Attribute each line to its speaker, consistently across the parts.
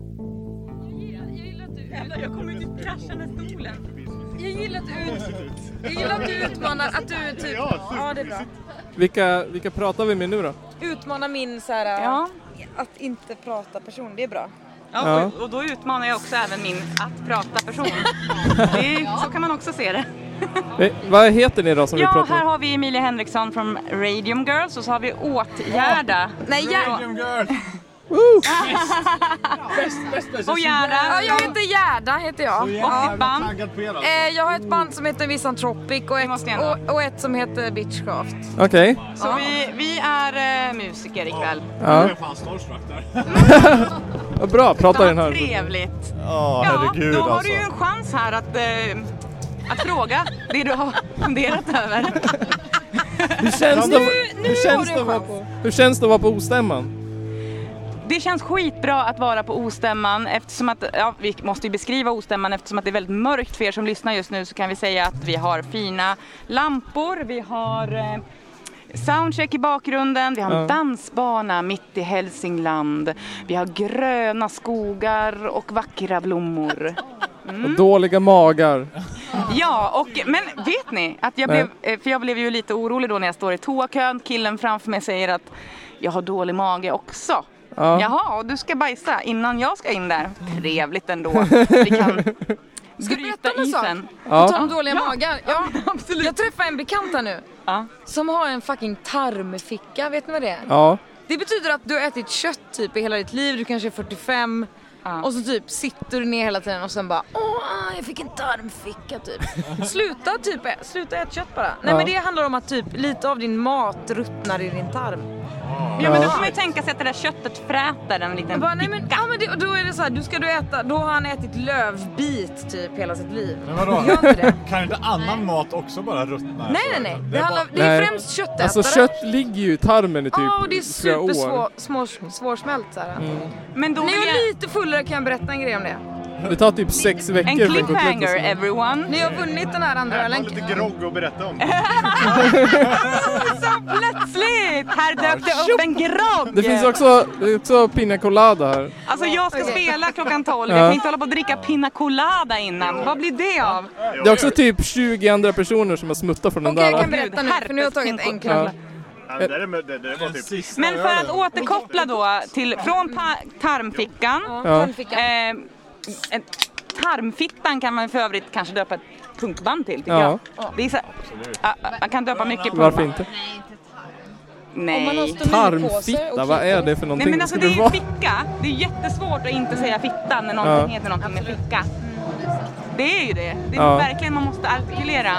Speaker 1: Jag gillar att du Jävlar, jag kommer typ krascha med stolen.
Speaker 2: Ut.
Speaker 1: Jag gillar att du, ut... jag gillar att du utmanar, att du typ...
Speaker 2: Ja,
Speaker 1: Ja, det är bra.
Speaker 3: Vilka, vilka pratar vi med nu då?
Speaker 1: Utmana min så här,
Speaker 4: Ja.
Speaker 1: att inte prata person, det är bra.
Speaker 4: Ja, och- och då utmanar jag också även min att prata-person. Det är- Så kan man också se det.
Speaker 3: Eh, Vad heter ni då som vi
Speaker 4: Ja,
Speaker 3: pratar
Speaker 4: här
Speaker 3: med?
Speaker 4: har vi Emilia Henriksson från Radium Girls och så har vi Åtgärda.
Speaker 1: Nej, Gerda.
Speaker 2: Medium girl.
Speaker 4: Och Gerda.
Speaker 1: Ja, jag heter Gerda, heter jag.
Speaker 2: Så
Speaker 1: Ja.
Speaker 2: jävla
Speaker 4: band.
Speaker 2: taggad på er alltså.
Speaker 1: Eh, Jag har ett band som heter Misantropic och ett,
Speaker 4: måste jag
Speaker 1: och, och ett som heter Bitchcraft.
Speaker 3: Okej.
Speaker 4: Så vi, vi är eh, musiker ikväll.
Speaker 2: Jag
Speaker 3: Ja.
Speaker 2: är fan starstruck där.
Speaker 3: Ja, Bra, prata i den
Speaker 4: Vad
Speaker 3: här.
Speaker 4: trevligt.
Speaker 5: Ja,
Speaker 4: Ja,
Speaker 5: herregud
Speaker 4: då har
Speaker 5: alltså.
Speaker 4: du ju en chans här att, eh, att fråga det du har funderat över.
Speaker 3: Hur känns det, hur
Speaker 1: har
Speaker 3: känns det,
Speaker 1: du
Speaker 3: att,
Speaker 1: en
Speaker 3: vara
Speaker 1: chans.
Speaker 3: på, hur känns det att vara på ostämman?
Speaker 4: Det känns skitbra att vara på Ostämman eftersom att, ja, vi måste ju beskriva Ostämman eftersom att det är väldigt mörkt för er som lyssnar just nu så kan vi säga att vi har fina lampor, vi har eh, soundcheck i bakgrunden, vi har en
Speaker 3: Ja.
Speaker 4: dansbana mitt i Hälsingland, vi har gröna skogar och vackra blommor.
Speaker 3: Och Dåliga magar.
Speaker 4: Ja, och, men vet ni? Att jag
Speaker 3: Nej.
Speaker 4: blev, eh, för jag blev ju lite orolig då när jag står i toakön. Killen framför mig säger att jag har dålig mage också.
Speaker 3: Ja.
Speaker 4: Jaha, och du ska bajsa innan jag ska in där. Trevligt ändå. Vi kan
Speaker 1: Ska jag berätta om en sak?
Speaker 3: Ja.
Speaker 1: På tal om dåliga
Speaker 4: Ja.
Speaker 1: magar. Ja, absolut. Jag träffade en bekant här nu
Speaker 4: Ja.
Speaker 1: som har en fucking tarmficka, vet ni vad det är?
Speaker 3: Ja.
Speaker 1: Det betyder att du har ätit kött typ i hela ditt liv, du kanske är 45
Speaker 4: Ja.
Speaker 1: och så typ sitter du ner hela tiden och sen bara åh, jag fick en tarmficka typ. sluta typ, ä- sluta äta kött bara. Nej
Speaker 3: Ja.
Speaker 1: men det handlar om att typ lite av din mat ruttnar i din tarm.
Speaker 4: Ja, men då får man ju tänka sig att det där köttet fräter en
Speaker 1: Jag
Speaker 4: liten
Speaker 1: bara, nej men, ja, men det, och då är det så här, du ska du äta, då har han ätit lövbit typ hela sitt liv.
Speaker 5: Men vadå?
Speaker 1: Gör inte det.
Speaker 5: Kan inte annan mat också bara ruttna?
Speaker 1: Nej nej nej, det,
Speaker 5: är
Speaker 1: handlar,
Speaker 5: bara-
Speaker 1: det är
Speaker 3: Nej.
Speaker 1: främst köttätare.
Speaker 3: Alltså kött ligger ju i tarmen i typ
Speaker 1: Ja, och det är
Speaker 3: flera år. Mm.
Speaker 1: supersvårsmält såhär.
Speaker 4: Men då
Speaker 1: När
Speaker 4: vill
Speaker 1: jag
Speaker 4: jag...
Speaker 1: är lite fullare kan jag berätta en grej om det.
Speaker 3: Det tar typ sex veckor
Speaker 4: En
Speaker 3: för en kotlett.
Speaker 4: cliffhanger
Speaker 3: att-
Speaker 4: everyone.
Speaker 1: När jag har vunnit den här andra
Speaker 2: Jag har
Speaker 1: ölen.
Speaker 2: lite grogg att berätta om.
Speaker 4: Så plötsligt! Här dök det upp en grogg!
Speaker 3: Det finns också, det är också pina colada här.
Speaker 4: Alltså jag ska spela klockan 12.
Speaker 3: Ja.
Speaker 4: Jag kan inte hålla på och dricka pina colada innan. Vad blir det av?
Speaker 3: Det är också typ 20 andra personer som har smuttat från den
Speaker 1: Okej, jag
Speaker 3: där.
Speaker 1: kan berätta nu för nu har jag tagit en
Speaker 3: Ja.
Speaker 1: knulla.
Speaker 2: Ja, Det där är med- det- det var typ...
Speaker 5: Sista
Speaker 4: Men för att
Speaker 5: ölen.
Speaker 4: återkoppla då till från pa- tarmfickan.
Speaker 3: Ja.
Speaker 4: Eh, en- tarmfittan kan man för övrigt kanske döpa ett punkband till tycker
Speaker 3: Ja.
Speaker 4: jag. Det är så, ja, ja, man kan döpa mycket punkband.
Speaker 3: Varför inte?
Speaker 4: Nej.
Speaker 3: Tarmfitta, vad är det för
Speaker 4: Nej
Speaker 3: någonting?
Speaker 4: men alltså
Speaker 3: Ska
Speaker 4: det
Speaker 3: vi
Speaker 4: är ju
Speaker 3: vara-
Speaker 4: ficka. Det är jättesvårt att inte säga fitta när någonting
Speaker 3: Ja.
Speaker 4: heter någonting med ficka. Det är ju det. Det är
Speaker 3: Ja.
Speaker 4: verkligen man måste artikulera.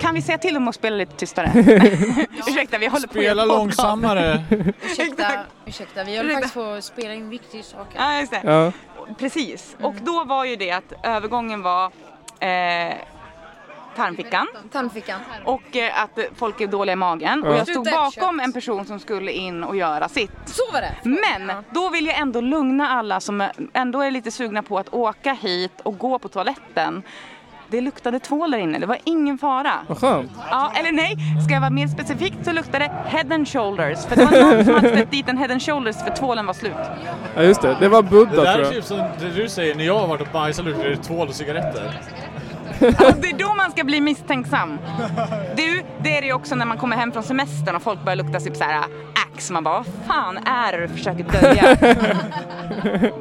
Speaker 4: Kan vi säga till dem att spela lite tystare? Ursäkta vi håller på att
Speaker 5: Spela
Speaker 4: göra podcast.
Speaker 5: långsammare.
Speaker 6: Ursäkta, ursäkta, vi håller
Speaker 4: Ursäkta.
Speaker 6: faktiskt på att spela in viktig sak. här.
Speaker 4: Ja just det.
Speaker 3: Ja.
Speaker 4: Precis, och då var ju det att övergången var eh, tarmfickan
Speaker 1: Tandfickan.
Speaker 4: och eh, att folk är dåliga i magen. Och jag stod
Speaker 1: Sluta äta
Speaker 4: bakom
Speaker 1: kött.
Speaker 4: en person som skulle in och göra sitt.
Speaker 1: Så var det.
Speaker 4: Men då vill jag ändå lugna alla som eh, ändå är lite sugna på att åka hit och gå på toaletten. Det luktade tvål där inne, det var ingen fara.
Speaker 3: Vad skönt.
Speaker 4: Ja, eller nej, ska jag vara mer specifikt så luktade det head and shoulders. För det var någon som hade ställt dit en head and shoulders för tvålen var slut.
Speaker 3: Ja just det, det var
Speaker 5: Det
Speaker 3: Buddha
Speaker 5: där
Speaker 3: tror
Speaker 5: är
Speaker 3: jag.
Speaker 5: typ som det du säger när jag har varit och bajsat luktar det tvål och cigaretter.
Speaker 4: Alltså, det är då man ska bli misstänksam. Du, det är det ju också när man kommer hem från semestern och folk börjar lukta typ så här ax. Man bara, vad fan är det du försöker dölja?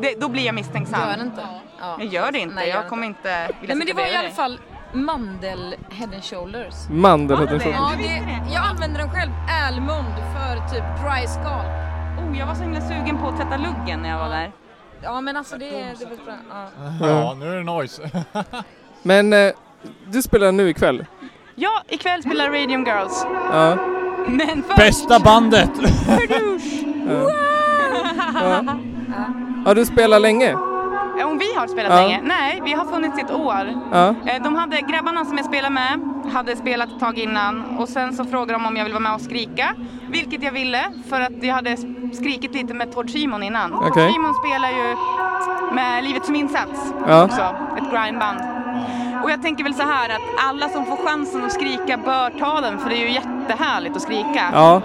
Speaker 4: det, då blir jag misstänksam.
Speaker 1: Gör den inte? Ja.
Speaker 4: Jag gör det inte.
Speaker 1: Nej, gör
Speaker 4: jag
Speaker 1: inte.
Speaker 4: kommer inte vilja
Speaker 1: Nej men det
Speaker 4: sitta
Speaker 1: var i
Speaker 4: bredvid
Speaker 1: alla
Speaker 4: dig.
Speaker 1: fall mandel head and shoulders.
Speaker 3: Mandel heter den. så.
Speaker 1: Ja, det, jag använder den själv, Almond, för typ dry scalp.
Speaker 4: Oh, jag var så himla sugen på att tvätta luggen när jag var där.
Speaker 1: Ja men alltså det, det var bra. Ja.
Speaker 5: Ja, nu är det noise.
Speaker 3: Men eh, du spelar nu ikväll?
Speaker 4: Ja, ikväll spelar Radium Girls.
Speaker 3: Ja.
Speaker 4: Men för...
Speaker 5: Bästa bandet!
Speaker 3: Har du spelat länge?
Speaker 4: Eh, Om vi har spelat
Speaker 3: Ja.
Speaker 4: länge? Nej, vi har funnits i ett år.
Speaker 3: Ja.
Speaker 4: Eh, De hade, grabbarna som jag spelade med hade spelat ett tag innan och sen så frågade de om jag ville vara med och skrika. Vilket jag ville för att jag hade skrikit lite med Tord Simon innan.
Speaker 3: Okej.
Speaker 4: Tord Simon spelar ju med Livet som insats
Speaker 3: Ja.
Speaker 4: också, ett grindband. Och jag tänker väl så här att alla som får chansen att skrika bör ta den för det är ju jättehärligt att skrika.
Speaker 3: Ja.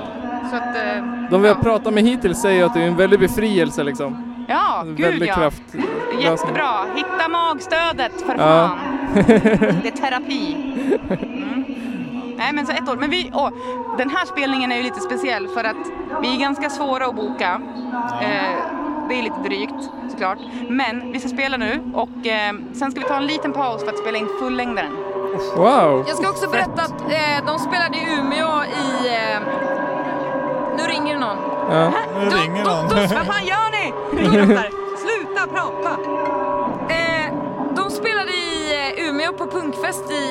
Speaker 4: Så att, eh,
Speaker 3: De vi har pratat med hittills säger att det är en väldig befrielse liksom.
Speaker 4: ja,
Speaker 3: En
Speaker 4: gud
Speaker 3: väldig
Speaker 4: ja.
Speaker 3: kraft.
Speaker 4: Jättebra. Hitta magstödet för
Speaker 3: Ja.
Speaker 4: fan. Det är terapi. Mm. Nej men så ett år. Men vi, åh, den här spelningen är ju lite speciell för att vi är ganska svåra att boka. Eh, det är lite drygt såklart. Men vi ska spela nu och eh, sen ska vi ta en liten paus för att spela in fullängdaren.
Speaker 3: Wow!
Speaker 1: Jag ska också berätta att eh, de spelade i Umeå i... Eh, nu ringer någon.
Speaker 3: Ja.
Speaker 5: Nu
Speaker 1: Då-
Speaker 5: ringer
Speaker 1: då-
Speaker 5: någon.
Speaker 1: då-
Speaker 4: Vad fan gör ni? Idrottar. Sluta prata!
Speaker 1: Eh, de spelade i eh, Umeå på punkfest i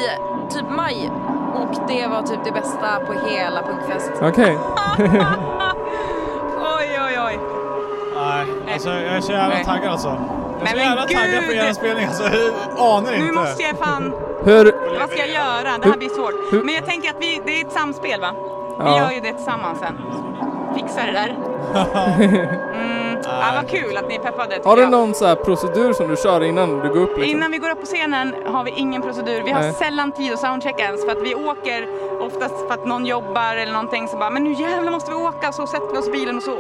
Speaker 1: typ maj. Och det var typ det bästa på hela punkfest.
Speaker 3: Okej.
Speaker 4: Oj, oj, oj.
Speaker 5: Nej, alltså jag är så jävla
Speaker 4: Nej.
Speaker 5: taggad alltså. Jag är
Speaker 4: Nej,
Speaker 5: så
Speaker 4: men
Speaker 5: jävla taggad på
Speaker 4: gud!
Speaker 5: er spelning alltså. Jag anar inte.
Speaker 4: Nu måste jag fan...
Speaker 3: Hur...
Speaker 4: Vad ska jag göra? Det här blir svårt. Men jag tänker att vi, det är ett samspel va? Vi
Speaker 3: Ja.
Speaker 4: gör ju det tillsammans sen. Fixar det där. Mm. Ja, vad kul att ni är peppade. tycker
Speaker 3: Har du
Speaker 4: jag.
Speaker 3: någon så här procedur som du kör innan du går upp liksom?
Speaker 4: Innan vi går upp på scenen har vi ingen procedur. Vi har
Speaker 3: Nej.
Speaker 4: sällan tid att soundchecka ens för att vi åker oftast för att någon jobbar eller någonting så bara men nu jävlar måste vi åka så sätter vi oss i bilen och så
Speaker 1: Och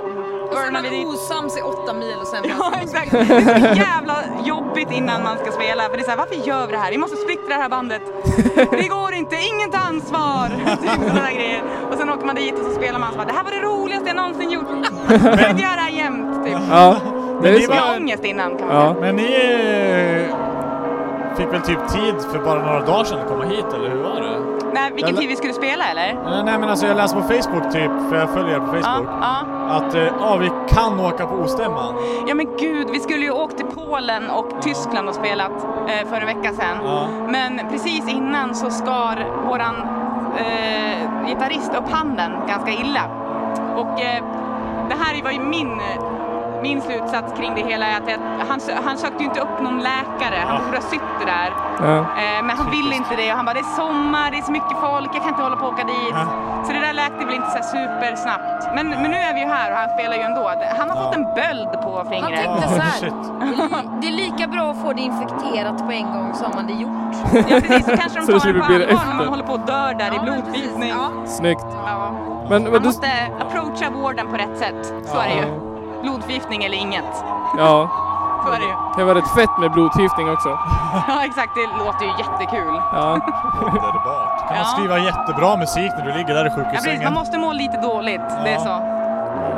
Speaker 1: sen
Speaker 4: burnar vi dit.
Speaker 1: man osams i åtta mil och sen...
Speaker 4: Ja exakt. Det är så jävla jobbigt innan man ska spela för det är så här, varför gör vi det här? Vi måste splittra det här bandet. Det går inte, ingen tar ansvar. Typ sådana här grejer. Och sen åker man dit och så spelar man så bara, det här var det roligaste jag någonsin gjort. Jag kan inte göra det här jämt. Typ.
Speaker 3: Ja, det är
Speaker 5: det
Speaker 4: Jag har
Speaker 3: så.
Speaker 5: var-
Speaker 4: ångest innan kan man säga.
Speaker 3: Ja.
Speaker 5: Men ni eh, fick väl typ tid för bara några dagar sedan att komma hit eller hur var det?
Speaker 4: Nej, vilken
Speaker 5: Eller-
Speaker 4: tid vi skulle spela eller?
Speaker 5: Eh, Nej men alltså jag läste på Facebook typ, för jag följer er på
Speaker 4: Ja,
Speaker 5: Facebook,
Speaker 4: ja.
Speaker 5: att eh, ja, vi kan åka på ostämman.
Speaker 4: Ja men gud, vi skulle ju åkt till Polen och Tyskland och spelat eh, för en vecka sedan.
Speaker 5: Ja.
Speaker 4: Men precis innan så skar våran eh, gitarrist upp handen ganska illa. Och eh, det här var ju min, min slutsats kring det hela, är att jag, han, sö- han sökte ju inte upp någon läkare, han borde ha sytt det där.
Speaker 3: Ja.
Speaker 4: Eh, men han ville inte det och han bara, det är sommar, det är så mycket folk, jag kan inte hålla på och åka dit. Så det där läkte väl inte så här supersnabbt. Men, men nu är vi ju här och han spelar ju ändå. Han har fått en böld på
Speaker 6: Han
Speaker 4: fingret.
Speaker 6: tänkte så här.
Speaker 5: Ah, shit.
Speaker 6: Det är, li- det är lika bra att få det infekterat på en gång som man det gjort.
Speaker 4: Ja precis, så kanske de
Speaker 3: Så
Speaker 4: tar det
Speaker 3: skulle
Speaker 4: på
Speaker 3: det bli det
Speaker 4: allvar när man
Speaker 3: efter.
Speaker 4: håller på och dör där i
Speaker 6: Ja, men precis.
Speaker 4: blodförgiftning.
Speaker 6: Ja.
Speaker 3: Snyggt.
Speaker 4: Ja.
Speaker 3: Men vad
Speaker 4: Man
Speaker 3: du...
Speaker 4: måste approacha vården på rätt sätt. Så är det ju. Blodförgiftning eller inget.
Speaker 3: Ja,
Speaker 4: Så är det ju.
Speaker 3: det kan vara rätt fett med blodförgiftning också.
Speaker 4: Ja exakt, det låter ju jättekul.
Speaker 3: Ja,
Speaker 5: Underbart.
Speaker 4: Ja.
Speaker 5: Kan man skriva jättebra musik när du ligger där i
Speaker 4: Ja, precis,
Speaker 5: sjukhussängen?
Speaker 4: man måste må lite dåligt, det är
Speaker 5: Ja.
Speaker 4: så.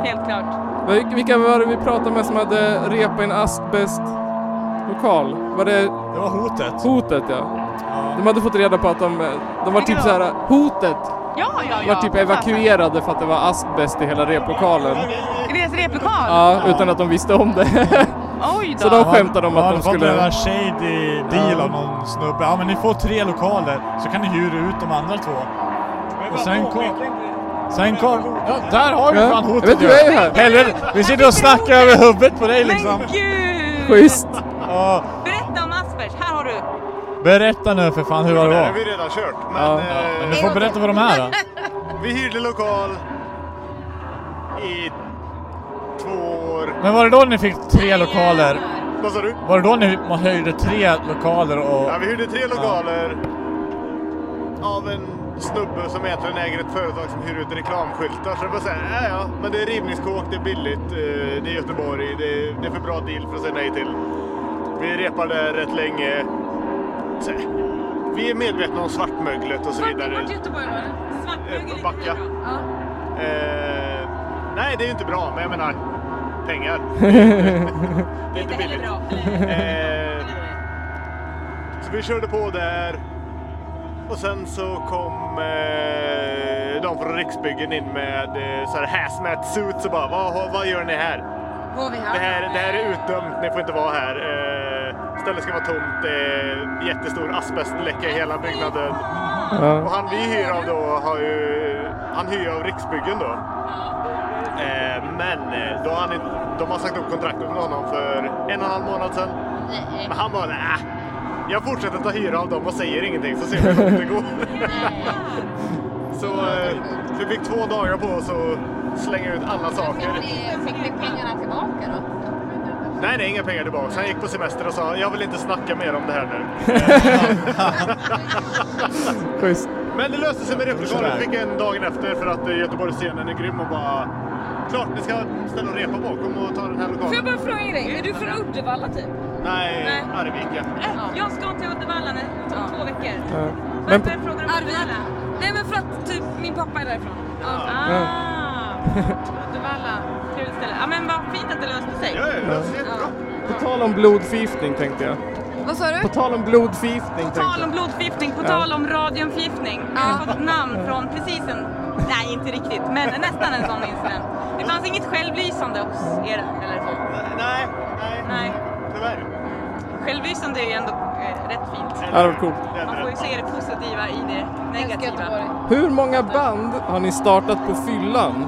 Speaker 4: Helt klart.
Speaker 3: Vil- Vilka var det vi pratade med som hade repat i en asbestlokal? Var det
Speaker 5: Det var hotet.
Speaker 3: hotet ja? De hade fått reda på att de, de var typ
Speaker 4: då?
Speaker 3: såhär, hotet
Speaker 4: Ja, ja, ja.
Speaker 3: var typ evakuerade för att det var asbest i hela replokalen.
Speaker 4: I deras replokal?
Speaker 3: Ja, utan att de visste om det.
Speaker 4: Oj då.
Speaker 3: Så de skämtade om
Speaker 5: Ja,
Speaker 3: att
Speaker 5: det
Speaker 3: de
Speaker 5: var en jävla
Speaker 3: skulle...
Speaker 5: shady deal av någon snubbe. Ja men ni får tre lokaler, så kan ni hyra ut de andra två. Och sen kom... Sen kom... Ja, där har vi
Speaker 3: Ja.
Speaker 5: fan
Speaker 3: Jag
Speaker 5: hotet
Speaker 3: vet, du
Speaker 5: ju.
Speaker 3: är ju här.
Speaker 5: Helvete, vi sitter och snackar över huvudet på dig liksom.
Speaker 4: Men gud!
Speaker 3: Schysst.
Speaker 5: Ja,
Speaker 4: Berätta om asperger, här har du.
Speaker 5: berätta nu för fan hur var
Speaker 2: Det
Speaker 5: det
Speaker 2: där har
Speaker 5: var.
Speaker 2: vi redan kört. Men
Speaker 3: Ja.
Speaker 5: Men du
Speaker 2: eh,
Speaker 5: får berätta vad de är då.
Speaker 2: vi hyrde lokal i två år.
Speaker 5: Men var det då ni fick tre lokaler?
Speaker 2: Vad sa du?
Speaker 5: Var det då ni man höjde tre lokaler och...
Speaker 2: Ja, vi hyrde tre lokaler av en snubbe som egentligen äger ett företag som hyr ut reklamskyltar. Så det var så här, ja ja, men det är rivningskåk, det är billigt, eh, det är Göteborg, det är, det är för bra deal för att säga nej till. Vi repade där rätt länge. Så här, vi är medvetna om svartmöglet och så vidare.
Speaker 1: Vart i Göteborg var det?
Speaker 2: Eh, Backa.
Speaker 1: Ja.
Speaker 2: Eh, nej, det är ju inte bra, men jag menar pengar. det är inte billigt. Eh, så vi körde på där. Och sen så kom eh, de från Riksbyggen in med eh, så här hazmat suits och bara vad, vad gör ni här?
Speaker 1: Var vi
Speaker 2: Det
Speaker 1: här?
Speaker 2: här, det här är utdömt, ni får inte vara här. Eh, stället ska vara tomt, det är jättestor asbestläcka i hela byggnaden. Och
Speaker 3: Ja.
Speaker 2: han vi hyr av då har ju, han hyr av Riksbyggen då. Eh, men eh, då har han, inte- de har sagt upp kontraktet med honom för en och en halv månad sedan. Men han bara nej. Jag fortsätter ta hyra av dem och säger ingenting så ser vi hur långt det går. så eh, vi fick två dagar på oss att slänga ut alla saker.
Speaker 6: Fick vi pengarna tillbaka då?
Speaker 2: Nej, nej, inga pengar tillbaka. Så Han gick på semester och sa jag vill inte snacka mer om det här nu.
Speaker 3: Schysst.
Speaker 2: Men det löste sig med replokalen. Vi fick en dagen efter för att eh, Göteborgsscenen är grym och bara... Klart ni ska ställa och repa bakom och ta den här
Speaker 1: Får jag
Speaker 2: lokalen.
Speaker 1: bara fråga en grej? Är du från Uddevalla typ?
Speaker 2: Nej,
Speaker 1: Nej.
Speaker 2: Arvika.
Speaker 4: Jag ska till Uddevalla nu, om två veckor.
Speaker 3: Ja. Men, p-
Speaker 4: frågar du
Speaker 1: Arvika? Nej men för att typ min pappa är därifrån. Ja.
Speaker 4: Ah, Uddevalla. Trevligt ställe. Ja, men vad fint att det löste sig.
Speaker 2: Ja, ja, det löste sig jättebra.
Speaker 3: på tal om blodförgiftning tänkte jag.
Speaker 1: Vad sa du?
Speaker 3: På tal om blodförgiftning
Speaker 4: På
Speaker 3: tänkte
Speaker 4: tal om
Speaker 3: jag.
Speaker 4: blodförgiftning, på tal om radionförgiftning. Vi har fått ett namn från precis en, nej inte riktigt, men nästan en sån incident. Det fanns inget självlysande hos er eller så.
Speaker 2: Nej, nej,
Speaker 4: Nej.
Speaker 2: tyvärr.
Speaker 4: Självlysande är ju ändå eh, rätt fint.
Speaker 3: Ja, det var coolt.
Speaker 2: Det är
Speaker 4: Man
Speaker 2: inte
Speaker 4: får ju
Speaker 2: rätt.
Speaker 4: se det positiva i det
Speaker 6: Jag älskar
Speaker 4: negativa.
Speaker 6: Göteborg.
Speaker 3: Hur många band har ni startat på fyllan?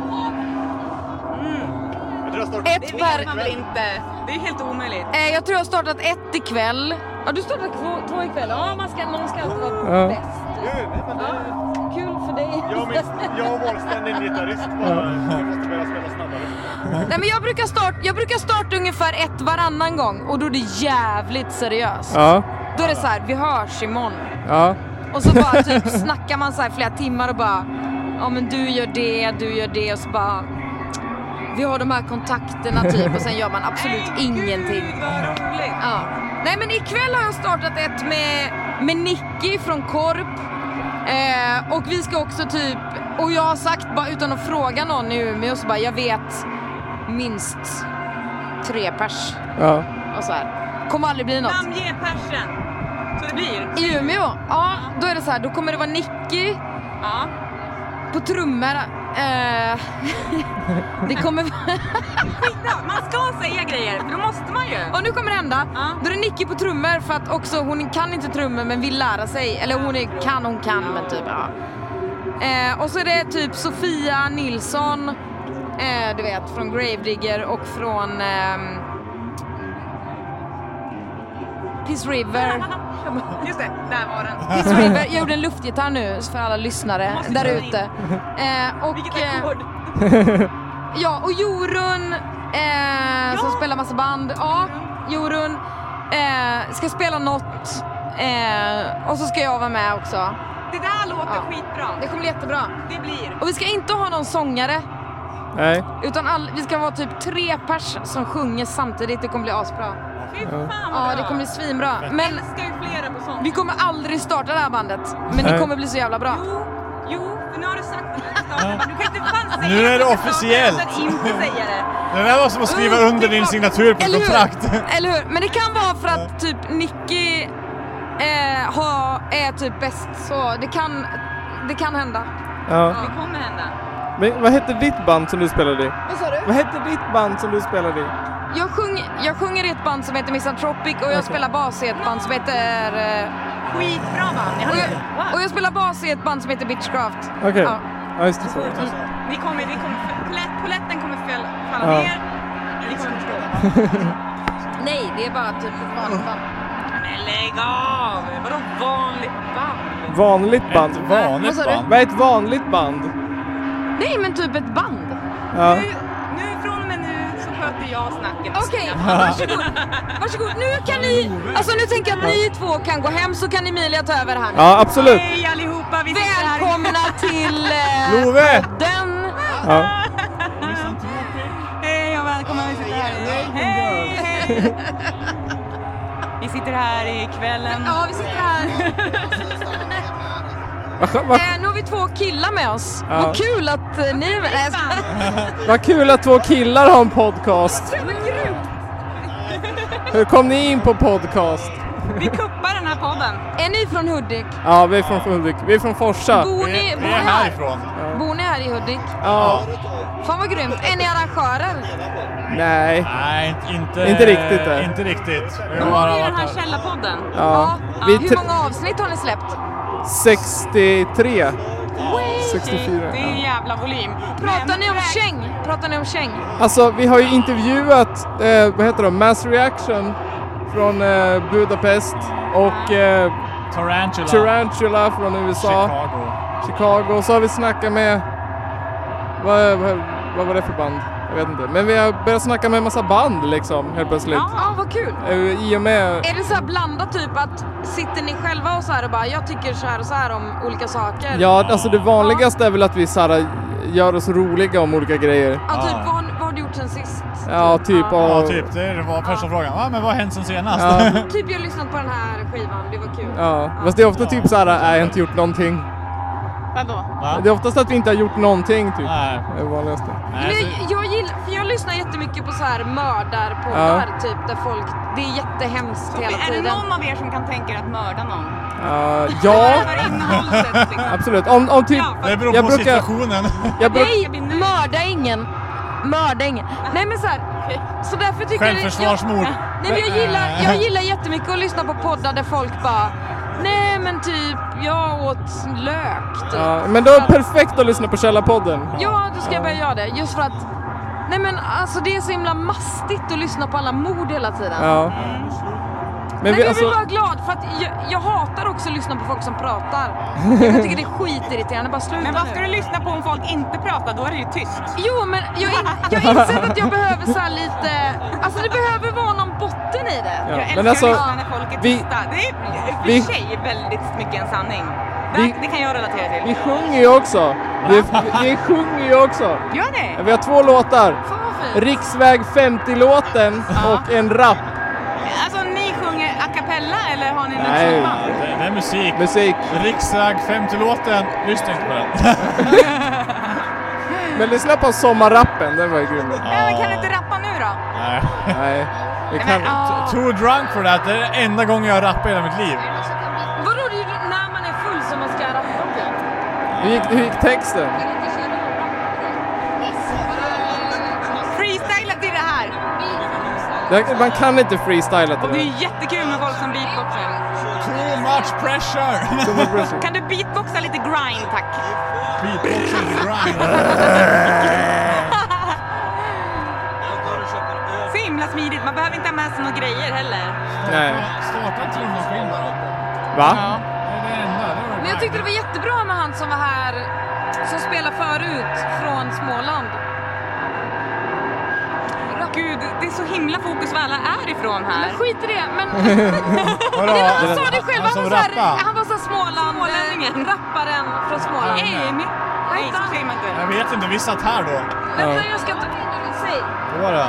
Speaker 2: Jag tror jag startar-
Speaker 1: Ett per...
Speaker 4: Man vill inte. Det är helt omöjligt.
Speaker 1: Eh, jag tror jag har startat ett ikväll. Ja du startade två, två ikväll. Ja man ska, någon ska alltid vara
Speaker 3: Ja.
Speaker 1: bäst.
Speaker 2: Nu, nej, men det-
Speaker 1: Kul för dig.
Speaker 2: Jag och min, jag och vår stand-in-gitarrist bara, vi måste börja spela snabbare.
Speaker 1: Nej, men jag, brukar start, jag brukar starta ungefär ett varannan gång och då är det jävligt seriöst.
Speaker 3: Ja,
Speaker 1: Då är det så här, vi hörs imorgon.
Speaker 3: ja.
Speaker 1: Och så bara typ snackar man så här flera timmar och bara Ja men du gör det, du gör det och så bara Vi har de här kontakterna typ och sen gör man absolut ingenting.
Speaker 4: Gud vad roligt.
Speaker 1: Ja. Nej men ikväll har jag startat ett med, med Nicky från Korp. Eh, och vi ska också typ, och jag har sagt bara utan att fråga någon i Umeå så bara jag vet minst tre pers
Speaker 3: ja.
Speaker 1: och så här. Kommer aldrig bli något.
Speaker 4: Namnge persen. Så det blir.
Speaker 1: I Umeå, ja då är det så här, då kommer det vara Nicky
Speaker 4: Ja.
Speaker 1: På trummor... Eh, det kommer vara-
Speaker 4: Skitbra. Man ska säga grejer, för då måste man ju.
Speaker 1: Och nu kommer det hända.
Speaker 4: Ja.
Speaker 1: Då är det Nicky på trummor för att också hon kan inte trummor men vill lära sig. Eller hon är, kan, hon kan men typ ja. Eh, och så är det typ Sofia Nilsson, eh, du vet från Gravedigger och från ehm, Piss River.
Speaker 4: Just det, där var den.
Speaker 1: Piss River. Jag gjorde en luftgitarr nu för alla lyssnare
Speaker 4: Måste
Speaker 1: där
Speaker 4: ta in.
Speaker 1: ute. Eh, och,
Speaker 4: Vilket
Speaker 1: eh,
Speaker 4: ackord.
Speaker 1: Ja, och Jorun eh, som spelar massa band. Ja, Jorun eh, ska spela något eh, och så ska jag vara med också.
Speaker 4: Det där låter
Speaker 1: Ja.
Speaker 4: skitbra.
Speaker 1: Det kommer bli jättebra.
Speaker 4: Det blir.
Speaker 1: Och vi ska inte ha någon sångare,
Speaker 3: Nej.
Speaker 1: utan all, vi ska vara typ tre pers som sjunger samtidigt. Det kommer bli asbra.
Speaker 4: Fy fan vad
Speaker 1: Ja, det
Speaker 4: bra.
Speaker 1: kommer bli svinbra. Men
Speaker 4: ska ju flera på sånt.
Speaker 1: vi kommer aldrig starta det här bandet, men det
Speaker 3: Nej.
Speaker 1: kommer bli så jävla bra.
Speaker 4: Jo, jo, för nu har du sagt att du ska starta. Du kan inte fan säga
Speaker 5: Nu är
Speaker 4: att
Speaker 5: det
Speaker 4: du ska starta utan att
Speaker 5: officiellt.
Speaker 4: inte säga det.
Speaker 5: Det där var som att skriva
Speaker 1: Mm,
Speaker 5: under
Speaker 1: det är
Speaker 5: din
Speaker 1: klart.
Speaker 5: signatur på ett
Speaker 1: Eller hur?
Speaker 5: kontrakt.
Speaker 1: Eller hur? Men det kan vara för att typ Nicky eh, ha, är typ bäst, så det kan, det kan hända.
Speaker 3: Ja.
Speaker 4: Det kommer hända.
Speaker 3: Men vad hette ditt band som du spelade i?
Speaker 1: Vad sa du?
Speaker 3: Vad hette ditt band som du spelade i?
Speaker 1: Jag, sjung, jag sjunger i ett band som heter Misantropic och jag spelar bas i ett band som heter... eh,
Speaker 4: Skitbra man.
Speaker 1: Och jag, och jag spelar bas i ett band som heter Bitchcraft.
Speaker 3: Okej.
Speaker 1: Ja.
Speaker 3: Ja, just det. Så.
Speaker 4: Ni kommer, ni kommer, polett- poletten kommer fäll, falla
Speaker 3: Ja.
Speaker 4: ner. Ni kommer förstå.
Speaker 1: Nej, det är bara typ ett vanligt band.
Speaker 4: Men lägg av! Vadå vanligt band?
Speaker 3: Vanligt band.
Speaker 5: Ett vanligt
Speaker 1: Vad sa du?
Speaker 5: band.
Speaker 3: Vad är ett vanligt band?
Speaker 1: Nej, men typ ett band.
Speaker 3: Ja.
Speaker 4: Nu, nu från och med nu så sköter jag snacket.
Speaker 1: Okej, varsågod. Varsågod. Nu kan ni... Alltså nu tänker jag att ni två kan gå hem så kan Emilia ta över här.
Speaker 3: Ja, absolut.
Speaker 4: Hej allihopa! Vi sitter här.
Speaker 1: Välkomna till eh,
Speaker 3: Love!
Speaker 1: den...
Speaker 3: Ja.
Speaker 4: Hej och välkomna! Vi sitter här i... Hej! hej. Vi sitter här i kvällen.
Speaker 1: Ja, vi sitter här.
Speaker 3: Vad skö- vad-
Speaker 1: Eh, nu har vi två killar med oss.
Speaker 3: Ja.
Speaker 1: Vad kul att eh, ni är med. Nej, jag skojar.
Speaker 3: Vad kul att två killar har en podcast. Hur kom ni in på podcast?
Speaker 4: Vi kuppar den här podden.
Speaker 1: Är ni från Hudik?
Speaker 3: Ja, vi är från Hudik. Vi är från Forsa.
Speaker 1: Bor
Speaker 5: Vi,
Speaker 1: ni,
Speaker 5: vi
Speaker 1: bor ni
Speaker 5: är
Speaker 1: här?
Speaker 5: härifrån.
Speaker 1: Bor ni här i Hudik?
Speaker 3: Ja.
Speaker 1: Fan vad grymt. Är ni arrangörer?
Speaker 3: Nej.
Speaker 5: Nej, inte,
Speaker 3: Inte riktigt, nej.
Speaker 5: Inte riktigt. Vi
Speaker 4: Nu
Speaker 5: har
Speaker 4: har vi
Speaker 5: bara
Speaker 4: den här
Speaker 5: varit här.
Speaker 4: källarpodden.
Speaker 3: Ja. Vi
Speaker 1: Hur
Speaker 3: är
Speaker 1: många avsnitt har ni släppt?
Speaker 3: 63. 64.
Speaker 4: Det är en jävla volym.
Speaker 1: Pratar
Speaker 4: Men-
Speaker 1: ni om käng? Pratar ni om käng?
Speaker 3: Alltså vi har ju intervjuat, eh, vad heter de, Mass Reaction från eh, Budapest och eh,
Speaker 5: Tarantula.
Speaker 3: Tarantula från USA,
Speaker 5: Chicago.
Speaker 3: Chicago. Och så har vi snackat med, vad, vad, vad var det för band? Jag vet inte. Men vi har börjat snacka med en massa band liksom helt plötsligt.
Speaker 1: Ja, vad kul.
Speaker 3: Eh, I och med...
Speaker 1: Är det så här blandat typ att sitter ni själva och så här och bara jag tycker så här och så här om olika saker?
Speaker 3: Ja, alltså det vanligaste är väl att vi så här, eh, gör oss roliga om olika grejer.
Speaker 1: Ja, typ
Speaker 5: Ja.
Speaker 1: vad, har ni- vad har du gjort sen sist?
Speaker 3: Ja, typ.
Speaker 1: Ja.
Speaker 5: Ja,
Speaker 3: och-
Speaker 5: typ. Det var första frågan. Ja, men vad har hänt sen senast?
Speaker 3: Ja.
Speaker 1: Typ jag har lyssnat på den här skivan, det var kul.
Speaker 3: Ja, fast det är ofta typ så här, nej, jag har inte gjort någonting.
Speaker 4: Vadå?
Speaker 5: Va?
Speaker 3: Det är oftast att vi inte har gjort någonting typ.
Speaker 5: Nej.
Speaker 3: Det är det vanligaste.
Speaker 5: Nej,
Speaker 1: Men
Speaker 5: så-
Speaker 3: Alltså-
Speaker 1: jag, jag, gillar, för jag lyssnar jättemycket på så här mördarpoddar typ där folk, det är jättehemskt hela
Speaker 4: Är det
Speaker 1: tiden.
Speaker 4: någon av er som kan tänka er att mörda någon?
Speaker 3: Ja, Eh, ja,
Speaker 4: För innehållet liksom.
Speaker 3: absolut. Om, om typ...
Speaker 4: Ja,
Speaker 5: Det beror på
Speaker 3: Jag brukar-
Speaker 5: situationen.
Speaker 3: Jag bruk,
Speaker 1: Nej, mörda ingen. Mörda ingen.
Speaker 4: Ah,
Speaker 1: Nej men så här, så därför tycker jag-
Speaker 5: Självförsvarsmord.
Speaker 1: Jag, nej men jag gillar, jag gillar jättemycket att lyssna på poddar där folk bara, nej men typ jag åt lök typ.
Speaker 3: ja, men då är det perfekt att lyssna på Källarpodden.
Speaker 1: Ja, då ska jag börja göra det. Just för att... Nej men alltså det är så himla mastigt att lyssna på alla mord hela tiden.
Speaker 3: Ja. Men
Speaker 1: Men
Speaker 3: vi,
Speaker 1: jag
Speaker 3: alltså,
Speaker 1: blir bara glad för att jag, jag hatar också att lyssna på folk som pratar. Jag tycker det är skitirriterande. Bara sluta
Speaker 4: Men vad ska
Speaker 1: nu.
Speaker 4: du lyssna på om folk inte pratar? Då är det ju tyst.
Speaker 1: Jo men jag, in, jag inser att jag behöver så här lite... Alltså det behöver vara någon botten i det.
Speaker 3: Ja,
Speaker 4: Jag älskar
Speaker 3: men alltså,
Speaker 4: att lyssna när folk är
Speaker 3: vi-
Speaker 4: tysta. Det är i och
Speaker 3: vi-
Speaker 4: för sig väldigt mycket en sanning. Det,
Speaker 3: Vi-
Speaker 4: det kan jag relatera till.
Speaker 3: vi sjunger ju också. Vi, vi sjunger ju också.
Speaker 4: Gör ni?
Speaker 3: Vi har två låtar.
Speaker 1: Fan vad fint.
Speaker 3: Riksväg 50-låten och en rap.
Speaker 4: Alltså ni sjunger a cappella eller har ni något
Speaker 3: Nej.
Speaker 4: sånt band?
Speaker 5: Det det är musik.
Speaker 3: Musik.
Speaker 5: Riksväg 50-låten. Lyssna inte på den.
Speaker 3: Men lyssna på sommarrappen, den var ju grym.
Speaker 4: Nej, men kan du inte rappa nu då?
Speaker 5: Nej.
Speaker 3: Nej, vi kan
Speaker 4: Men, ah.
Speaker 5: Too drunk for that. Det är den enda gången jag har rappat i hela mitt liv.
Speaker 1: Vadå det är ju när man är full som man ska rappa typ?
Speaker 3: Hur gick, hur gick texten?
Speaker 4: Freestyla till det här!
Speaker 3: Det- Man kan inte freestyla till
Speaker 4: Och det är
Speaker 3: det.
Speaker 4: ju jättekul med folk som beatboxar.
Speaker 5: Too much pressure.
Speaker 4: Kan du beatboxa lite grind tack?
Speaker 5: Beatboxing grind.
Speaker 4: Så himla smidigt, man behöver inte ha med sig några grejer heller.
Speaker 3: Nej.
Speaker 5: Starta en trummaskin bara.
Speaker 3: Va?
Speaker 5: Det är det enda. Det var
Speaker 1: Men jag tyckte det var jättebra med han som var här, som spelade förut från Småland.
Speaker 4: Gud, det är så himla fokus var alla är ifrån här.
Speaker 1: Skit i det, men
Speaker 5: Vadå?
Speaker 1: Ja, han sa det själv,
Speaker 5: Han
Speaker 1: han
Speaker 5: som
Speaker 1: var, så här,
Speaker 5: rappade.
Speaker 1: han var så här Småland, eh,
Speaker 4: Smålänningen.
Speaker 1: rapparen från Småland.
Speaker 4: Amy. Nej, så säger man inte.
Speaker 5: Jag vet inte, vi satt här då.
Speaker 1: Vänta, jag ska ta... Säg.
Speaker 5: Då var det.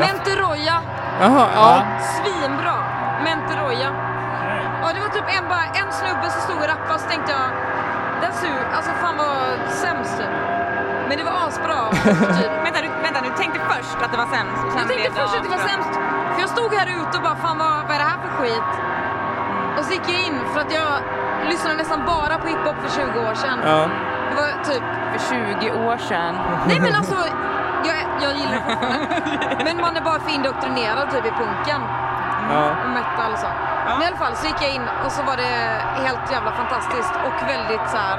Speaker 1: Menteroya,
Speaker 3: Jaha, ja.
Speaker 1: svinbra. Menteroya. Ja, det var typ en, bara, en snubbe som stod och rappade och så tänkte jag, den sur, alltså fan vad sämst typ. Men det var asbra typ.
Speaker 4: Vänta, du, vänta, du tänkte först att det var sämst? och sen
Speaker 1: Jag tänkte
Speaker 4: blev
Speaker 1: först att det var
Speaker 4: asbra.
Speaker 1: sämst, för jag stod här ute och bara fan vad, vad är det här för skit? Och så gick jag in för att jag lyssnade nästan bara på hiphop för 20 år sedan.
Speaker 3: ja.
Speaker 1: Det var typ,
Speaker 4: För 20 år sedan.
Speaker 1: nej men alltså, jag, jag gillar det fortfarande. Men man är bara för indoktrinerad typ i punken
Speaker 3: ja.
Speaker 1: och metal och så. Men i alla fall så gick jag in och så var det helt jävla fantastiskt och väldigt så här.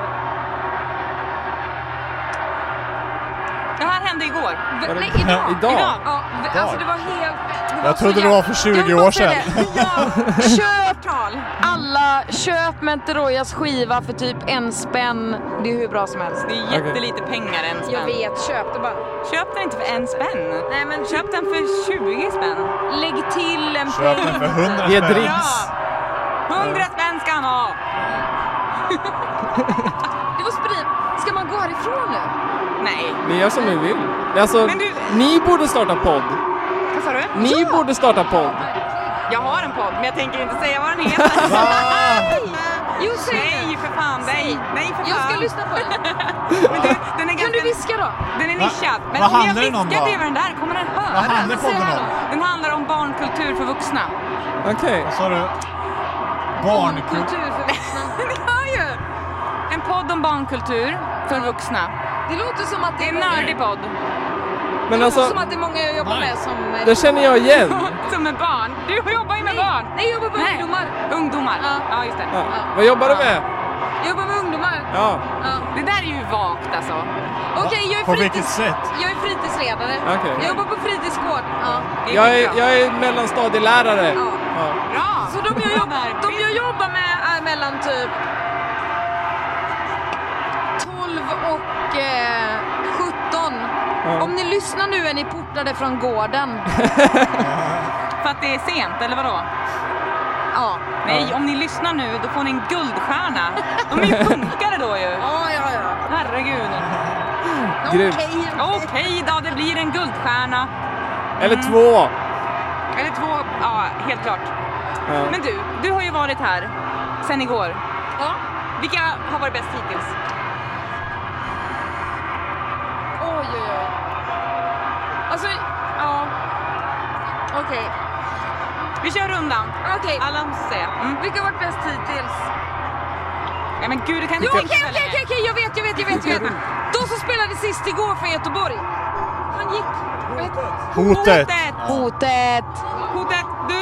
Speaker 4: Det här hände igår.
Speaker 1: vä- Nej, idag.
Speaker 3: Idag?
Speaker 1: Ja, vä- alltså det var helt... det var
Speaker 5: Jag
Speaker 1: så
Speaker 5: trodde det
Speaker 1: jävla-
Speaker 5: var för 20
Speaker 1: Jag vill bara
Speaker 5: år
Speaker 1: säga
Speaker 5: sedan.
Speaker 1: det. Ja, Köp
Speaker 4: Tal.
Speaker 1: Alla, köp Menteroyas skiva för typ en spänn. Det är hur bra som helst.
Speaker 4: Det är jättelite pengar en
Speaker 1: Jag
Speaker 4: spänn.
Speaker 1: vet, köp det bara.
Speaker 4: Köp den inte för en spänn.
Speaker 1: Nej men
Speaker 4: Köp den för 20 spänn.
Speaker 1: lägg till en
Speaker 5: Köp den för
Speaker 1: peng.
Speaker 5: 100
Speaker 3: Ge
Speaker 5: spänn.
Speaker 3: drinks.
Speaker 4: 100 spänn ska han ha!
Speaker 1: Det var sprit. Ska man gå härifrån nu?
Speaker 4: Nej.
Speaker 3: Ni gör som ni vill. Alltså,
Speaker 4: Men du-
Speaker 3: ni borde starta podd.
Speaker 4: Vad sa du?
Speaker 3: Ni borde starta podd.
Speaker 4: Jag har en podd, men jag tänker inte säga vad den heter.
Speaker 1: Jo, säg
Speaker 4: Nej,
Speaker 1: nu.
Speaker 4: för fan. Nej, nej för fan.
Speaker 1: Jag ska lyssna på den.
Speaker 4: Men du, den är
Speaker 1: Kan du
Speaker 4: ganska...
Speaker 1: viska då?
Speaker 4: Den är nischad. Men
Speaker 5: Vad
Speaker 4: om jag
Speaker 5: handlar den om
Speaker 4: viskar
Speaker 5: då?
Speaker 4: bredvid den där kommer den
Speaker 5: Vad
Speaker 4: höra.
Speaker 5: handlar podden om?
Speaker 4: Den handlar om barnkultur för vuxna.
Speaker 3: Okej.
Speaker 5: Sa du? Barnkultur.
Speaker 1: Kultur för vuxna.
Speaker 4: Ni hör ju! En podd om barnkultur för vuxna.
Speaker 1: Det låter som att det
Speaker 4: Det är
Speaker 1: är
Speaker 4: en
Speaker 1: många,
Speaker 4: nördig podd.
Speaker 1: det
Speaker 3: Men
Speaker 1: låter
Speaker 3: alltså,
Speaker 1: som att det är många jag jobbar med
Speaker 5: Alltså,
Speaker 1: som...
Speaker 3: det känner jag igen.
Speaker 4: Som är barn. Du jobbar ju med barn.
Speaker 1: Nej, jag jobbar med
Speaker 4: Nej.
Speaker 1: ungdomar.
Speaker 4: Ungdomar.
Speaker 1: Ja.
Speaker 4: Ja, just det.
Speaker 3: Ja. Vad jobbar du med?
Speaker 1: Jag jobbar med ungdomar.
Speaker 3: Ja,
Speaker 1: Ja.
Speaker 4: Det där är ju vagt alltså.
Speaker 1: Okej, jag är
Speaker 5: På
Speaker 1: fritids-
Speaker 5: vilket sätt?
Speaker 1: Jag är fritidsledare.
Speaker 3: Okej.
Speaker 1: Jag jobbar på fritidsgård. Ja.
Speaker 4: Det
Speaker 3: jag är,
Speaker 4: skitbra.
Speaker 3: jag är mellanstadielärare.
Speaker 1: Ja.
Speaker 3: Ja.
Speaker 4: Bra!
Speaker 1: Så de jag, jobb- de jag jobbar med är mellan typ 12 och eh, 17. Om ni lyssnar nu är ni portade från gården.
Speaker 4: För att det är sent, eller vadå?
Speaker 1: Ja,
Speaker 4: Nej, om ni lyssnar nu, då får ni en guldstjärna. De är ju punkare då ju.
Speaker 1: ja, ja. ja.
Speaker 4: Herregud.
Speaker 1: Okej.
Speaker 3: Grymt.
Speaker 4: Okej då, det blir en guldstjärna. Mm.
Speaker 3: Eller två.
Speaker 4: Eller två, ja helt klart.
Speaker 3: Ja.
Speaker 4: Men du, du har ju varit här sen igår.
Speaker 1: Ja.
Speaker 4: Vilka har varit bäst hittills?
Speaker 1: Oj, oj, oj. Alltså, ja. Okej,
Speaker 4: Vi kör rundan.
Speaker 1: okej.
Speaker 4: Alla måste säga. Mm.
Speaker 1: Vilka har varit bäst hittills?
Speaker 4: Ja, men gud, du kan
Speaker 1: Jo,
Speaker 4: inte
Speaker 1: okej,
Speaker 4: tänka så
Speaker 1: okej,
Speaker 4: länge.
Speaker 1: okej, okej, jag vet, jag vet, jag vet, jag vet. De som spelade sist igår från Göteborg. Han gick. vad heter han?
Speaker 5: Hotet!
Speaker 4: Hotet!
Speaker 1: Hotet.
Speaker 4: Hotet, du.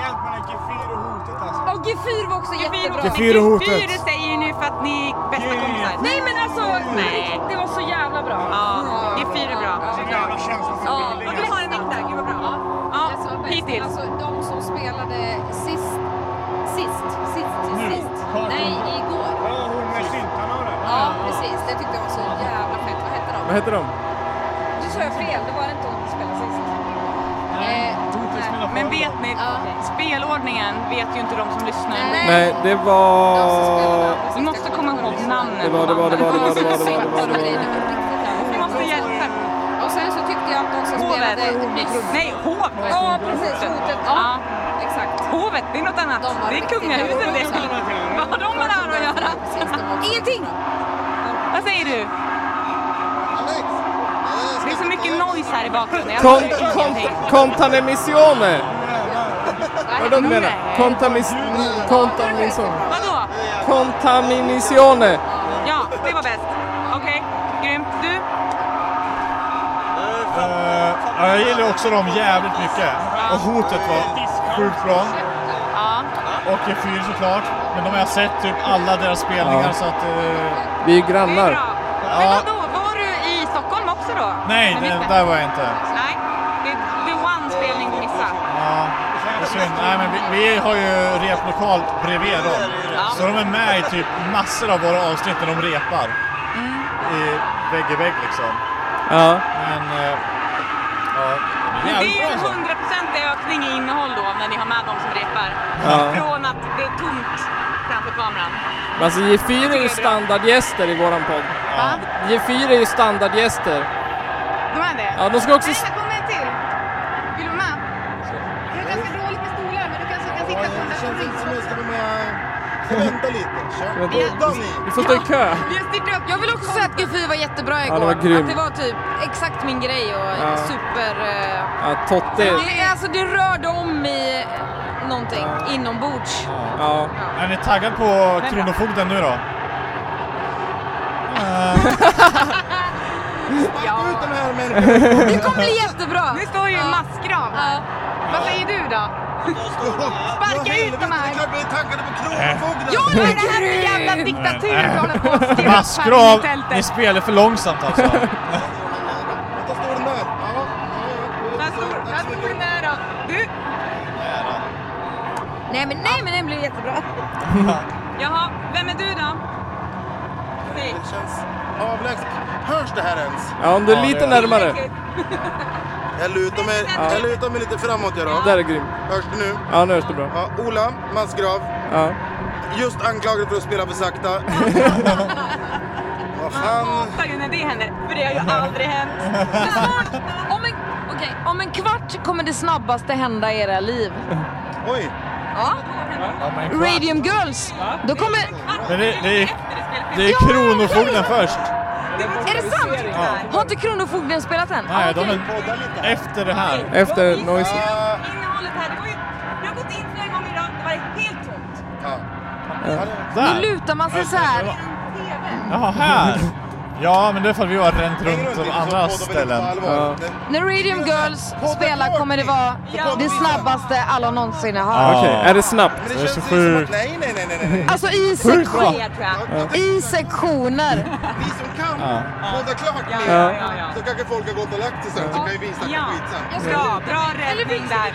Speaker 7: Hjälp mig, Gefyr och hotet alltså.
Speaker 1: Och G4 var också jättebra.
Speaker 5: Gefyr och hotet.
Speaker 4: Gefyr, det säger ju nu för att ni är bästa kompisar.
Speaker 1: Nej men alltså,
Speaker 4: Nej.
Speaker 1: det var så jävla bra.
Speaker 4: Ja, Gefyr är bra.
Speaker 7: Jävla känsla för
Speaker 4: Ja, du har en nick där, gud vad bra. Ja, hittills.
Speaker 8: Alltså de som spelade sist, sist, sist,
Speaker 1: Mm.
Speaker 8: sist. Nej, igår.
Speaker 7: Ja, hon med syntarna och det.
Speaker 8: Ja, precis. Det tyckte jag var så jävla fett. Vad hette de?
Speaker 3: Vad heter de?
Speaker 4: Eh.
Speaker 8: Du sa jag fel. Det var inte hon som spelade sist. Eh,
Speaker 4: Men vet ni, spelordningen vet ju inte de som lyssnar.
Speaker 8: Nej.
Speaker 3: Nej, det var...
Speaker 8: de som spelade andra
Speaker 4: Ni
Speaker 8: sista
Speaker 4: måste komma
Speaker 8: gången.
Speaker 4: ihåg namnen.
Speaker 3: Det var, det var, det var, det var, det var, det var, det var, det var.
Speaker 4: Ni måste
Speaker 8: var.
Speaker 4: hjälpa.
Speaker 8: Och sen så tyckte jag att de som
Speaker 4: Hovet.
Speaker 8: spelade nyss.
Speaker 4: Nej, hovet.
Speaker 8: Ja, precis. Hotet. Ja,
Speaker 4: Ja.
Speaker 8: exakt.
Speaker 4: Hovet, det är något annat.
Speaker 8: De har
Speaker 4: Det är
Speaker 8: riktigt
Speaker 4: kungahuset det. Vad har de med det här att göra?
Speaker 8: Precis, de var-
Speaker 1: Ingenting.
Speaker 4: Vad säger du? Det är så mycket noise här i bakgrunden. Jag
Speaker 3: Con,
Speaker 4: hör ju
Speaker 3: con,
Speaker 4: ingenting.
Speaker 3: contaminemissione! Vad de menar?
Speaker 4: Nej.
Speaker 3: Contamis, contaminemissione.
Speaker 4: Vadå?
Speaker 3: Contaminemissione!
Speaker 4: Ja, det var bäst. Okej, grymt. Du?
Speaker 5: Eh, ja, jag gillar också dem jävligt mycket. Och hotet var sjukt bra.
Speaker 4: Ja.
Speaker 5: Och Gefyr såklart. Men de har jag sett typ alla deras spelningar
Speaker 3: Ja.
Speaker 5: så att... eh,
Speaker 3: Vi är ju
Speaker 4: Det är
Speaker 3: grannar.
Speaker 4: bra. Men vadå, var du i Stockholm också då?
Speaker 5: nej,
Speaker 4: Men
Speaker 5: det,
Speaker 4: visst-
Speaker 5: där var jag inte.
Speaker 4: Nej, det det är one spelning du missade.
Speaker 5: Ja, det är synd. Nej, men vi, vi har ju replokal bredvid dem. Så de är med i typ massor av våra avsnitt när de repar. I vägg i vägg liksom.
Speaker 3: Ja.
Speaker 5: Men... eh, ja,
Speaker 4: Men det
Speaker 5: jävligt
Speaker 4: är ju
Speaker 5: bra
Speaker 4: en
Speaker 5: alltså.
Speaker 4: hundraprocentig ökning i innehåll då när ni har med de som repar.
Speaker 3: Ja.
Speaker 4: Från att det är tomt framför kameran.
Speaker 3: Men alltså G4 är ju standardgäster i våran podd.
Speaker 5: Ja.
Speaker 3: G4 är ju standardgäster.
Speaker 4: De är det?
Speaker 3: Ja, de ska också... s-
Speaker 8: kommer en till. Vill du med? Det är ganska dåligt med stolar, men du kanske kan sitta på den där som ryker.
Speaker 7: jag ska vara med och vänta lite. Kör.
Speaker 3: Vänta, Vi får stå i kö.
Speaker 1: Vi har styrt upp. Jag vill också säga att G4 var jättebra igår.
Speaker 3: var grym.
Speaker 1: Att det var typ exakt min grej och
Speaker 3: Ja.
Speaker 1: super... eh,
Speaker 3: Ja, Totte.
Speaker 1: Det, är- alltså, det rörde om i eh, någonting inombords.
Speaker 3: Ja.
Speaker 5: Är ni taggad på Kronofogden nu då?
Speaker 7: Sparka ut den här människan.
Speaker 1: Det kommer bli jättebra!
Speaker 4: Nu står ju en massgrav här. Vad säger du då? Sparka ut dem här. Äh.
Speaker 7: Det är klart vi är taggade på Kronofogden.
Speaker 4: Ja, vad är det här för jävla diktatur du håller på att styra upp här i
Speaker 5: Massgrav! Ni
Speaker 4: tältet?
Speaker 5: spelar för långsamt alltså.
Speaker 7: Vänta, står den där? Ja, ja, ja.
Speaker 4: Där står- där
Speaker 7: Tack så
Speaker 4: står
Speaker 7: mycket.
Speaker 4: den där då. Du,
Speaker 1: Nej men nej men den blev jättebra.
Speaker 4: jaha, vem är du då? Säg.
Speaker 7: Det känns avlägset. Hörs det här ens?
Speaker 3: ja, om du är
Speaker 5: Ja,
Speaker 3: lite
Speaker 5: det-
Speaker 3: närmare.
Speaker 7: Jag lutar mig, jag lutar mig lite framåt jag då.
Speaker 3: Där är grym.
Speaker 7: Hörs det nu?
Speaker 3: Ja, nu hörs det bra.
Speaker 7: Ja, Ola Massgrav,
Speaker 3: Ja.
Speaker 7: just anklagad för att spela för sakta. Vad
Speaker 4: Jag
Speaker 7: fan.
Speaker 4: hatar ju när det händer, för det har ju aldrig hänt.
Speaker 1: Om en, okej, om en kvart kommer det snabbaste hända i era liv.
Speaker 7: Oj.
Speaker 1: Ja.
Speaker 5: Ja, men klart.
Speaker 1: Radium Girls. Då kommer...
Speaker 5: Men det, det, är, det är Kronofogden först.
Speaker 1: Är det sant? Har inte Kronofogden spelat än?
Speaker 5: Nej, de
Speaker 1: Okej.
Speaker 5: är efter det här.
Speaker 3: Efter noise.
Speaker 7: Ah,
Speaker 4: Innehållet här, det var ju... Vi har gått in flera gånger idag, det var helt tomt.
Speaker 7: ja.
Speaker 3: Ja.
Speaker 1: Nu
Speaker 5: Där!
Speaker 1: lutar man sig så här.
Speaker 5: Jaha, här! Ja, men det är för att vi har ränt
Speaker 7: Häng
Speaker 5: runt
Speaker 7: runt
Speaker 5: om
Speaker 7: lite, så
Speaker 5: andra
Speaker 7: poddar vi lite på
Speaker 5: ställen.
Speaker 7: allvar.
Speaker 3: Ja.
Speaker 7: Det-
Speaker 1: När Radium Girls spelar kommer det vara det snabbaste alla någonsin har hört.
Speaker 5: Ja.
Speaker 3: Okej, är det snabbt?
Speaker 7: Men det,
Speaker 5: Det är
Speaker 7: känns
Speaker 5: så
Speaker 7: ju som
Speaker 5: sjukt.
Speaker 7: att, nej, nej, nej, nej, nej.
Speaker 1: Alltså i,
Speaker 3: Sjukt
Speaker 1: sektion,
Speaker 3: va?
Speaker 1: i sektioner.
Speaker 7: Ni som kan,
Speaker 5: Ja.
Speaker 7: podda klart
Speaker 4: Ja,
Speaker 7: mer.
Speaker 4: ja, ja, ja.
Speaker 7: Så kanske folk har gått och lagt sig sen, så kan ju vi snacka
Speaker 4: Ja,
Speaker 7: skit sen.
Speaker 4: bra, bra räddning där.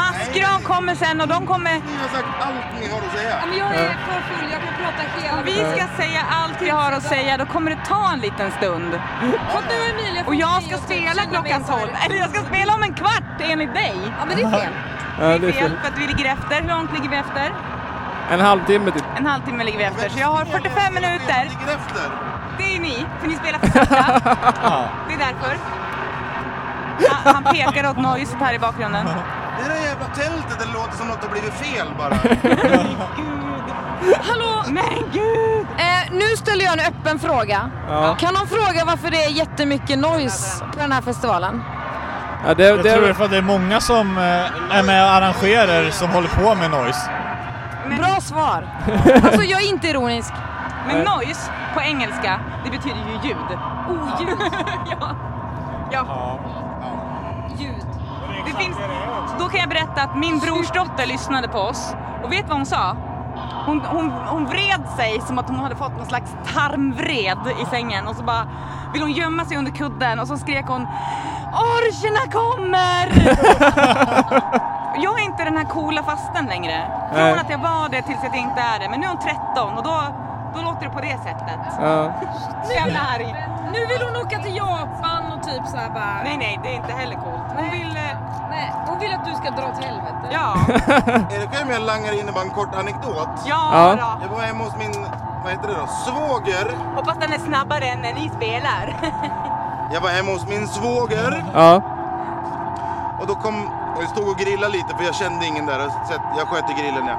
Speaker 4: Maskram kommer sen och de kommer...
Speaker 7: Ni har sagt allt ni har att säga.
Speaker 8: Men jag är för full, jag kan prata hela...
Speaker 4: Vi ska säga allt vi har att säga, då kommer det ta en liten stund.
Speaker 8: Och nu är Emilia
Speaker 4: Och jag ska
Speaker 8: fått
Speaker 4: spela
Speaker 8: tio
Speaker 4: klockan
Speaker 8: meter.
Speaker 4: 12. Eller jag ska spela om en kvart enligt dig.
Speaker 8: Ja men det är fel.
Speaker 3: Ja, det är
Speaker 4: Fel
Speaker 3: fel.
Speaker 4: för att vi ligger efter. Hur långt ligger vi efter?
Speaker 3: En halvtimme typ.
Speaker 4: En halvtimme ligger vi efter. Så jag har 45 minuter.
Speaker 7: Jag ligger efter.
Speaker 4: Det är ni, för ni spelar för sakta. Det är därför. Ah, Han pekar åt noiset här i bakgrunden.
Speaker 7: Det är det jävla tältet, det låter som något har blivit fel bara.
Speaker 1: Hallå!
Speaker 4: Men gud!
Speaker 1: Eh, nu ställer jag en öppen fråga.
Speaker 3: Ja.
Speaker 1: Kan någon fråga varför det är jättemycket noise på den här festivalen?
Speaker 3: Ja, det,
Speaker 5: Jag tror det är
Speaker 3: det,
Speaker 5: för att det är många som eh, är med och arrangerar som håller på med noise.
Speaker 1: Bra svar. Alltså jag är inte ironisk.
Speaker 4: Men noise på engelska, det betyder ju ljud. Oljud. ja. ja.
Speaker 8: Ljud.
Speaker 4: Det finns... Då kan jag berätta att min brors dotter lyssnade på oss och vet vad hon sa? Hon, hon, hon vred sig som att hon hade fått någon slags tarmvred i sängen och så bara vill hon gömma sig under kudden och så skrek hon Orcherna kommer! jag är inte den här coola fasten längre. Från
Speaker 3: Nej.
Speaker 4: att jag var det tills att jag inte är det. Men nu är hon 13 och då, då låter det på det sättet.
Speaker 3: ja.
Speaker 4: Så jävla arg.
Speaker 8: Nu vill hon åka till Japan och typ så här bara...
Speaker 4: Nej, nej, det är inte heller coolt. Hon vill... eh,
Speaker 8: Nej, hon vill att du ska dra åt helvete.
Speaker 4: Ja,
Speaker 7: Erik, om jag langar in bara en kort anekdot.
Speaker 4: ja,
Speaker 3: Ja.
Speaker 4: ja.
Speaker 7: Jag var hemma hos min, vad heter det då, svåger.
Speaker 4: Hoppas den är snabbare än när ni spelar.
Speaker 7: Jag var hemma hos min svåger
Speaker 3: ja.
Speaker 7: och då kom, och jag stod och grillade lite för jag kände ingen där. och Så att jag sköt i grillen ja.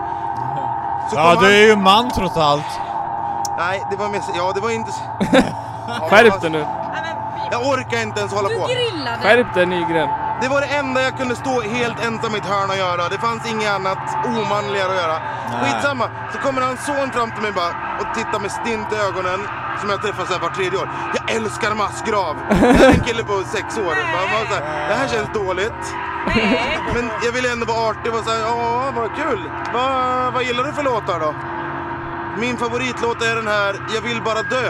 Speaker 7: Så
Speaker 5: Ja,
Speaker 7: kom
Speaker 5: du
Speaker 7: han,
Speaker 5: är ju man trots allt.
Speaker 7: nej det var mest, ja det var inte så- Ja,
Speaker 3: Skärp dig nu.
Speaker 7: Jag orkar inte ens hålla
Speaker 8: Du
Speaker 7: på.
Speaker 8: grillade!
Speaker 3: Skärp dig Nygren.
Speaker 7: Det var det enda jag kunde stå helt ensam i ett hörn och göra. Det fanns inget annat omanligare att göra.
Speaker 5: Nej.
Speaker 7: Skitsamma. Så kommer hans son fram till mig bara och tittar med stint i ögonen. Som jag träffar så här var tredje år. Jag älskar massgrav. Det är en kille på sex år. Man var så här, det här känns dåligt.
Speaker 4: Nej.
Speaker 7: Men jag ville ändå vara artig och säga ja, vad kul. Va, vad gillar du för låtar då? Min favoritlåt är den här Jag vill bara dö.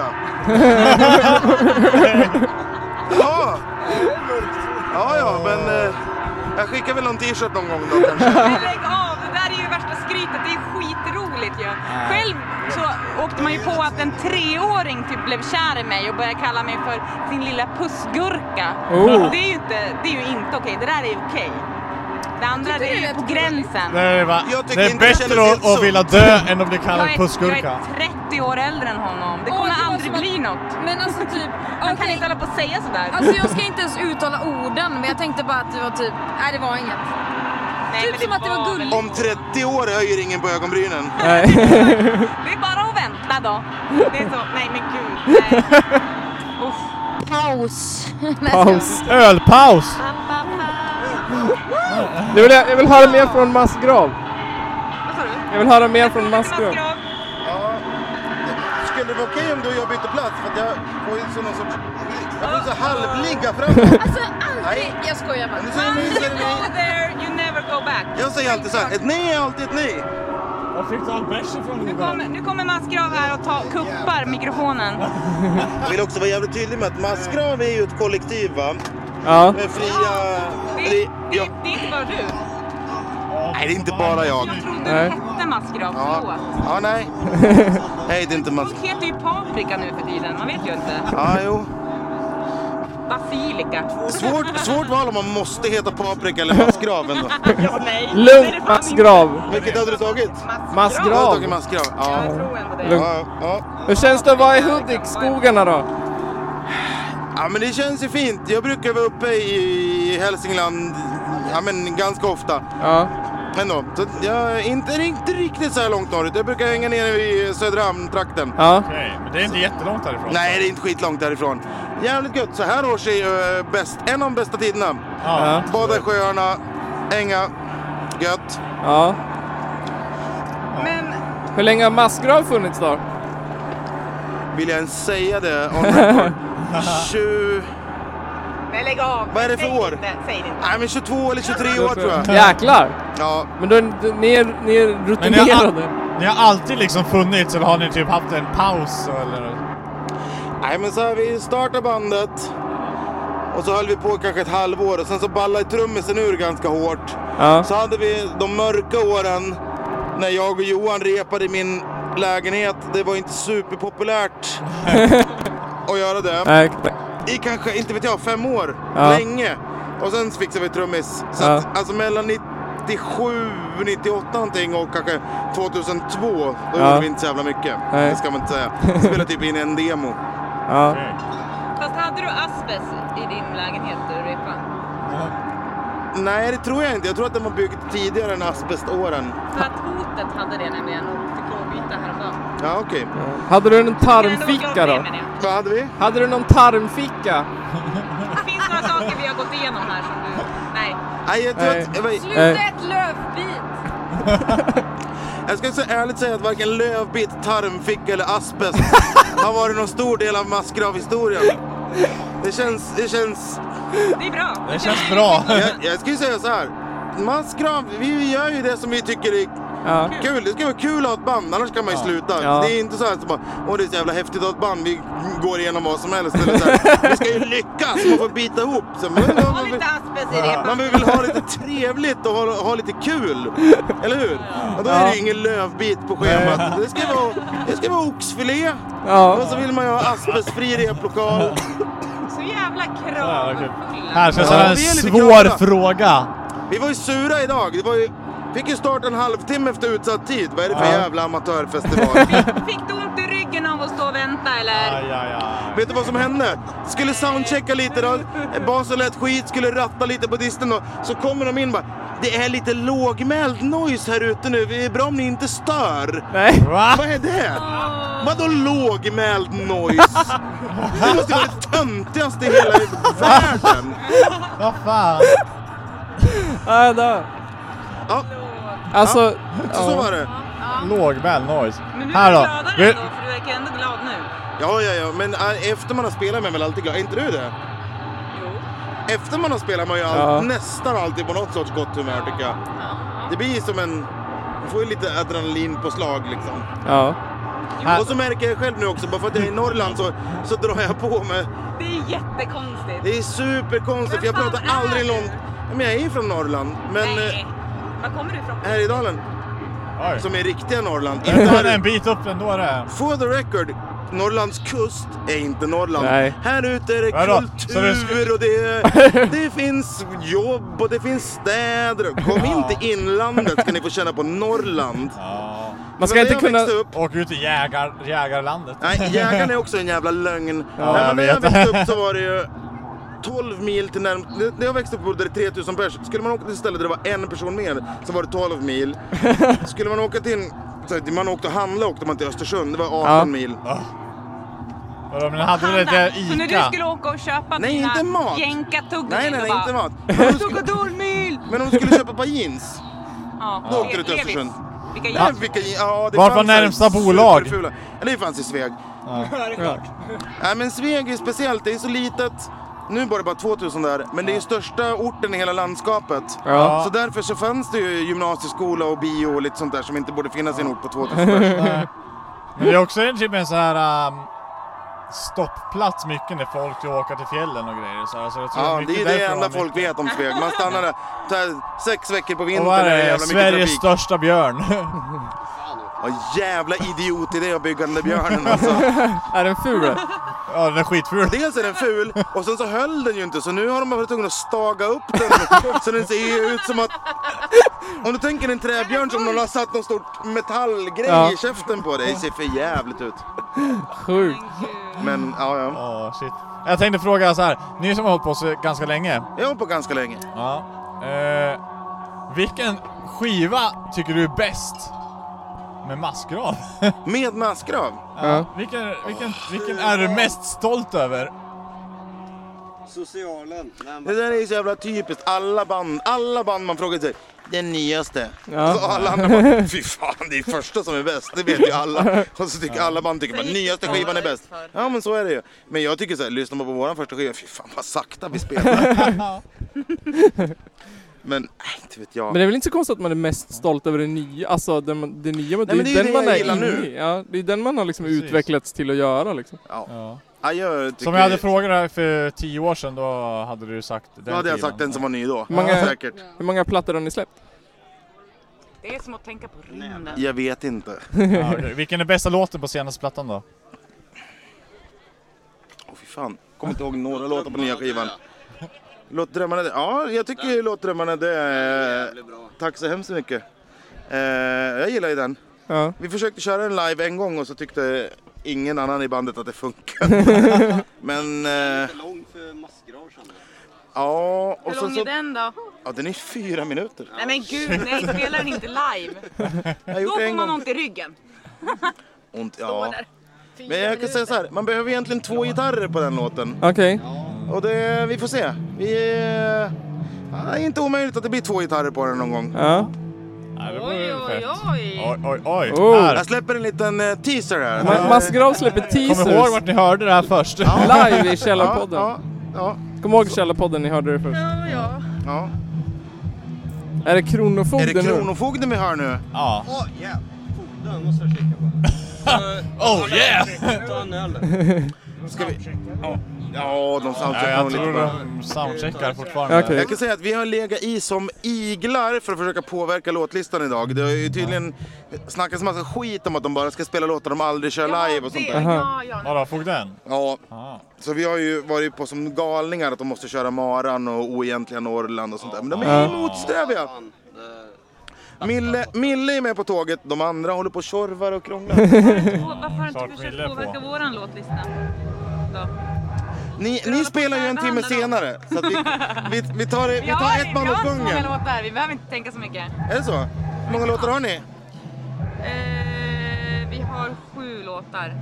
Speaker 7: ja. ja, ja, men eh, jag skickar väl någon t-shirt någon gång då kanske.
Speaker 4: Men lägg av, det där är ju värsta skrytet. Det är skitroligt ju. Själv så åkte man ju på att en treåring typ blev kär i mig och började kalla mig för sin lilla pussgurka.
Speaker 3: Oh.
Speaker 4: Det, är ju inte, det är ju inte okej. Det där är ju okej. Det andra det är ju på gränsen.
Speaker 5: Det är, va?
Speaker 7: Jag tycker
Speaker 5: det är
Speaker 7: inte det kändes
Speaker 5: bättre
Speaker 7: helt
Speaker 5: att, att
Speaker 7: sunt.
Speaker 5: vilja dö än att bli
Speaker 4: Jag
Speaker 5: kallad
Speaker 4: är, jag
Speaker 5: pussgurka.
Speaker 4: är 30 år äldre än honom. Det
Speaker 8: Åh,
Speaker 4: kommer
Speaker 8: det var
Speaker 4: aldrig
Speaker 8: som att-
Speaker 4: bli något.
Speaker 8: Men alltså typ...
Speaker 4: Man kan
Speaker 8: okej.
Speaker 4: inte hålla på och säga sådär.
Speaker 1: Alltså jag ska inte ens uttala orden men jag tänkte bara att det var typ, nej det var inget.
Speaker 4: Nej,
Speaker 8: typ
Speaker 4: men
Speaker 8: som att det var
Speaker 4: väl-
Speaker 8: gulligt.
Speaker 7: Om 30 år höjer ingen på ögonbrynen.
Speaker 3: Nej.
Speaker 4: Det är bara att vänta då. Det är så, nej men gud. Nej. Uff.
Speaker 1: Paus.
Speaker 3: Paus.
Speaker 5: Ölpaus!
Speaker 3: Jag vill, jag vill höra mer från
Speaker 4: Vad
Speaker 3: Massgrav.
Speaker 4: sa du?
Speaker 3: Jag vill höra mer från Massgrav.
Speaker 4: Maskrob.
Speaker 7: Ja. Skulle det vara okej om du och jag bytte plats? För att jag får ju så någon sorts... Jag får så halvligga framåt.
Speaker 8: Alltså aldrig... Jag skojar bara.
Speaker 7: Men så är det
Speaker 4: Once
Speaker 7: ju- så är
Speaker 4: you
Speaker 7: det
Speaker 4: go
Speaker 7: ju-
Speaker 4: there, you never go back.
Speaker 7: Jag säger alltid så här, ett nej är alltid ett nej.
Speaker 5: Var fick du all bärs ifrån
Speaker 4: Nu kommer, nu kommer Maskrob här och ta, kuppar mikrofonen.
Speaker 7: Jag vill också vara jävligt tydlig med att Massgrav är ju ett kollektiv va?
Speaker 3: Ja.
Speaker 7: Med fria...
Speaker 4: Det,
Speaker 7: fri-
Speaker 4: är- det,
Speaker 7: ja.
Speaker 4: är- det är inte bara du.
Speaker 7: Nej, det är inte bara jag.
Speaker 4: Jag trodde
Speaker 3: Nej.
Speaker 4: du hette Maskrob,
Speaker 7: Ja,
Speaker 4: förlåt.
Speaker 7: ja nej. Nej, det är inte Mass...
Speaker 4: Folk heter ju paprika nu för tiden, man vet ju inte.
Speaker 7: Ja, jo.
Speaker 4: Basilika.
Speaker 7: Svårt, svårt val om man måste heta Paprika eller Massgrav ändå.
Speaker 4: Ja, nej. Det är det
Speaker 3: Lugn
Speaker 4: fan
Speaker 3: Massgrav.
Speaker 7: Vilket hade du tagit?
Speaker 4: inte.
Speaker 7: Jag hade
Speaker 3: Massgrav.
Speaker 7: tagit Massgrav.
Speaker 4: Ja,
Speaker 7: Ja.
Speaker 4: Jag tror ändå det.
Speaker 3: Lugn.
Speaker 7: Ja, ja.
Speaker 3: Hur känns det att vara i Hudik-skogarna då?
Speaker 7: ja, men det känns ju fint. Jag brukar vara uppe i Hälsingland ja, men ganska ofta.
Speaker 3: Ja.
Speaker 7: Ändå. Så jag är inte, inte riktigt så här långt norrut. Jag brukar hänga ner i Söderhamn-trakten.
Speaker 3: Ja.
Speaker 5: Nej, men det är inte jättelångt härifrån.
Speaker 7: Nej, det är inte skitlångt därifrån. Jävligt gött. Så här års är ju eh, bäst, en av de bästa tiderna.
Speaker 5: Ja.
Speaker 7: Bada i sjöarna, änga, gött.
Speaker 3: Ja.
Speaker 4: Men
Speaker 3: Hur länge har Massgrav funnits då?
Speaker 7: Vill jag ens säga det on record? 20...
Speaker 9: Men lägg av.
Speaker 7: Vad är det för
Speaker 9: Säg
Speaker 7: år?
Speaker 9: Inte, säg det inte.
Speaker 7: Nej men 22 eller 23 år tror jag.
Speaker 3: Jäklar!
Speaker 7: Ja,
Speaker 3: Men då, är- ni är, ni är
Speaker 5: Men ni har, al-
Speaker 3: rutinerade.
Speaker 5: ni har alltid liksom funnits eller har ni typ haft en paus eller?
Speaker 7: Nej men så här, vi startade bandet och så höll vi på kanske ett halvår och sen så ballade trummisen ur ganska hårt.
Speaker 3: Ja.
Speaker 7: Så hade vi de mörka åren när jag och Johan repade i min lägenhet. Det var inte superpopulärt att göra det.
Speaker 3: Nej,
Speaker 7: I kanske, inte vet jag, fem år.
Speaker 3: Ja.
Speaker 7: Länge. Och sen fixade vi trummis. Så
Speaker 3: Ja.
Speaker 7: att, alltså mellan 97, 98 någonting och kanske 2002. Då
Speaker 3: Ja.
Speaker 7: gjorde vi inte så jävla mycket.
Speaker 3: Nej.
Speaker 7: Det ska man inte säga. Spelade typ in en demo.
Speaker 3: ja.
Speaker 8: Fast hade du asbest i din lägenhet du repade?
Speaker 7: Nej, det tror jag inte. Jag tror att den var byggd tidigare än asbeståren.
Speaker 9: För att hotet hade det nämligen och fick lov att byta häromdagen.
Speaker 7: Ja, okej.
Speaker 3: Hade du en
Speaker 9: Men ändå
Speaker 3: tarmficka
Speaker 9: glad
Speaker 3: då?
Speaker 9: med det.
Speaker 7: Vad hade vi?
Speaker 3: Hade du någon tarmficka?
Speaker 9: Det finns några saker vi har gått igenom här som du... Nej.
Speaker 7: Nej, jag, tror
Speaker 3: Nej.
Speaker 7: Att, jag, var-
Speaker 3: Eh.
Speaker 1: Sluta ett lövbit!
Speaker 7: jag ska så ärligt säga att varken lövbit, tarmficka eller asbest har varit någon stor del av massgravhistorien. Det känns, det känns...
Speaker 9: Det är bra.
Speaker 5: Det känns bra.
Speaker 7: Jag, jag skulle säga så här. Massgrav, vi, vi gör ju det som vi tycker är
Speaker 3: Ja.
Speaker 7: kul. Det ska vara kul att ha ett band, annars kan man ju sluta.
Speaker 3: Ja.
Speaker 7: Det är inte så här att bara, åh det är så jävla häftigt att ha ett band, vi går igenom vad som helst. Eller så här, vi ska ju lyckas, man får bita ihop. Så, men,
Speaker 9: Har vi inte asbest i repan?
Speaker 7: Man vill väl ha lite trevligt och ha, ha lite kul, eller hur? Och då är det ju ingen lövbit på schemat. Det ska vara, det ska vara oxfilé och
Speaker 3: Ja.
Speaker 7: så vill man ju ha asbestfri replokal.
Speaker 9: Så jävla
Speaker 5: Ja, okej.
Speaker 9: kravfulla.
Speaker 5: Här känns
Speaker 7: Ja,
Speaker 5: det här en
Speaker 7: vi är lite
Speaker 5: svår
Speaker 7: glada.
Speaker 5: fråga.
Speaker 7: Vi var ju sura idag. Det var ju, fick ju start en halvtimme efter utsatt tid. Vad är det för jävla amatörfestival?
Speaker 9: Fick du ont i ryggen av att stå och vänta eller?
Speaker 5: Aj, aj, aj.
Speaker 7: Vet du vad som hände? Skulle soundchecka lite då. Basen lät skit, skulle ratta lite på disten då. Så kommer de in och bara. Det är lite lågmäld noise här ute nu. Det är bra om ni inte stör.
Speaker 3: Nej.
Speaker 5: Va?
Speaker 7: Vad är det? Vadå lågmäld noise? Det måste vara det töntigaste i hela världen.
Speaker 5: Vad fan?
Speaker 3: Nej, då.
Speaker 7: Ja,
Speaker 3: Alltså,
Speaker 7: så, så var det.
Speaker 5: Lågmäld noise.
Speaker 9: Men nu
Speaker 5: Här
Speaker 9: är du
Speaker 5: då.
Speaker 9: gladare
Speaker 5: Vi,
Speaker 9: ändå för du verkar ändå glad nu.
Speaker 7: Ja, ja, ja. Men äh, efter man har spelat med väl alltid glad. Är inte du det? Efter man har spelat man ju all,
Speaker 3: Ja.
Speaker 7: nästan alltid på något sorts gott humör tycker jag. Det blir som en... Man får ju lite adrenalin på slag liksom.
Speaker 3: ja.
Speaker 5: här,
Speaker 7: Och så märker jag själv nu också, bara för att jag är i Norrland så, så drar jag på med...
Speaker 9: Det är jättekonstigt.
Speaker 7: Det är superkonstigt för jag
Speaker 9: Vem
Speaker 7: pratar
Speaker 9: fan är
Speaker 7: aldrig
Speaker 9: du?
Speaker 7: långt... Ja, Men jag är ju från Norrland. Men
Speaker 9: Nej.
Speaker 7: eh,
Speaker 9: Var kommer du ifrån?
Speaker 7: här i dalen.
Speaker 5: oj.
Speaker 7: som är riktiga Norrland. Inte
Speaker 5: Det är en
Speaker 7: här,
Speaker 5: bit upp ändå det.
Speaker 7: for the record, Norrlands kust är inte Norrland.
Speaker 3: Nej.
Speaker 7: Här ute är det
Speaker 5: Vadå? Så det
Speaker 7: kultur
Speaker 5: ska-
Speaker 7: och det, det finns jobb och det finns städer. Kom inte inlandet ska ni få känna på Norrland.
Speaker 5: Ja.
Speaker 3: Man ska
Speaker 7: Men
Speaker 3: inte
Speaker 7: när jag
Speaker 3: kunna...
Speaker 7: växte upp,
Speaker 5: Och ut i jägar, jägarlandet.
Speaker 7: nej, jägaren är också en jävla lögn.
Speaker 5: Ja,
Speaker 7: nej,
Speaker 5: jag
Speaker 7: men när jag
Speaker 5: vet.
Speaker 7: växte upp så var det ju 12 mil till närm... När jag växte upp bodde det 3000 pers. Skulle man åka till ett ställe där det var en person mer så var det 12 mil. Skulle man åka till en... så här, Man åkte och handla åkte man till Östersund, det var 18
Speaker 3: Ja.
Speaker 7: mil.
Speaker 5: Vadå, Men hade väl
Speaker 9: Hanna,
Speaker 5: lite
Speaker 9: Så när du
Speaker 5: Ica?
Speaker 9: skulle åka och köpa
Speaker 7: Nej,
Speaker 9: dina
Speaker 7: inte mat.
Speaker 9: jänkartuggummin
Speaker 7: Nej, nej,
Speaker 9: och
Speaker 7: nej,
Speaker 9: bara,
Speaker 7: inte mat. Men om du skulle,
Speaker 9: Tuggudolmyl!
Speaker 7: men om du skulle köpa ett par jeans.
Speaker 9: Ja,
Speaker 7: Då åkte du till
Speaker 9: Levis.
Speaker 7: Östersund.
Speaker 9: Vilka
Speaker 7: Ja.
Speaker 9: jävla...
Speaker 7: Vilka, jeans- ja, det
Speaker 5: Var var
Speaker 7: fanns här
Speaker 5: närmsta bolag?
Speaker 7: superfula. Ja, det fanns i Sveg. Nej, men Sveg är speciellt. Det är så litet. Nu var det bara 2000 där, men det är största orten i hela landskapet.
Speaker 3: Ja.
Speaker 7: Så därför så fanns det ju gymnasieskola och bio och lite sånt där som inte borde finnas i en ort på 2000 personer.
Speaker 5: Men det är också en typ en så här um, stoppplats mycket när folk åker till fjällen och grejer. Så här, så jag tror
Speaker 7: Ja,
Speaker 5: mycket
Speaker 7: det är det
Speaker 5: därför
Speaker 7: enda
Speaker 5: de-
Speaker 7: folk vet om Sveg. Man stannar där så här, sex veckor på
Speaker 5: Och
Speaker 7: vintern.
Speaker 5: vad
Speaker 7: när
Speaker 5: är det?
Speaker 7: jävla mycket
Speaker 5: Sveriges
Speaker 7: trafik.
Speaker 5: största björn.
Speaker 7: Ja, jävla idiot i det att bygga den där björnen alltså.
Speaker 3: Är den ful?
Speaker 5: ja, den är skitful.
Speaker 7: Dels är den ful och sen så höll den ju inte så nu har de varit tvungna att staga upp den så den ser ju ut som att... Om du tänker en träbjörn som någon har satt någon stort metallgrej
Speaker 3: Ja.
Speaker 7: i käften på dig. Det ser för jävligt ut.
Speaker 3: Sjukt.
Speaker 7: Men ja, ja.
Speaker 5: Ja, shit. Jag tänkte fråga så här. Ni som har hållit på så ganska länge.
Speaker 7: Jag har hållit på ganska länge.
Speaker 5: Ja. Eh, vilken skiva tycker du är bäst? Med massgrav?
Speaker 7: Med massgrav.
Speaker 3: Ja.
Speaker 5: Vilken, vilken, vilken är du mest stolt över?
Speaker 7: Det där är ju så jävla typiskt. Alla band, alla band man frågar sig. den nyaste.
Speaker 3: Ja.
Speaker 7: Så alla andra bara, fy fan det är första som är bäst, det vet ju alla. Och så tycker alla band tycker bara, nyaste skivan är bäst. Ja men så är det ju. Men jag tycker så här, lyssnar man på våran första skiva, fy fan vad sakta vi spelar. men, nej, inte vet jag.
Speaker 3: Men det är väl inte så konstigt att man är mest stolt över det nya, alltså den, man- det nya, det är
Speaker 7: men det är
Speaker 3: ju
Speaker 7: ju
Speaker 3: den
Speaker 7: det
Speaker 3: man
Speaker 7: jag
Speaker 3: är
Speaker 7: gillar
Speaker 3: inne
Speaker 7: nu.
Speaker 3: i. Ja, det är den man har liksom
Speaker 5: Precis.
Speaker 3: utvecklats till att göra liksom.
Speaker 7: Ja.
Speaker 5: Ja.
Speaker 7: Ja, jag tycker,
Speaker 5: Som jag hade frågat dig för tio år sedan, då hade du sagt den
Speaker 7: Då hade jag
Speaker 5: skivan.
Speaker 7: sagt den som var ny då.
Speaker 3: Många-
Speaker 7: Säkert.
Speaker 3: Hur många plattor har ni släppt?
Speaker 4: Det är som att tänka på rymden.
Speaker 7: Jag vet inte.
Speaker 5: Ja, okej. Vilken är bästa låten på senaste plattan då?
Speaker 7: Åh fy fan, kommer inte ihåg några låtar på nya skivan. Låt drömmarna dö. Ja, jag tycker ju Låt drömmarna dö. eh, Tack så hemskt mycket. Eh, jag gillar ju den.
Speaker 3: Ja.
Speaker 7: Vi försökte köra den live en gång och så tyckte ingen annan i bandet att det funkade. Men... Eh,
Speaker 10: Lång för massgrav kände jag.
Speaker 7: ja,
Speaker 4: Hur
Speaker 7: och sen
Speaker 4: lång är
Speaker 7: så...
Speaker 4: den då?
Speaker 7: Ja, den är fyra minuter.
Speaker 9: Nej men gud, nej spelar den inte live.
Speaker 7: Jag har
Speaker 9: Då
Speaker 7: gjort det
Speaker 9: får
Speaker 7: en
Speaker 9: man
Speaker 7: gång.
Speaker 9: ont i ryggen.
Speaker 7: Ont, ja. Men jag kan säga så här, man behöver egentligen två gitarrer på den låten.
Speaker 3: Okej.
Speaker 7: Och det, vi får se. Vi, eh, ja, det är inte omöjligt att det blir två gitarrer på den någon gång.
Speaker 3: Ja.
Speaker 5: Nej, det
Speaker 9: Oj,
Speaker 5: vore
Speaker 9: oj,
Speaker 5: fett.
Speaker 9: oj.
Speaker 5: Oj, oj, oj.
Speaker 3: Oh.
Speaker 5: Här.
Speaker 7: Jag släpper en liten eh, teaser här.
Speaker 3: Ma- Mats Grav släpper
Speaker 5: Kom ihåg
Speaker 3: teasers
Speaker 5: vart ni hörde det här först.
Speaker 3: live i
Speaker 7: ja,
Speaker 3: Källarpodden.
Speaker 7: ja, ja,
Speaker 3: Kom ihåg Källarpodden, ni hörde det först.
Speaker 7: ja.
Speaker 3: Är det
Speaker 7: Är det
Speaker 3: Kronofogden nu?
Speaker 7: Kronofogden vi hör nu?
Speaker 5: Ja.
Speaker 10: Åh jävlar! Den måste jag kika på.
Speaker 5: Oh yeah!
Speaker 10: Ta en öl.
Speaker 7: Ska vi... Ja, ja
Speaker 5: Ja,
Speaker 7: de soundcheckar
Speaker 5: jag
Speaker 7: nog lite
Speaker 5: tror
Speaker 7: bra.
Speaker 5: de soundcheckar fortfarande.
Speaker 3: Okej.
Speaker 7: Jag kan säga att vi har legat i som iglar för att försöka påverka låtlistan idag. Det har ju tydligen snackats massa skit om att de bara ska spela låtar de aldrig kör live och sånt där.
Speaker 3: Aha.
Speaker 5: Vadå, fogden?
Speaker 7: Ja,
Speaker 5: Ja.
Speaker 7: så vi har ju varit på som galningar att de måste köra Maran och Oegentliga Norrland och sånt där. Men de
Speaker 5: Ah.
Speaker 3: Ja.
Speaker 7: är ju
Speaker 9: Ah,
Speaker 7: motsträviga.
Speaker 10: Fan. det-
Speaker 7: Mille, Mille är med på tåget, de andra håller på och tjorvar och krånglar.
Speaker 9: Varför har du
Speaker 5: Snart
Speaker 9: inte
Speaker 5: ville
Speaker 9: försökt
Speaker 5: på.
Speaker 9: påverka våran låtlista?
Speaker 7: Ni, ni spelar ju en timme senare. Så att vi, vi, vi tar, det- vi
Speaker 4: Vi har-
Speaker 7: tar ett band åt
Speaker 4: Vi har
Speaker 7: gången.
Speaker 4: så många låtar, vi behöver inte tänka så mycket.
Speaker 7: Är det så? Hur många låtar har ni?
Speaker 9: Eh, vi har sju låtar,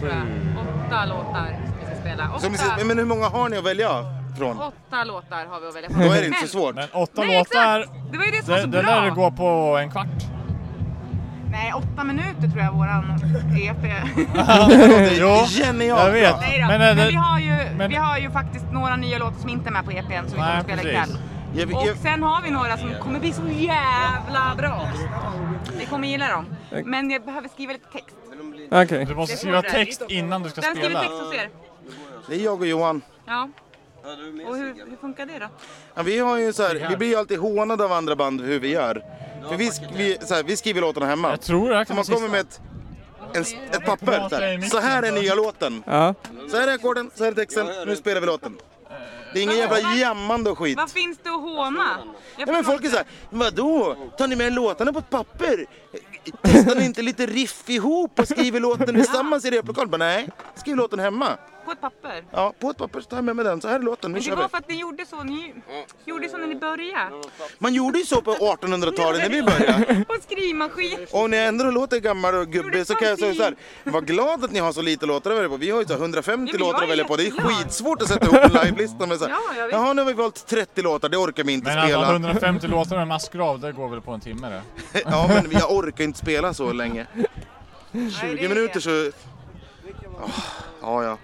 Speaker 9: tror jag. Åtta låtar som vi ska spela.
Speaker 7: Som,
Speaker 9: Åtta,
Speaker 7: men hur många har ni att välja från?
Speaker 9: åtta låtar har vi att välja på.
Speaker 7: Då är det inte så svårt.
Speaker 5: Men åtta
Speaker 9: Nej,
Speaker 5: låtar,
Speaker 9: exakt! Det var ju det som var så
Speaker 5: det, det
Speaker 9: bra.
Speaker 5: lär gå på en kvart.
Speaker 4: Nej, åtta minuter tror jag våran EP.
Speaker 7: Det
Speaker 5: Jo,
Speaker 7: är genialt
Speaker 5: jag vet.
Speaker 7: bra.
Speaker 4: Nej då.
Speaker 5: Men,
Speaker 4: Men,
Speaker 5: eh, det-
Speaker 4: vi, har ju,
Speaker 5: men-
Speaker 4: vi har ju faktiskt några nya låtar som inte är med på E EPn som vi kommer
Speaker 5: Nej,
Speaker 4: spela
Speaker 5: precis.
Speaker 4: ikväll.
Speaker 7: Jag, jag,
Speaker 4: Och sen har vi några som kommer bli så jävla bra. Vi kommer gilla dem. Men jag behöver skriva lite text.
Speaker 3: Okej.
Speaker 5: Du måste skriva text innan du ska
Speaker 4: Den skriver
Speaker 5: spela.
Speaker 4: text hos er.
Speaker 7: det är jag och Johan.
Speaker 4: Ja.
Speaker 10: Ja, du är med
Speaker 4: Och
Speaker 10: sig.
Speaker 4: hur, hur funkar det då?
Speaker 7: Ja, vi, har ju så här, vi blir ju alltid hånade av andra band hur vi gör. För vi, sk- vi, så här, vi skriver låtarna hemma.
Speaker 5: Jag tror det här
Speaker 7: Så
Speaker 5: kan
Speaker 7: man
Speaker 5: vara
Speaker 7: kommer med ett, en, ett papper. Så här. så här är nya låten.
Speaker 3: Ja.
Speaker 7: Så här är ackorden, så här är texten, nu spelar vi låten. Det är ingen jävla jammande och skit.
Speaker 4: Vad finns det att håna? Jag
Speaker 7: Ja, men
Speaker 4: förstår
Speaker 7: folk är
Speaker 4: inte.
Speaker 7: såhär, vadå? Tar ni med låtarna på ett papper? Testar ni inte lite riff ihop och skriver låten tillsammans i replokalen? Bara, Nej, skriv låten hemma.
Speaker 4: På ett papper.
Speaker 7: Ja, på ett papper så tar jag med mig den, så här är låten, nu
Speaker 4: Men det
Speaker 7: kör
Speaker 4: var
Speaker 7: vi.
Speaker 4: för att ni gjorde så, ni gjorde så när ni började.
Speaker 7: Man gjorde ju så på 1800-talet när vi började.
Speaker 4: På skrivmaskin.
Speaker 7: Och när jag ändå låter gammal och gubbig så kan jag säga såhär, var glad att ni har så lite låtar att välja på. Vi har ju så här 150
Speaker 4: Ja, men jag
Speaker 7: låtar att
Speaker 4: är välja
Speaker 7: välja på. Det är
Speaker 4: jätteglad.
Speaker 7: skitsvårt att sätta ihop en livelista med såhär,
Speaker 4: Ja, jag vet.
Speaker 7: jaha nu har vi valt 30 låtar, det orkar vi inte
Speaker 5: Men
Speaker 7: spela.
Speaker 5: alltså 150 låtar och en massgrav, det går väl på en timme det?
Speaker 7: Ja, men jag orkar inte spela så länge. 20 minuter så... Åh, ja, ja.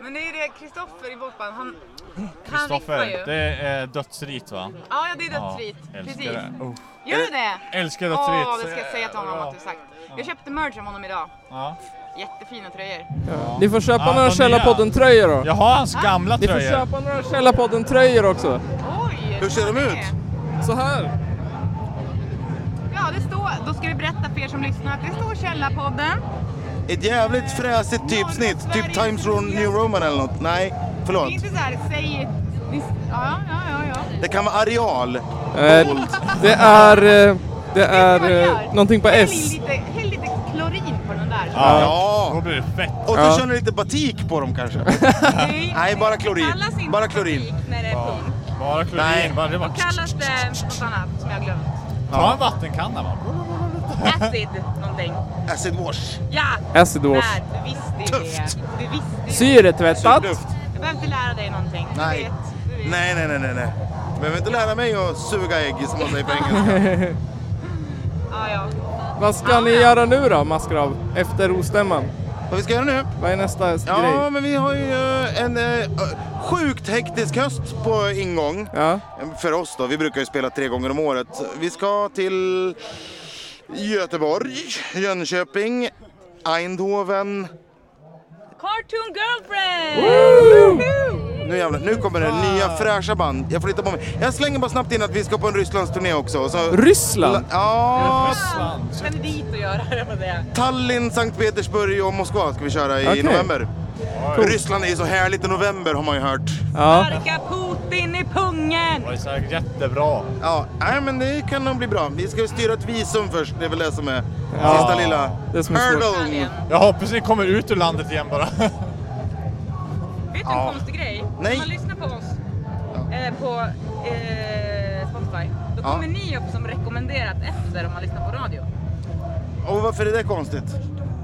Speaker 4: Men det är det Kristoffer i vårt band, han, han riffar
Speaker 5: Kristoffer,
Speaker 4: ju.
Speaker 5: det är dödsrit va?
Speaker 4: Ja, ja, det är
Speaker 5: Ja,
Speaker 4: dödsrit. Precis.
Speaker 5: älskar det. Oh,
Speaker 4: Gör du det?
Speaker 5: älskar dödsrit.
Speaker 4: Åh, det ska jag säga till honom att du sagt. Jag köpte merch av honom idag.
Speaker 5: Ja.
Speaker 4: Jättefina tröjor.
Speaker 3: Ni får köpa
Speaker 5: Ja,
Speaker 3: några
Speaker 5: de
Speaker 3: Källarpodden-tröjor då.
Speaker 5: Jag har hans gamla
Speaker 3: Ni får
Speaker 5: tröjor.
Speaker 3: köpa några Källarpodden-tröjor också.
Speaker 4: Oj!
Speaker 7: Hur ser de
Speaker 4: vad är
Speaker 7: ut?
Speaker 4: det?
Speaker 3: Så här.
Speaker 4: Ja, det står... Då ska vi berätta för er som lyssnar att det står Källarpodden.
Speaker 7: Ett jävligt fräsigt typsnitt. Typ Times New Roman eller något. Nej,
Speaker 4: Det
Speaker 7: förlåt.
Speaker 4: är inte så här, säg... ni- Ja, ja, ja, ja.
Speaker 7: Det kan vara areal.
Speaker 3: Eh, det är, eh, det
Speaker 4: Vet ni vad
Speaker 3: är
Speaker 4: vi
Speaker 3: eh,
Speaker 4: gör?
Speaker 3: någonting på
Speaker 4: Häll in
Speaker 3: S.
Speaker 4: lite- Häll lite klorin på den där.
Speaker 5: Då
Speaker 7: Ja.
Speaker 5: blir det fett.
Speaker 7: Och
Speaker 3: Ja.
Speaker 7: så kör ni lite batik på dem kanske.
Speaker 4: Nej,
Speaker 7: Nej, bara klorin.
Speaker 4: kallas inte
Speaker 7: Bara klorin.
Speaker 4: musik När det är punk.
Speaker 5: Bara klorin.
Speaker 7: Nej.
Speaker 5: Bara, det bara...
Speaker 4: Kallas det något annat som jag har glömt?
Speaker 5: Ta en vattenkanna va?
Speaker 9: Acid någonting.
Speaker 7: Acid wash.
Speaker 9: Ja!
Speaker 3: Acid wash.
Speaker 9: Där, du visste ju det.
Speaker 7: Tufft.
Speaker 9: Du visste ju det.
Speaker 3: Syretvättat.
Speaker 7: Luft.
Speaker 9: Jag behöver inte lära dig någonting. Du
Speaker 7: Nej.
Speaker 9: vet. Du vet.
Speaker 7: Nej, nej, nej, nej, nej. Behöver inte lära mig att suga ägg som man säger på engelska.
Speaker 4: Ja, ja.
Speaker 3: Vad ska
Speaker 4: Ah,
Speaker 3: ni göra nu då, Maskrav? Efter ostämman?
Speaker 7: Vad vi ska göra nu?
Speaker 3: Vad är nästa
Speaker 7: Ja,
Speaker 3: grej?
Speaker 7: men vi har ju eh, en eh, sjukt hektisk höst på ingång. För oss då. Vi brukar ju spela tre gånger om året. Vi ska till Göteborg, Jönköping, Eindhoven.
Speaker 4: Cartoon girlfriend!
Speaker 7: Nu jävlar, nu kommer det nya fräscha band. Jag flyttar på mig. Jag slänger bara snabbt in att vi ska på en Rysslandsturné också. Så...
Speaker 3: Ryssland?
Speaker 7: Ja,
Speaker 4: Sen är dit att göra, det var det.
Speaker 7: Tallinn, Sankt Petersburg och Moskva ska vi köra i
Speaker 3: Okej.
Speaker 7: november.
Speaker 3: Coolt.
Speaker 7: Ryssland är ju så härligt i november har man ju hört.
Speaker 3: Ja.
Speaker 4: Sparka Putin i pungen!
Speaker 7: Det är säkert jättebra. Ja, nej, men det kan nog bli bra. Vi ska ju styra ett visum först, det är väl det som är
Speaker 5: Ja.
Speaker 7: sista lilla
Speaker 5: Det som är svårt.
Speaker 7: hurdlen.
Speaker 5: Jag hoppas ni kommer ut ur landet igen bara.
Speaker 4: Vet du en
Speaker 5: Ja.
Speaker 4: konstig grej?
Speaker 5: Nej.
Speaker 4: Om man lyssnar på oss eh, på eh, Spotify, då
Speaker 7: Ja.
Speaker 4: kommer ni upp som rekommenderat efter om man lyssnar på radio.
Speaker 7: Och varför är det konstigt?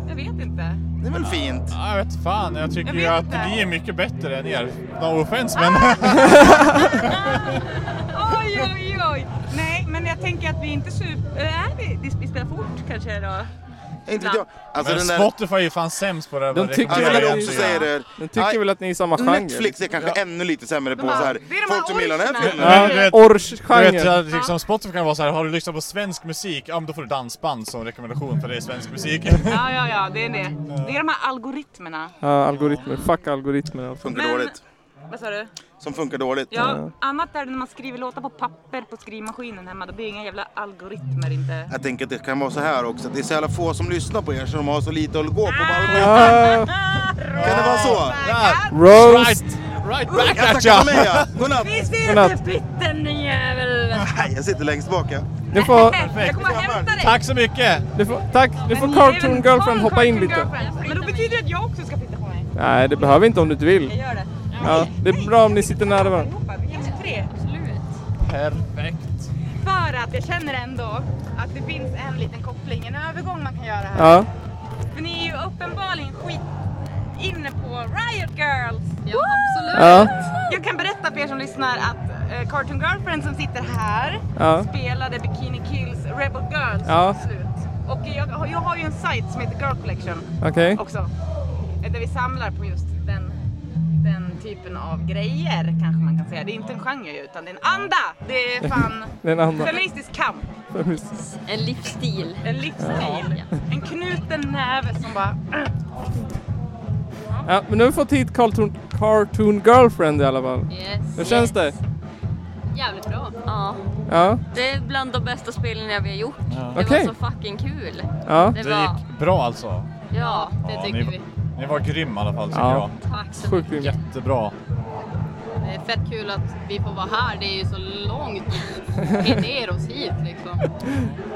Speaker 4: Jag vet inte.
Speaker 7: Det är väl fint?
Speaker 5: Ja, jag vet fan. Jag tycker
Speaker 4: Jag
Speaker 5: ju
Speaker 4: vet
Speaker 5: att
Speaker 4: inte. Ah!
Speaker 5: ni är mycket bättre än er. No offense men.
Speaker 4: Oj, oj, oj! Nej, men jag tänker att vi inte super... eh, Är vi, vi spelar fort kanske då?
Speaker 7: Inte vet jag. Alltså,
Speaker 5: men
Speaker 7: den där-
Speaker 5: Spotify är ju fan sämst på det här.
Speaker 3: De
Speaker 5: med
Speaker 3: tycker
Speaker 5: rekommendera
Speaker 3: väl
Speaker 5: grejer.
Speaker 3: också säger det. De tycker väl att ni är samma genre,
Speaker 7: Netflix är
Speaker 3: liksom.
Speaker 7: kanske
Speaker 3: Ja.
Speaker 7: ännu lite sämre
Speaker 3: De
Speaker 7: på
Speaker 3: bara,
Speaker 7: så här.
Speaker 3: "Det är de här
Speaker 7: folk som gillar den här
Speaker 3: orcherna."
Speaker 7: filmen.
Speaker 5: Ja, du vet-
Speaker 3: Orchgenren.
Speaker 5: Du vet, jag- liksom Spotify kan vara så här, har du lyssnat på svensk musik, ja men då får du dansband som rekommendation för det är svensk musik.
Speaker 4: Ja, ja, ja, det är det. Det är de här algoritmerna.
Speaker 3: Ja, algoritmer. Fuck algoritmer. Alltså.
Speaker 7: Funkar dåligt.
Speaker 4: Vad sa du?
Speaker 7: Som funkar dåligt.
Speaker 4: Ja, annat är det när man skriver låtar på papper på skrivmaskinen hemma. Då blir det inga jävla algoritmer inte.
Speaker 7: Jag tänker att det kan vara så här också, att det är så jävla få som lyssnar på er så de har så lite att gå på.
Speaker 3: Ah.
Speaker 7: Kan det vara så?
Speaker 3: Roast.
Speaker 7: Right,
Speaker 5: right
Speaker 7: back jag tackar för mig. ja. Godnatt!
Speaker 4: Vi
Speaker 3: Godnatt.
Speaker 4: ser inte pytten din jävel!
Speaker 7: Nej, jag sitter längst bak. ja.
Speaker 3: Du får,
Speaker 4: Jag kommer att hämta dig!
Speaker 5: Tack så mycket!
Speaker 3: du får, tack! Nu får Cartoon Girlfriend hoppa in lite.
Speaker 4: Men då betyder det att jag också ska flytta på mig.
Speaker 3: Nej, det behöver inte om du inte
Speaker 4: Jag
Speaker 3: vill.
Speaker 4: gör det.
Speaker 3: Ja, det är bra om ni sitter nära varandra.
Speaker 4: Allihopa, vi kanske tre. Absolut.
Speaker 5: Perfekt.
Speaker 4: För att jag känner ändå att det finns en liten koppling, en övergång man kan göra här.
Speaker 3: Ja.
Speaker 4: För ni är ju uppenbarligen skit inne på Riot Girls.
Speaker 8: Ja, absolut.
Speaker 3: Ja.
Speaker 4: Jag kan berätta för er som lyssnar att eh, Cartoon Girlfriend som sitter här
Speaker 3: Ja.
Speaker 4: spelade Bikini Kills Rebel Girls
Speaker 3: Ja.
Speaker 4: till slut. Och jag, har- jag har ju en sajt som heter Girl Collection
Speaker 3: Okej.
Speaker 4: också. eh, Där vi samlar på just den, den typen av grejer kanske man kan säga. Det är inte en genre ju, utan det är en anda. Det är fan
Speaker 3: Det är en anda.
Speaker 4: feministisk kamp.
Speaker 8: En livsstil.
Speaker 4: En livsstil. En knuten näve som bara...
Speaker 3: Ja, men nu har vi fått hit Cartoon, Cartoon Girlfriend i alla fall.
Speaker 8: Yes.
Speaker 3: Hur känns det?
Speaker 8: Yes. Jävligt bra. Ja.
Speaker 3: Ja.
Speaker 8: Det är bland de bästa spelningarna vi har gjort. Det
Speaker 3: Okej.
Speaker 8: var så fucking kul.
Speaker 3: Ja.
Speaker 8: Det,
Speaker 5: Det
Speaker 8: var...
Speaker 5: gick bra alltså.
Speaker 8: Ja, det
Speaker 5: Ja,
Speaker 8: tycker
Speaker 5: ni,
Speaker 8: vi.
Speaker 5: ni var grym i alla fall tycker
Speaker 3: Ja.
Speaker 8: Tack så
Speaker 3: Sjukt
Speaker 5: jag.
Speaker 3: grym.
Speaker 5: Jättebra.
Speaker 11: Det är fett kul att vi får vara här. Det är ju så långt ner oss hit liksom.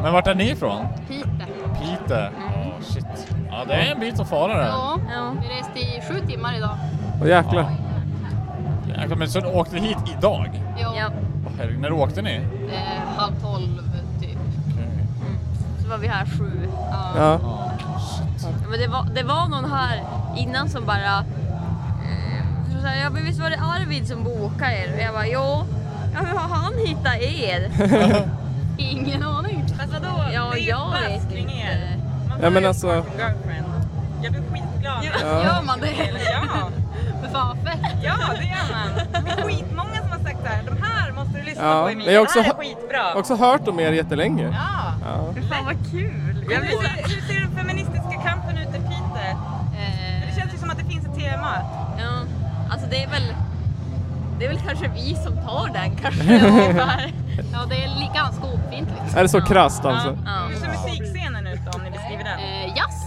Speaker 5: Men vart är ni ifrån?
Speaker 11: Piteå.
Speaker 5: Piteå? Ja, shit. Ja, det är en bit att fara det.
Speaker 11: Ja, vi reste i sju timmar idag.
Speaker 3: Åh jäklar.
Speaker 5: Jäklar, men så åkte ni hit idag?
Speaker 11: Jo,
Speaker 5: Åh, herregud, när åkte ni?
Speaker 11: det är halv tolv typ.
Speaker 8: Så var vi här sju.
Speaker 3: Ja.
Speaker 8: Ja, Men det var, det var någon här innan som bara... eh, Så här, ja, men visst var det Arvid som bokade er? Och jag bara, jo. Ja, hur har han hittat er?
Speaker 11: Ingen aning.
Speaker 4: Fast vadå?
Speaker 8: Ja,
Speaker 4: det är ju
Speaker 8: jag vet
Speaker 4: buzz kring er. Man
Speaker 3: Ja, men
Speaker 4: får ju
Speaker 3: alltså-
Speaker 4: Cartoon Girlfriend. Jag blir skitglad.
Speaker 3: Ja.
Speaker 11: Gör man det?
Speaker 4: Ja.
Speaker 11: Men fan vad fett.
Speaker 4: ja, det gör man. Det är skitmånga som har sagt så här. De här måste du lyssna
Speaker 3: Ja.
Speaker 4: på Emilia.
Speaker 3: Jag har också,
Speaker 4: det här är skitbra.
Speaker 3: också hört om er jättelänge.
Speaker 4: Ja.
Speaker 3: Ja.
Speaker 4: Fan vad kul. Ja, hur, ser, hur ser den feministiska kampen ut i Piteå?
Speaker 8: Eh,
Speaker 4: Det känns ju som att det finns ett tema.
Speaker 11: Ja, alltså det är väl det är väl kanske vi som tar den kanske. ungefär. ja, det är li- ganska obefintligt.
Speaker 8: liksom.
Speaker 3: Är det så krasst, alltså?
Speaker 11: Ja.
Speaker 4: Hur ser musikscenen ut då, om ni beskriver den?
Speaker 11: Eh, jazz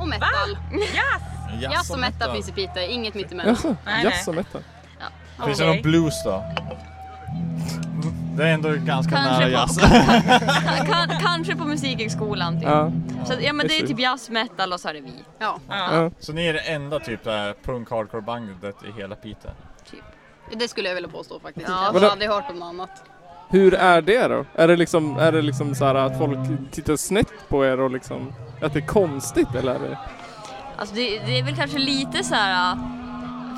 Speaker 11: och metal.
Speaker 4: Jazz!
Speaker 11: Jazz och metal finns i Piteå, inget mittemellan.
Speaker 3: Jaså? Jazz och metal?
Speaker 11: Ja.
Speaker 5: Finns det någon blues då? Det är ändå ganska
Speaker 8: Kanske
Speaker 5: nära
Speaker 8: på-
Speaker 5: jazz.
Speaker 8: Ka- kan, kanske på musikhögskolan typ.
Speaker 5: Ja.
Speaker 8: Så, att- ja men det är
Speaker 5: Precis.
Speaker 8: typ jazz, metal och så är det vi.
Speaker 11: Ja.
Speaker 5: Ja. Så ni är det enda typ så här punk hardcore bandet i hela Piteå?
Speaker 11: Det skulle jag vilja påstå faktiskt.
Speaker 8: Ja.
Speaker 11: Jag har
Speaker 3: Vadå?
Speaker 11: aldrig hört om något annat.
Speaker 3: Hur är det då? Är det liksom, är det liksom så här att folk tittar snett på er och liksom att det är konstigt eller? Är det...
Speaker 8: Alltså det, det är väl kanske lite så här. äh,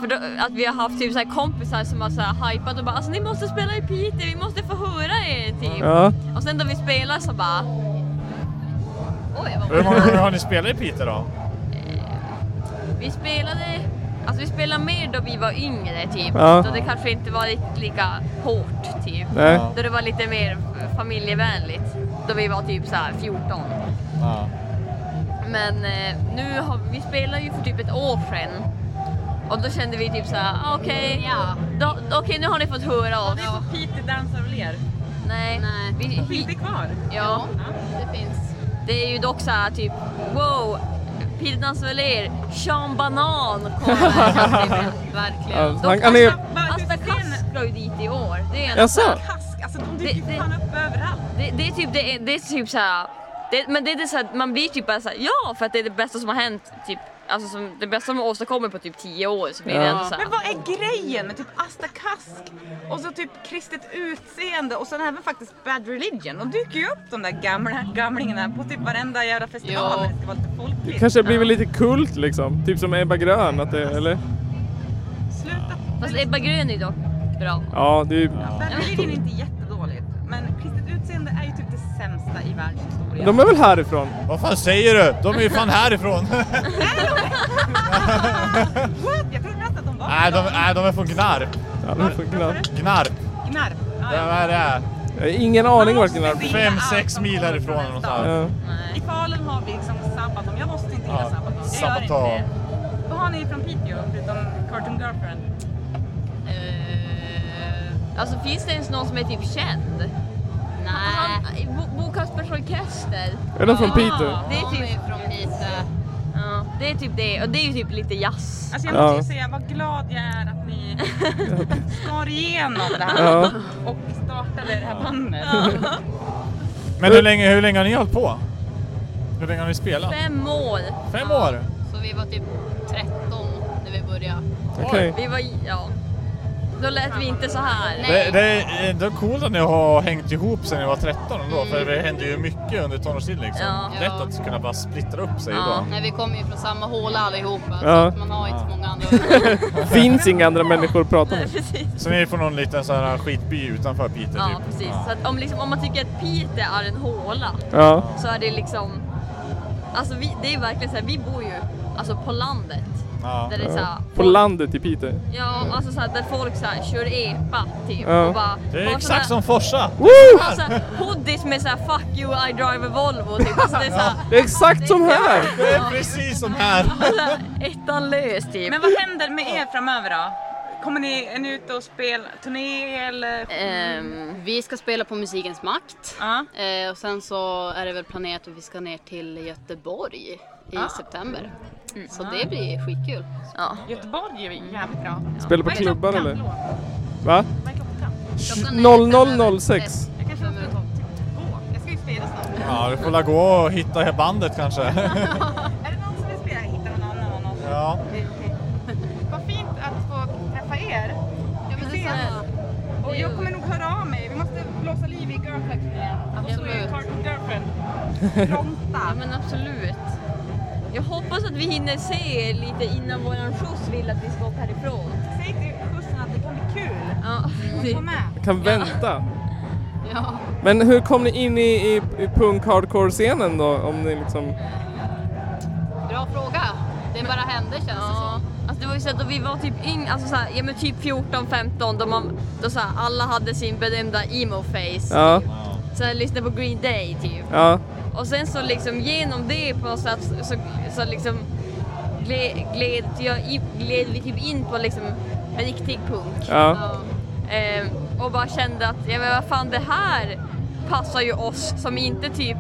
Speaker 8: För då, att vi har haft typ så här kompisar som har så här hypat och bara alltså ni måste spela i Piteå, vi måste få höra er typ.
Speaker 3: Ja.
Speaker 8: Och sen då vi spelar så bara... Oj vad
Speaker 5: Hur många gånger har ni spelat i Piteå då?
Speaker 8: Vi spelade, alltså vi spelade mer då vi var yngre typ.
Speaker 5: Ja.
Speaker 8: Då det kanske inte var riktigt lika hårt typ.
Speaker 5: Nej.
Speaker 8: Då det var lite mer familjevänligt. Då vi var typ så här 14.
Speaker 5: Ja.
Speaker 8: Men eh, nu har vi spelar ju för typ ett år sedan. Och då kände vi typ såhär, ah, okej, då- okej nu har ni fått höra oss.
Speaker 4: Har ni på Piteå dansar och ler?
Speaker 8: Nej. Vi,
Speaker 4: Finns det kvar?
Speaker 8: Ja.
Speaker 11: Det finns.
Speaker 8: Det är ju dock såhär typ, wow, Pildans Veler, Sean Banan kommer.
Speaker 3: Ja,
Speaker 8: Verkligen.
Speaker 3: han- han är-
Speaker 4: Alltså,
Speaker 8: Asta Kask drar ju dit i år. Det är
Speaker 3: Jaså?
Speaker 4: Kask, alltså de
Speaker 8: dyker det, fan
Speaker 4: upp överallt.
Speaker 8: Det, det är typ, det är, det är typ såhär, det, men det är det såhär, man blir typ bara såhär, ja för att det är det bästa som har hänt. Typ, alltså som, det bästa de har åstadkommit på typ 10 år så blir det ändå såhär.
Speaker 4: Men vad är grejen med typ Asta Kask och så typ kristet utseende och sen även faktiskt Bad Religion? De dyker ju upp de där gamla gamlingarna på typ varenda jävla festival när det ska vara lite
Speaker 3: Det
Speaker 4: folkligt.
Speaker 3: kanske har blivit lite kult liksom. Typ som Ebba Grön, att det, eller?
Speaker 4: Sluta.
Speaker 8: Fast Ebba Grön är ju dock bra.
Speaker 3: Ja, det är ju...
Speaker 4: Bad Religion är inte jättedåligt men kristet utseende är ju typ det sämsta i världshistorien.
Speaker 3: De är väl härifrån?
Speaker 5: Vad fan säger du? De är ju fan härifrån!
Speaker 4: What? Jag trodde nästan att de var
Speaker 5: nej, de, nej, de är från Gnarp.
Speaker 3: Ja, de är från Gnarp.
Speaker 5: Gnarp.
Speaker 4: Gnarp. Ah,
Speaker 5: Ja, vad är det?
Speaker 3: Jag har ingen aning vart Gnarp är.
Speaker 5: Fem, sex mil härifrån eller något
Speaker 3: Ja.
Speaker 5: sånt.
Speaker 4: I Falun har vi liksom Sabaton. Jag måste inte gilla
Speaker 5: Ja,
Speaker 4: Sabaton. Jag
Speaker 5: Sabaton.
Speaker 4: gör inte det. Vad har ni från Piteå förutom Cartoon Girlfriend?
Speaker 8: Alltså finns det ens någon som är typ känd? Nej. eh, Bo, Bo Kaspers Orkester.
Speaker 3: Är de från Piteå?
Speaker 8: Det är typ från Piteå. Ja, det är typ det och det är ju typ lite jazz.
Speaker 4: Alltså
Speaker 3: jag måste ju Ja.
Speaker 4: säga vad glad jag är att ni skar igenom det här
Speaker 3: Ja.
Speaker 4: och startade det här bandet.
Speaker 5: Men hur länge, hur länge har ni hållit på? Hur länge har ni spelat?
Speaker 8: Fem år.
Speaker 5: Fem år?
Speaker 11: Så vi var typ 13 när vi började.
Speaker 5: Okej.
Speaker 8: Vi var, ja. Då lät vi inte så här.
Speaker 5: Det, det är ändå coolt att ni har hängt ihop sen ni var 13 ändå, för det hände ju mycket under tonårstiden liksom.
Speaker 11: Ja.
Speaker 5: Lätt att kunna bara splittra upp sig då.
Speaker 11: Nej, vi kommer ju från samma håla allihopa
Speaker 3: Ja.
Speaker 11: så att man har inte så många andra.
Speaker 3: Finns inga andra människor att prata med.
Speaker 5: Så ni är från någon liten sån här skitby utanför Piteå
Speaker 8: Ja,
Speaker 5: typ?
Speaker 8: precis. Så att om, liksom, om man tycker att Piteå är en håla
Speaker 5: Ja.
Speaker 8: så är det liksom... Alltså vi, det är verkligen så här, vi bor ju alltså på landet.
Speaker 3: Ja.
Speaker 8: Där det är så här,
Speaker 3: På landet i Piteå.
Speaker 8: Ja, alltså såhär där folk såhär kör epa typ
Speaker 3: Ja.
Speaker 8: och bara...
Speaker 5: Det är
Speaker 8: har
Speaker 5: exakt som
Speaker 8: såna-
Speaker 5: Forsa!
Speaker 8: Har såhär hoodies med såhär fuck you I drive a Volvo typ. Alltså, det är såhär,
Speaker 3: Det är exakt som här!
Speaker 5: Det är precis som här!
Speaker 8: alltså, ettan lös typ.
Speaker 4: Men vad händer med er framöver då? Kommer ni är ni ute och spela turné eller?
Speaker 11: Ehm, vi ska spela på Musikens makt. Eh, och sen så är det väl planerat att vi ska ner till Göteborg i
Speaker 4: Ah.
Speaker 11: september. Så
Speaker 4: Ah.
Speaker 11: det blir skitkul.
Speaker 4: Göteborg är ju jävligt bra.
Speaker 3: Spelar på
Speaker 4: Vad är
Speaker 3: klubbar
Speaker 4: klockan?
Speaker 3: eller?
Speaker 4: Förlåt.
Speaker 3: Va?
Speaker 4: Vad är klockan?
Speaker 3: Sh- 0006.
Speaker 4: Jag kanske åker två. Jag ska ju spela snart.
Speaker 5: Ja, du får la gå och hitta bandet kanske.
Speaker 4: Är det någon som vill spela? Hittar någon annan och någon som-
Speaker 5: Ja.
Speaker 4: Okej, okej. Vad fint att få träffa er. Ja, men och jag kommer nog höra av mig. Vi måste blåsa liv i Girlfriend igen.
Speaker 8: Absolut.
Speaker 4: Cartoon Girlfriend.
Speaker 8: Ja men absolut. Jag hoppas att vi hinner se er lite innan våran skjuts vill att vi ska åka härifrån.
Speaker 4: Säg till skjutsen att det kan bli kul.
Speaker 8: Ja.
Speaker 4: Kom med.
Speaker 3: Jag kan vänta.
Speaker 11: Ja.
Speaker 3: Men hur kom ni in i, i, i punk-hardcore-scenen då? Om ni liksom...
Speaker 11: Bra fråga. Det bara hände känns det som.
Speaker 8: Alltså det var ju så att då vi var typ yng, alltså såhär, ja men typ 14-15 då, man, då såhär, alla hade sin berömda emo-face.
Speaker 3: Ja.
Speaker 8: Så jag lyssnade på Green Day typ.
Speaker 3: Ja.
Speaker 8: Och sen så liksom genom det på något sätt så, så liksom gled, gled, jag, i- gled vi typ in på liksom riktig punk.
Speaker 3: Ja.
Speaker 8: Ehm, och bara kände att, ja men vad fan det här passar ju oss som inte typ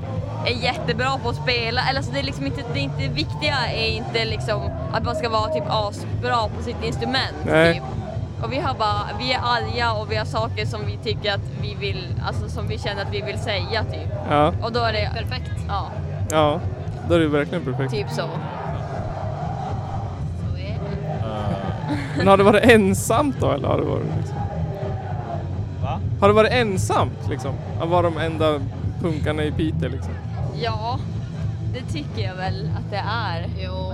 Speaker 8: är jättebra på att spela. Eller så det är liksom inte, det, är inte, det viktiga är inte liksom att man ska vara typ asbra på sitt instrument. typ.
Speaker 3: Nej.
Speaker 8: Och vi har bara, vi är arga och vi har saker som vi tycker att vi vill, alltså som vi känner att vi vill säga typ.
Speaker 3: Ja.
Speaker 8: Och då är det... Perfekt. Ja,
Speaker 3: Ja. Då är det ju verkligen perfekt.
Speaker 8: typ så.
Speaker 3: Men har det varit ensamt då eller har det varit liksom...
Speaker 5: Va?
Speaker 3: Har det varit ensamt liksom? Att vara de enda punkarna i Piteå liksom?
Speaker 8: Ja, det tycker jag väl att det är.
Speaker 11: Jo,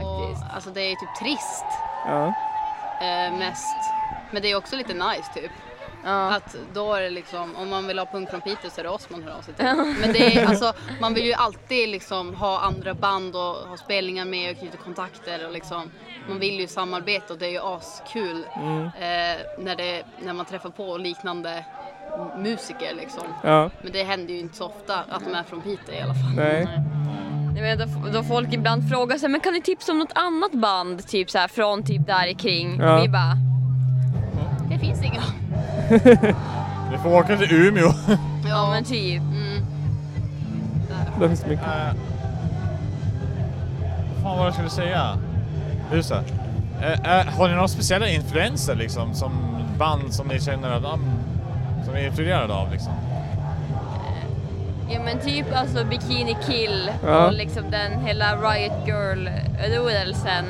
Speaker 11: alltså det är typ trist.
Speaker 3: Ja.
Speaker 11: eh, mest. Men det är också lite nice typ. Att då är det liksom, om man vill ha punk från Piteå så är det oss man hör av sig till.
Speaker 12: Ja.
Speaker 11: Men det är, alltså, man vill ju alltid liksom ha andra band och ha spelningar med och knyta kontakter och liksom, man vill ju samarbeta och det är ju askul
Speaker 3: Mm.
Speaker 11: eh, när, det, när man träffar på liknande musiker liksom.
Speaker 3: Ja.
Speaker 11: Men det händer ju inte så ofta att de är från Piteå i alla fall.
Speaker 3: Nej.
Speaker 8: Jag vet, då, då folk ibland frågar så här, men kan ni tipsa om något annat band typ så här, från typ där kring?
Speaker 5: Ja.
Speaker 8: Vi bara,
Speaker 11: det finns inga.
Speaker 5: Vi får åka till Umeå.
Speaker 8: ja men typ.
Speaker 3: Det finns mycket.
Speaker 5: Eh, Vad fan var det jag skulle säga? Just det. Eh, eh, har ni några speciella influenser liksom? Som band som ni känner att ah, som ni är influerade av liksom?
Speaker 8: Ja men typ alltså Bikini Kill
Speaker 5: Ja.
Speaker 8: och liksom den hela Riot Girl-rörelsen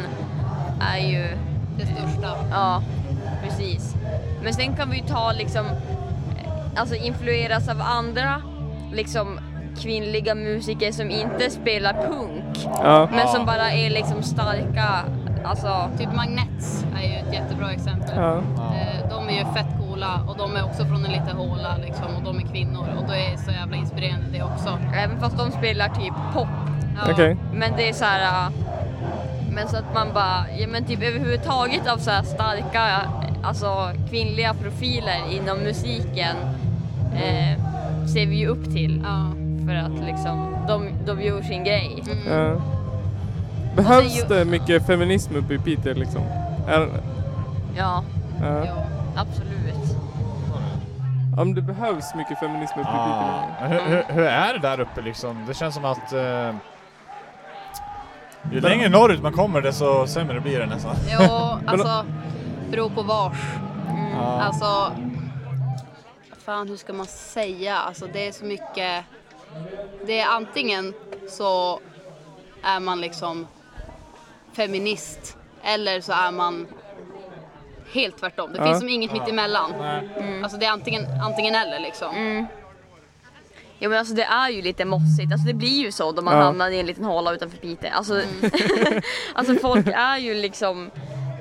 Speaker 8: är ju...
Speaker 11: Det största.
Speaker 8: Ja, precis. Men sen kan vi ju ta liksom, alltså influeras av andra liksom kvinnliga musiker som inte spelar punk.
Speaker 3: Ja.
Speaker 8: Men som bara är liksom starka, alltså...
Speaker 11: Typ Magnets är ju ett jättebra exempel.
Speaker 3: Ja.
Speaker 11: Eh, De är ju fett coola och de är också från en liten håla liksom, och de är kvinnor och det är så jävla inspirerande det också.
Speaker 8: Även fast de spelar typ pop.
Speaker 3: Ja. Okej.
Speaker 8: Men det är så här. äh, Men så att man bara, ja men typ överhuvudtaget av så här starka, alltså kvinnliga profiler inom musiken eh, ser vi ju upp till. För att liksom, de, de gör sin grej.
Speaker 3: Ja. Behövs det mycket feminism uppe i Piteå liksom? Är,
Speaker 8: Ja,
Speaker 3: ja.
Speaker 8: absolut.
Speaker 3: ja men det behövs mycket feminism uppe i liksom?
Speaker 5: Ja.
Speaker 3: Piteå.
Speaker 5: Men hur, hur, hur är det där uppe liksom? Det känns som att eh, ju längre norrut man kommer desto sämre blir det nästan.
Speaker 11: Jo, alltså beror på vars.
Speaker 5: Ja.
Speaker 11: Alltså, fan hur ska man säga? Alltså det är så mycket. Det är antingen så är man liksom feminist eller så är man helt tvärtom. Det
Speaker 12: Ja.
Speaker 11: finns som inget
Speaker 12: Ja.
Speaker 11: mitt emellan.
Speaker 12: Nej.
Speaker 11: Alltså det är antingen, antingen eller liksom.
Speaker 8: Ja men alltså det är ju lite mossigt, alltså det blir ju så då man
Speaker 11: Ja.
Speaker 8: hamnar i en liten håla utanför Piteå. Alltså,
Speaker 3: Mm.
Speaker 8: alltså folk är ju liksom,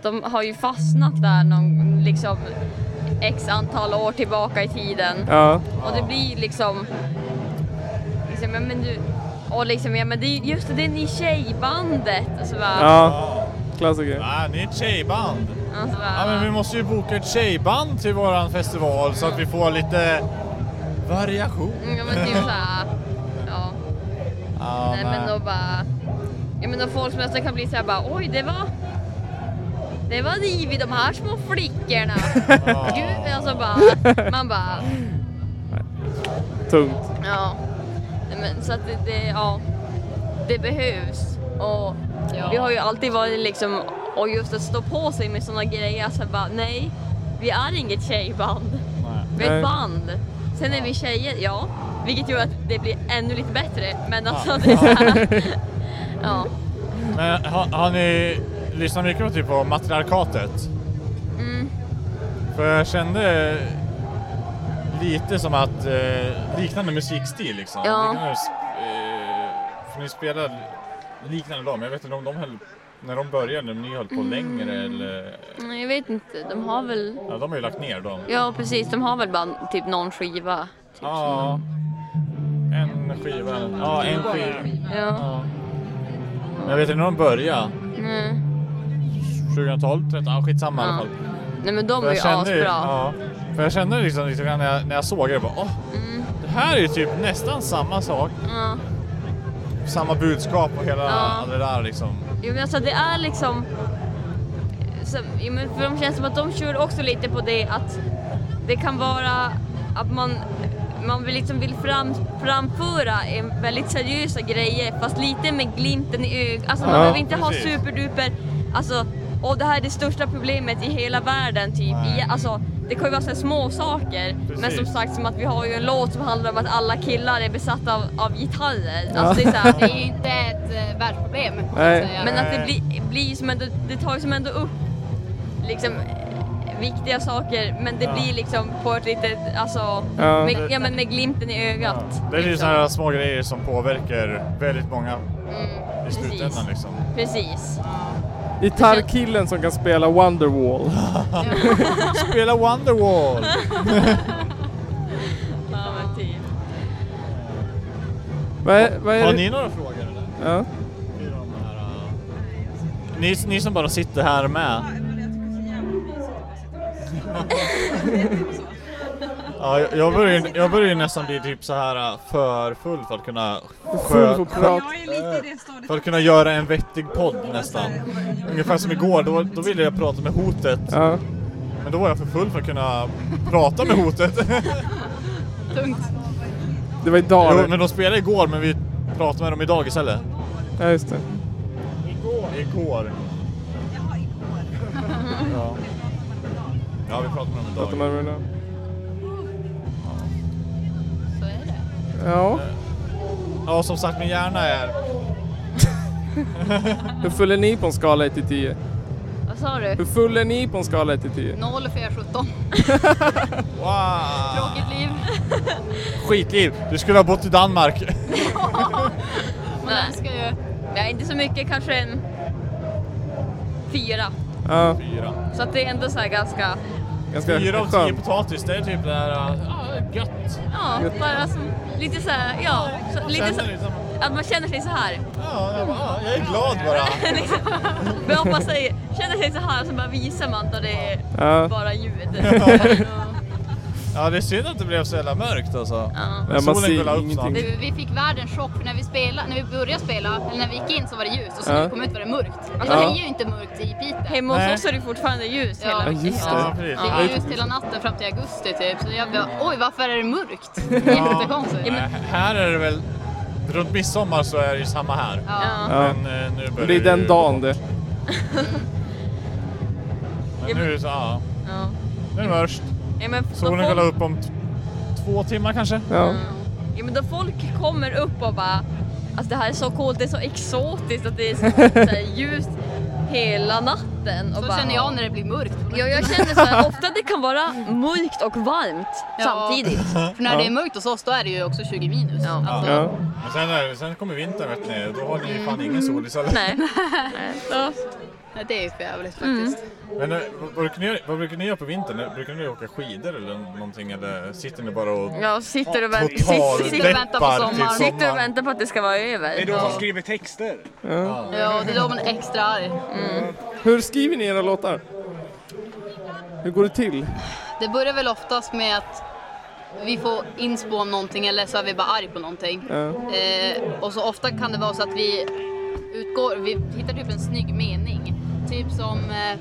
Speaker 8: de har ju fastnat där någon, liksom x antal år tillbaka i tiden.
Speaker 3: Ja.
Speaker 8: Och det blir liksom, liksom ja, men du, och liksom ja men det är just det, det är ni tjejbandet. Alltså, bara,
Speaker 3: Ja. Klassiker.
Speaker 5: Ah, ni är ett tjejband.
Speaker 8: alltså, bara,
Speaker 5: Ja, men vi måste ju boka ett tjejband till våran festival så att vi får lite variation.
Speaker 8: Ja men typ såhär, ja.
Speaker 5: Ja,
Speaker 8: Nej men då bara, ja men då folk som nästan kan bli såhär bara oj det var, det var liv i de här små flickorna. Gud alltså bara, man bara,
Speaker 3: Tungt.
Speaker 8: ja. Nej, men så att det, det ja, det behövs. Och vi har ju alltid varit liksom, och just att stå på sig med sådana grejer, så bara nej, vi är inget tjejband. Vi är
Speaker 12: Nej.
Speaker 8: ett band. Sen är vi tjejer, ja, vilket gör att det blir ännu lite bättre. Men
Speaker 5: Ja.
Speaker 8: alltså det är så här, ja.
Speaker 5: Men har, har ni lyssnat mycket på, typ, på matriarkatet?
Speaker 8: Mm.
Speaker 5: För jag kände lite som att eh, liknande musikstil liksom.
Speaker 8: Ja.
Speaker 5: Liknande, sp- eh, för ni spelade liknande dem. Jag vet inte om de höll, när de började, om ni höll på
Speaker 8: Mm.
Speaker 5: längre eller?
Speaker 8: Nej, Mm, Jag vet inte, de har väl...
Speaker 5: Ja, de har ju lagt ner dem.
Speaker 8: Ja precis, de har väl bara typ någon skiva. Typ,
Speaker 5: Ja. En skiva. Ja, en skiva.
Speaker 8: som- Ja.
Speaker 5: Men jag vet inte när de började.
Speaker 8: Nej.
Speaker 5: 2012, 13, ja, skitsamma i alla
Speaker 8: Ja.
Speaker 5: fall.
Speaker 8: Nej men
Speaker 5: För
Speaker 8: de är
Speaker 5: jag
Speaker 8: ju
Speaker 5: kände ju-
Speaker 8: asbra.
Speaker 5: Ja, för jag kände liksom lite grann när jag, när jag såg det, jag bara, åh,
Speaker 8: Mm.
Speaker 5: det här är ju typ nästan samma sak.
Speaker 8: Ja.
Speaker 5: Samma budskap och hela
Speaker 8: Ja.
Speaker 5: det där liksom.
Speaker 8: Jo men alltså det är liksom... Så, jo, men för de känns som att de kör också lite på det att det kan vara att man, man vill liksom vill fram, framföra en väldigt seriösa grejer fast lite med glimten i ögat. Alltså man
Speaker 12: Ja,
Speaker 8: behöver inte
Speaker 12: precis.
Speaker 8: ha superduper, alltså och det här är det största problemet i hela världen typ. I, alltså, det kan ju vara så här små saker men
Speaker 12: Precis.
Speaker 8: som sagt som att vi har ju en låt som handlar om att alla killar är besatta av, av gitarrer. Alltså, det, är så här,
Speaker 11: Det är ju inte ett eh, världsproblem. så att
Speaker 8: Nej.
Speaker 11: säga.
Speaker 8: Men att det blir, blir som ändå, det tar ju som ändå upp liksom eh, viktiga saker men det
Speaker 5: Ja.
Speaker 8: blir liksom på ett litet, alltså,
Speaker 5: Ja.
Speaker 8: Med, ja, men med glimten i ögat.
Speaker 5: Det är ju sådana här små grejer som påverkar väldigt många i
Speaker 8: Precis.
Speaker 5: slutändan liksom.
Speaker 8: Precis.
Speaker 3: Gitarrkillen som kan spela Wonderwall.
Speaker 5: Spela Wonderwall!
Speaker 12: Ja, men typ.
Speaker 3: vad är, vad är
Speaker 5: Har
Speaker 3: det-
Speaker 5: ni några frågor eller?
Speaker 3: Ja.
Speaker 5: äh, Ni, ni som bara sitter här med. Ja, jag- jag börjar ju- jag börjar ju nästan bli typ så här äh, för full för att kunna
Speaker 3: Full för prat.
Speaker 5: för att kunna göra en vettig podd nästan. Ungefär som igår, då, då ville jag prata med hotet.
Speaker 3: Ja.
Speaker 5: Men då var jag för full för att kunna prata med hotet.
Speaker 11: Tungt.
Speaker 3: Det var idag
Speaker 5: Jo,
Speaker 3: det.
Speaker 5: men de spelade igår men vi pratade med dem idag istället.
Speaker 3: Ja just det.
Speaker 5: Igår. Igår. Ja. Ja, vi pratar med dem idag.
Speaker 3: Pratar man med dem.
Speaker 11: Så är det.
Speaker 3: Ja.
Speaker 5: Ja, som sagt min hjärna är...
Speaker 3: Hur full är ni på en skala 1 till 10?
Speaker 11: Vad sa du?
Speaker 3: Hur full är ni på en skala 1 till 10?
Speaker 11: 0 och 417.
Speaker 5: Wow.
Speaker 12: Tråkigt liv.
Speaker 5: Skitliv! Du skulle ha bott i Danmark.
Speaker 12: Nej.
Speaker 8: Ska ju... Nej, inte så mycket, kanske en fyra.
Speaker 3: Ja.
Speaker 5: Fyra.
Speaker 8: Så att det är ändå så här ganska...
Speaker 3: Ganska
Speaker 5: Fyra av tio
Speaker 3: skönt.
Speaker 5: potatis, det är typ det här... äh, Ja, gött.
Speaker 8: Ja, bara som, lite så här, ja. Så, lite så,
Speaker 5: Känner liksom-
Speaker 8: att man känner sig så här.
Speaker 5: Ja, jag, bara, ja, jag är glad bara.
Speaker 8: liksom, bra på sig, känner sig så här och så bara visar man att det är
Speaker 5: Ja.
Speaker 8: bara ljud.
Speaker 5: Ja, det är synd att det blev så jävla mörkt alltså.
Speaker 3: Ja, man ser
Speaker 5: går la upp
Speaker 3: ingenting.
Speaker 5: snart.
Speaker 11: Vi, vi fick världens chock för när vi, spelade, när vi började spela, eller när vi gick in så var det ljust och så
Speaker 3: Ja.
Speaker 11: när vi kom ut var det mörkt. Alltså
Speaker 3: Ja.
Speaker 11: det är ju inte mörkt i Piteå.
Speaker 8: Hemma hos oss är det fortfarande ljus
Speaker 11: Ja.
Speaker 3: Ja,
Speaker 8: hela
Speaker 3: just det. Ja,
Speaker 11: det
Speaker 3: precis.
Speaker 11: var
Speaker 3: Ja.
Speaker 11: ljust hela natten fram till augusti typ. Så jag bara, oj varför är det mörkt? Jättekonstigt.
Speaker 5: Nej, Här är det väl... Runt midsommar så är det ju samma här.
Speaker 11: Ja.
Speaker 3: Ja.
Speaker 5: Men eh, nu börjar
Speaker 3: Men det är den
Speaker 5: ju-
Speaker 3: dagen det.
Speaker 5: Men nu är det så, ja.
Speaker 8: Ja.
Speaker 5: Nu är det mörkt.
Speaker 8: Ja, men då
Speaker 5: Solen går
Speaker 8: folk-
Speaker 5: la upp om t- två timmar kanske.
Speaker 3: Ja.
Speaker 8: Ja, men då folk kommer upp och bara Alltså det här är så coolt, det är så exotiskt att det är så, så här, ljust hela natten. Och
Speaker 11: Så
Speaker 8: bara,
Speaker 11: känner jag när det blir mörkt.
Speaker 8: Ja, jag känner så här, ofta det kan vara mörkt och varmt
Speaker 11: Ja.
Speaker 8: samtidigt.
Speaker 11: För när det är mörkt hos oss då är det ju också 20 minus.
Speaker 5: Ja.
Speaker 11: Alltså,
Speaker 5: Men sen, är, det- sen kommer vintern vet ni, då har ni ju fan ingen sol istället.
Speaker 8: Nej. Ja.
Speaker 11: Det är ju för jävligt faktiskt.
Speaker 5: Men eh, vad, brukar ni, vad brukar ni göra på vintern? Brukar ni åka skidor eller någonting eller sitter ni bara och...
Speaker 8: Ja, sitter och, vänt,
Speaker 5: Total
Speaker 8: sitter,
Speaker 5: deppar till sommaren.
Speaker 8: sitter och väntar på att det ska vara över.
Speaker 10: Det är då man skriver texter.
Speaker 3: Ja.
Speaker 11: Ja, det är då man är extra arg.
Speaker 3: Hur skriver ni era låtar? Hur går det till?
Speaker 11: Det börjar väl oftast med att vi får inspo om någonting eller så är vi bara arg på någonting.
Speaker 3: Ja.
Speaker 11: Eh, och så ofta kan det vara så att vi utgår, vi hittar typ en snygg mening. Typ som eh,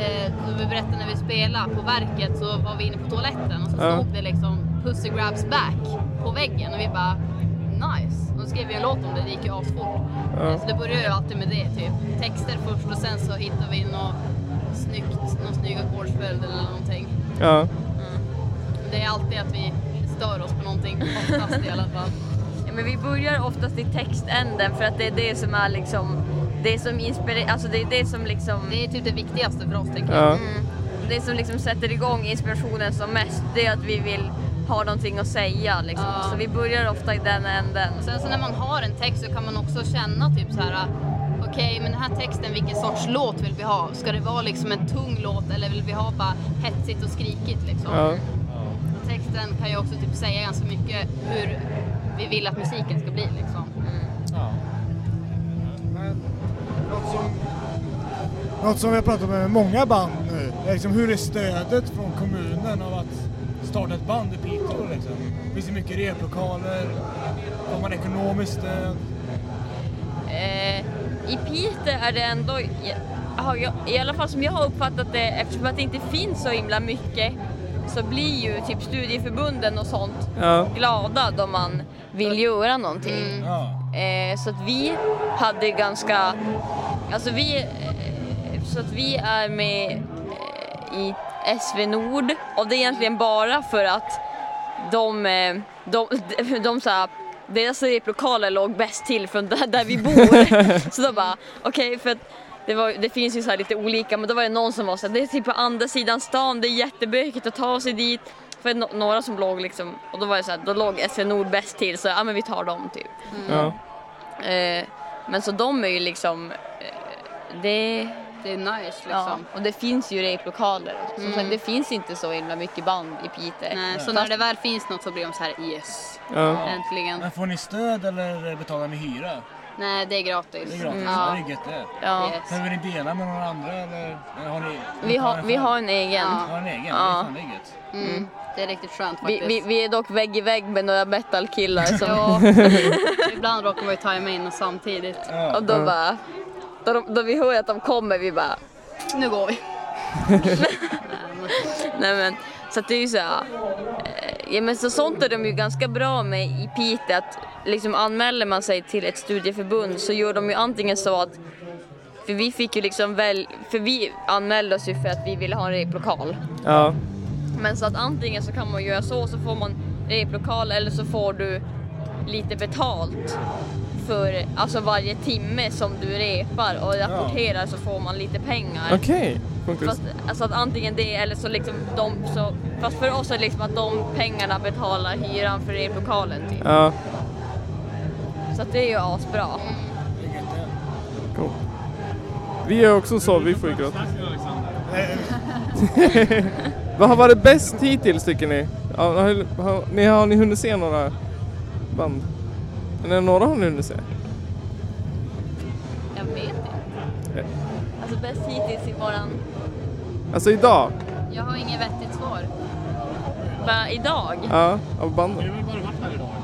Speaker 11: eh, som vi berättade när vi spelade på verket så var vi inne på toaletten och så
Speaker 3: Ja.
Speaker 11: stod det liksom Pussy grabs back på väggen och vi bara nice. Och då skrev vi en låt om det, det gick ju asfort.
Speaker 3: Ja.
Speaker 11: Så det börjar ju alltid med det typ. Texter först och sen så hittar vi något snyggt, någon snygg ackordsföljd eller någonting.
Speaker 3: Ja.
Speaker 11: Det är alltid att vi stör oss på någonting, oftast i alla fall.
Speaker 8: Ja, men vi börjar oftast i textänden för att det är det som är liksom det som inspirerar, alltså det är det som liksom...
Speaker 11: Det är typ det viktigaste för oss tänker
Speaker 3: jag. Ja.
Speaker 8: Mm. Det som liksom sätter igång inspirationen som mest, det är att vi vill ha någonting att säga liksom.
Speaker 11: Ja.
Speaker 8: Så vi börjar ofta i den änden.
Speaker 11: Sen så när man har en text så kan man också känna typ så här. Okej, men den här texten, vilken sorts låt vill vi ha? Ska det vara liksom en tung låt eller vill vi ha bara hetsigt och skrikigt liksom?
Speaker 3: Ja.
Speaker 11: Texten kan ju också typ säga ganska mycket hur vi vill att musiken ska bli liksom.
Speaker 13: Något som, något som vi har pratat med många band nu, är liksom hur är stödet från kommunen av att starta ett band i Piteå? Liksom? Finns det mycket replokaler? Har man ekonomiskt stöd?
Speaker 8: Eh, I Piteå är det ändå, har jag, i alla fall som jag har uppfattat det, eftersom att det inte finns så himla mycket så blir ju typ studieförbunden och sånt
Speaker 3: Ja.
Speaker 8: glada då man Mm. vill göra någonting. Eh, så att vi hade ganska, alltså vi, eh, så att vi är med eh, i SV Nord och det är egentligen bara för att de, eh, de, de, de så här, deras replokaler låg bäst till från där, där vi bor. så då bara, okej för att det, var, det finns ju så här lite olika men då var det någon som var så här, det är typ på andra sidan stan, det är jättebökigt att ta sig dit. För no- några som låg liksom, och då var det så här, då låg SV Nord bäst till så ja men vi tar dem typ.
Speaker 3: Ja.
Speaker 8: Eh, men så de är ju liksom, eh, det,
Speaker 11: Det är nice
Speaker 8: Ja,
Speaker 11: liksom.
Speaker 8: och det finns ju replokaler. Som
Speaker 11: Mm.
Speaker 8: sagt, det finns inte så himla mycket band i Piteå.
Speaker 11: Nej, så när det väl finns något så blir de så här yes.
Speaker 5: Ja.
Speaker 11: Äntligen.
Speaker 5: Men får ni stöd eller betalar ni hyra?
Speaker 11: Nej, det är gratis. Mm.
Speaker 5: Det är gratis,
Speaker 11: Ja.
Speaker 5: det är gött det.
Speaker 8: Mm. Ja.
Speaker 5: Behöver ni dela med några andra eller eller har ni?
Speaker 8: Vi har, vi har en egen.
Speaker 5: Ja. Har en egen? Det är
Speaker 8: Ja.
Speaker 5: fan, det är gött.
Speaker 8: Mm.
Speaker 11: Det är riktigt skönt
Speaker 8: Vi,
Speaker 11: faktiskt.
Speaker 8: vi, vi är dock vägg i vägg med några metalkillar. Som...
Speaker 11: Ja. Ibland råkar vi tajma in och samtidigt.
Speaker 8: Och då bara, då, de, då vi hör att de kommer, vi bara,
Speaker 11: Nu går vi.
Speaker 8: nej men. Så att det är ju så här, eh, ja men så sånt är de ju ganska bra med i Piteå, att liksom anmäler man sig till ett studieförbund så gör de ju antingen så att, för vi fick ju liksom väl, för vi anmälde oss ju för att vi ville ha en replokal.
Speaker 3: Ja.
Speaker 8: Men så att antingen så kan man göra så, så får man replokal eller så får du lite betalt för alltså varje timme som du repar och rapporterar så får man lite pengar.
Speaker 3: Okej. Funkar
Speaker 8: Fast, alltså att antingen det eller så liksom de så, fast för oss är det liksom att de pengarna betalar hyran för replokalen typ.
Speaker 3: Ja.
Speaker 8: Så att det är ju asbra.
Speaker 3: Cool. Vi är också så, vi får ju gratis. Vad har varit bäst hittills tycker ni? Ja, Har, har, ni, har ni hunnit se några band? Eller några har ni hunnit se?
Speaker 8: Jag vet inte. Alltså bäst hittills i våran...
Speaker 3: Alltså idag?
Speaker 8: Jag har inget vettigt svar. Bara idag?
Speaker 3: Ja, av banden.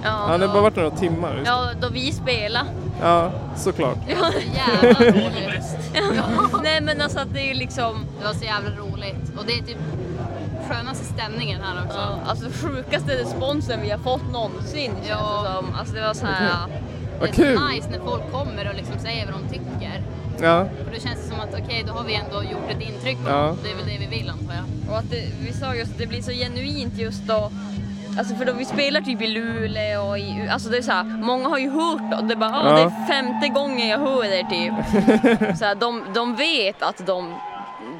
Speaker 3: Ja, det har bara varit några timmar. just.
Speaker 8: Ja, då vi spelar.
Speaker 3: Ja, såklart.
Speaker 8: Ja,
Speaker 11: Ja.
Speaker 8: Nej men alltså att det är ju liksom...
Speaker 11: Det var så jävla roligt. Och det är typ skönaste stämningen här också.
Speaker 8: Ja, alltså sjukaste responsen vi har fått någonsin känns det som. Alltså det var så här...
Speaker 11: Okej.
Speaker 3: Vad
Speaker 11: det är
Speaker 3: kul.
Speaker 11: så nice när folk kommer och liksom säger vad de tycker.
Speaker 3: Ja.
Speaker 11: Och då känns det som att okej, då har vi ändå gjort ett intryck på
Speaker 3: Ja.
Speaker 11: dem. Det är väl det vi vill antar jag.
Speaker 8: Och att det, vi sa just att det blir så genuint just då. Alltså för då vi spelar typ i Luleå och i, alltså det är så här, många har ju hört och det är bara ah,
Speaker 3: Ja.
Speaker 8: det är femte gången jag hör er typ. så här, de, de vet att de,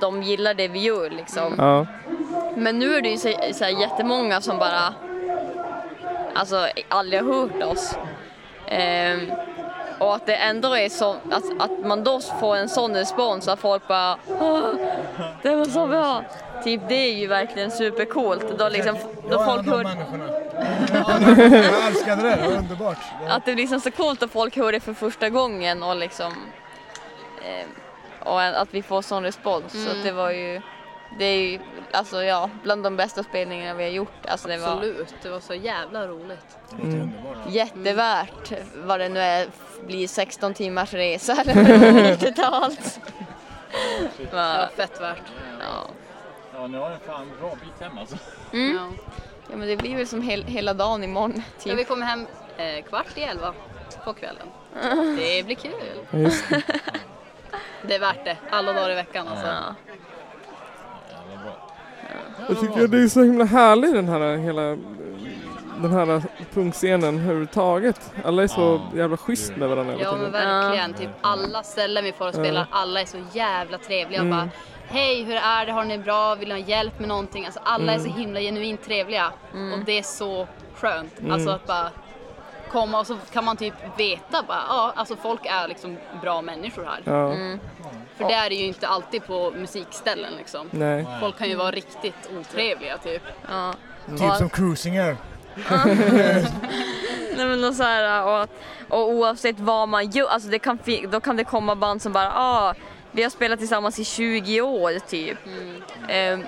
Speaker 8: de gillar det vi gör liksom.
Speaker 3: Ja.
Speaker 8: Men nu är det ju så, så här, jättemånga som bara alltså, aldrig har hört oss. Ehm, och att det ändå är så, att, att man då får en sån respons att folk bara "Åh, det var så bra. Typ det är ju verkligen supercoolt. Då, liksom, då folk hör,
Speaker 5: Jag älskade det, det var underbart.
Speaker 8: att det är liksom så coolt att folk hör det för första gången och liksom ehm, och att vi får sån respons. Så
Speaker 11: Mm.
Speaker 8: att det var ju, det är ju alltså ja, bland de bästa spelningarna vi har gjort. Alltså, det var,
Speaker 11: Absolut, det var så jävla roligt.
Speaker 8: Jättevärt vad det nu är, blir 16 timmars resa eller vad det är totalt.
Speaker 11: Ja, fett värt.
Speaker 8: Ja.
Speaker 14: Ja, nu har jag fan bra bit hem alltså.
Speaker 8: Mm. ja men det blir väl som hel, hela dagen imorgon.
Speaker 11: Ja,
Speaker 8: Typ.
Speaker 11: vi kommer hem eh, kvart i elva på kvällen. Det blir kul.
Speaker 3: Just det.
Speaker 11: Det är värt det, alla dagar i veckan alltså.
Speaker 3: Jag tycker det är så himla härlig den här hela den här punkscenen överhuvudtaget. Alla är så jävla schysst med varandra hela
Speaker 11: Ja men
Speaker 3: tiden.
Speaker 11: verkligen, typ alla ställen vi får och spelar,
Speaker 3: Ja.
Speaker 11: alla är så jävla trevliga.
Speaker 3: Mm.
Speaker 11: Bara, Hej, hur är det? Har ni det bra? Vill ni ha hjälp med någonting? Alltså alla är så
Speaker 8: Mm.
Speaker 11: himla genuint trevliga
Speaker 3: Mm.
Speaker 11: och det är så skönt.
Speaker 8: Mm.
Speaker 11: Alltså att bara komma och så kan man typ veta bara, ja alltså folk är liksom bra människor här.
Speaker 3: Ja.
Speaker 11: Mm. För det är det ju inte alltid på musikställen liksom.
Speaker 3: Nej.
Speaker 11: Folk kan ju vara riktigt otrevliga typ.
Speaker 8: Ja.
Speaker 5: Typ som cruisinger.
Speaker 8: Nej, men då så här, och, att- och oavsett vad man gör, alltså det kan, fi- då kan det komma band som bara ah, vi har spelat tillsammans i 20 år typ. Ehm,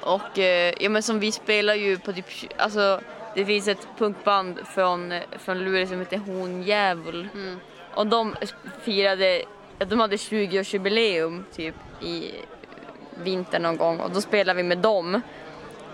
Speaker 8: och eh, ja, men som vi spelar ju på typ, alltså det finns ett punkband från, eh, från Luleå som heter Hon Djävul.
Speaker 11: Mm.
Speaker 8: Och de firade, de hade 20-årsjubileum typ i vinter någon gång och då spelade vi med dem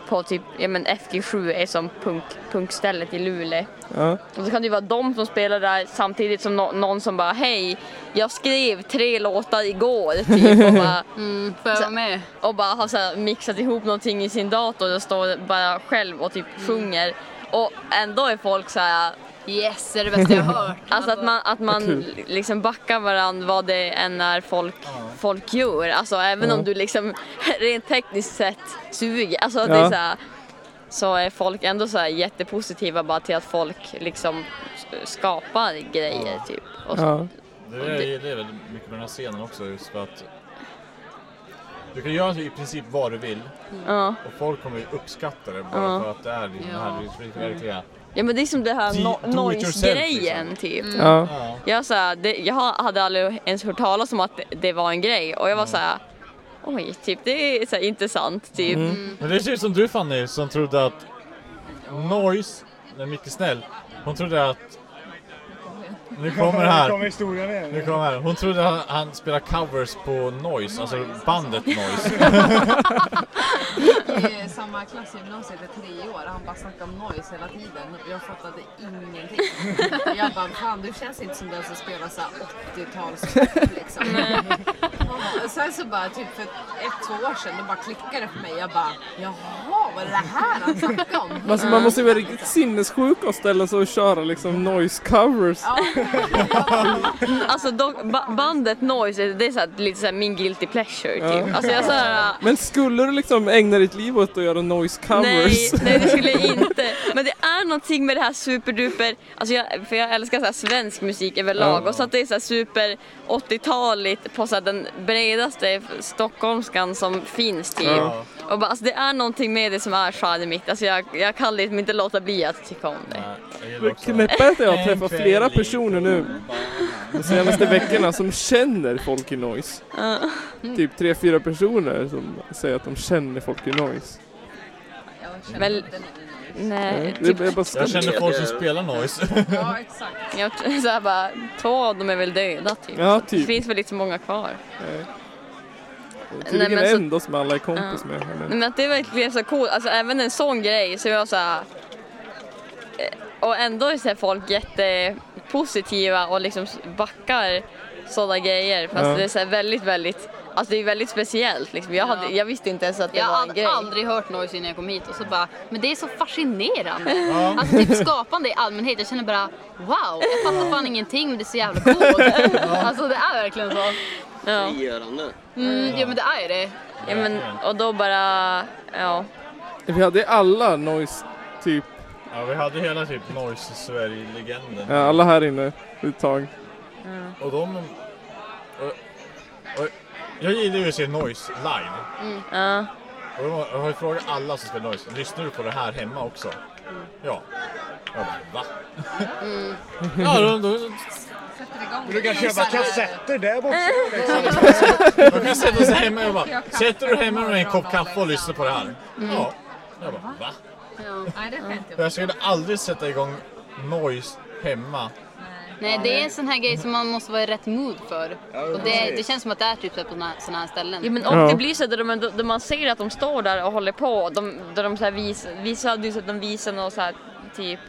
Speaker 8: på typ, ja men FG7 är som punk, punkstället i Luleå.
Speaker 3: Ja.
Speaker 8: Och så kan det ju vara de som spelar där samtidigt som nå- någon som bara hej, jag skrev tre låtar igår typ och bara
Speaker 11: Mm, får jag vara med?
Speaker 8: och bara har så här mixat ihop någonting i sin dator och står bara själv och typ sjunger. Och ändå är folk så här
Speaker 11: Yes, det är det bästa jag har hört.
Speaker 8: Alltså att man, att
Speaker 11: Vad
Speaker 8: man
Speaker 11: kul.
Speaker 8: liksom backar varandra vad det än är folk, folk gör. Alltså även
Speaker 11: Ja.
Speaker 8: om du liksom rent tekniskt sett suger. Alltså det
Speaker 11: Ja.
Speaker 8: är så, här, så är folk ändå så här jättepositiva bara till att folk liksom s- skapar grejer typ. Och så.
Speaker 3: Ja.
Speaker 14: Det är, det är väl mycket med den här scenen också, just för att
Speaker 5: Du kan göra i princip vad du vill
Speaker 8: Ja.
Speaker 5: och folk kommer ju uppskatta det bara
Speaker 8: Ja.
Speaker 5: för att det är din
Speaker 8: Ja.
Speaker 5: här det är verkliga.
Speaker 8: Ja men det är som det här
Speaker 5: Do-
Speaker 8: no-
Speaker 5: do it
Speaker 8: noise-grejen typ.
Speaker 5: Mm. Ja. Ja.
Speaker 8: Jag, så här, det, jag hade aldrig ens hört talas om att det, det var en grej och jag var så här, oj, typ det är så här, intressant typ.
Speaker 5: Men det ser ut som du Fanny som trodde att noise, när Micke är snäll, hon trodde att nu kommer det här.
Speaker 2: Nu kommer historien igen.
Speaker 5: Nu kommer det här. Hon trodde att han spelar covers på Noise, alltså bandet Noise.
Speaker 1: I samma klass i gymnasiet i tre år, han bara snackade om noise hela tiden. Jag fattade ingenting. Jag bara, fan du känns inte som den som spelar så här 80-tals liksom. Och sen så bara typ för ett, två år sedan, då bara klickade det för mig. Jag bara, jaha vad är det här han snackade om?
Speaker 3: Men Alltså, man måste ju vara riktigt sinnessjuk och ställa sig och köra liksom noise covers.
Speaker 8: alltså dock, ba- bandet noise, det är så här, lite så här, min guilty pleasure typ.
Speaker 3: Ja.
Speaker 8: Alltså jag så här,
Speaker 3: Men skulle du liksom ägna ditt liv åt att göra noise covers?
Speaker 8: Nej, nej det skulle jag inte. Men det är någonting med det här superduper, alltså jag, för jag älskar så här svensk musik överlag
Speaker 3: Ja.
Speaker 8: och så att det är så här super 80-taligt på så här den bredaste stockholmskan som finns typ.
Speaker 5: Ja.
Speaker 8: Och bara, alltså det är någonting med det som är charmigt, alltså jag, jag kan liksom inte låta bli att tycka om det.
Speaker 3: Det knäppa är att jag träffar flera personer nu de senaste veckorna som känner folk i noise.
Speaker 8: Ja.
Speaker 3: Typ tre, fyra personer som säger att de känner folk i noise.
Speaker 8: Men, nej, typ
Speaker 3: Nej, det är bara skumt.
Speaker 5: Jag känner folk som spelar noise.
Speaker 8: Ja, exakt. Jag, så här bara, två av dem är väl döda typ.
Speaker 3: Ja,
Speaker 8: Så Det
Speaker 3: typ.
Speaker 8: finns väl inte så många kvar.
Speaker 3: Tydligen
Speaker 8: men så-
Speaker 3: en då som alla är kompis
Speaker 8: Ja.
Speaker 3: med. eller?
Speaker 8: Nej, men att det verkligen så coolt, alltså även en sån grej så jag så här, eh, och ändå är så här folk jättepositiva och liksom backar sådana grejer fast
Speaker 11: Ja.
Speaker 8: det är så här väldigt väldigt Alltså det är väldigt speciellt liksom. jag, hade, jag visste inte ens att det
Speaker 11: Jag
Speaker 8: var en
Speaker 11: hade
Speaker 8: grej.
Speaker 11: aldrig hört noise innan jag kom hit och så bara, men det är så fascinerande.
Speaker 8: Ja.
Speaker 11: Alltså typ skapande i allmänhet, jag känner bara wow, jag fattar fan ingenting men det är så jävla coolt. Alltså det är verkligen så.
Speaker 15: Frigörande.
Speaker 11: Mm, ja men det är ju det.
Speaker 8: Ja, men, och då bara, ja.
Speaker 3: Vi hade alla noise typ,
Speaker 5: Ja, vi hade hela typ Noise Sverige-legenden.
Speaker 3: ja, alla här inne ett tag.
Speaker 5: Och de... Och, och, jag gillar ju att se Noise live.
Speaker 8: Mm. Ja.
Speaker 5: Och jag har- jag har ju frågat alla som spelar Noise, lyssnar du på det här hemma också? Ja. Jag bara, va? Ja, då, då,
Speaker 2: Du kan köpa kassetter där borta.
Speaker 5: de kan sätta sig hemma och bara, sätter du hemma med en kopp kaffe och lyssnar på det här?
Speaker 2: Mm.
Speaker 5: Ja. Jag bara, va?
Speaker 1: Nej, det skämtar jag
Speaker 5: Och jag skulle aldrig sätta igång Noise hemma.
Speaker 11: Nej det är en sån här grej som man måste vara i rätt mood för. Och det,
Speaker 8: precis.
Speaker 11: det känns som att det är typ så här på såna- såna här ställen.
Speaker 8: Ja, men och det blir så där de, där man ser att de står där och håller på. De, där de så här vis, vissa hade ju sett de visar någon, så här, typ,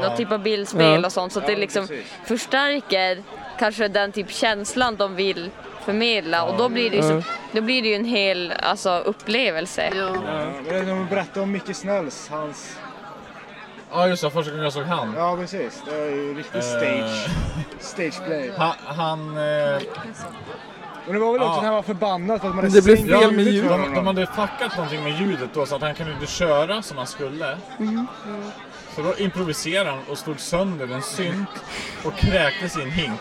Speaker 11: Ja.
Speaker 8: någon typ av bildspel
Speaker 11: Ja.
Speaker 8: och sånt. Så att
Speaker 11: Ja,
Speaker 8: det liksom
Speaker 11: precis.
Speaker 8: förstärker kanske den typ känslan de vill förmedla. Och då blir, det ju så,
Speaker 2: Ja.
Speaker 8: då blir det ju en hel alltså, upplevelse.
Speaker 2: Ja, men de berättade om Micke Snälls, hans...
Speaker 5: Ja just det, första gången jag såg han.
Speaker 2: Ja precis, det är ju
Speaker 5: Eh.
Speaker 2: riktig stage. Stageplay.
Speaker 5: Han... han eh,
Speaker 2: Men det var väl också
Speaker 5: Ja.
Speaker 2: när han var förbannad för att man hade
Speaker 5: Det blev
Speaker 2: stängt
Speaker 5: fel med
Speaker 2: för
Speaker 5: ljudet.
Speaker 2: honom.
Speaker 5: De, de hade fuckat någonting med ljudet då så att han kunde inte köra som han skulle. Så då improviserade han och slog sönder en synt och kräktes i en hink.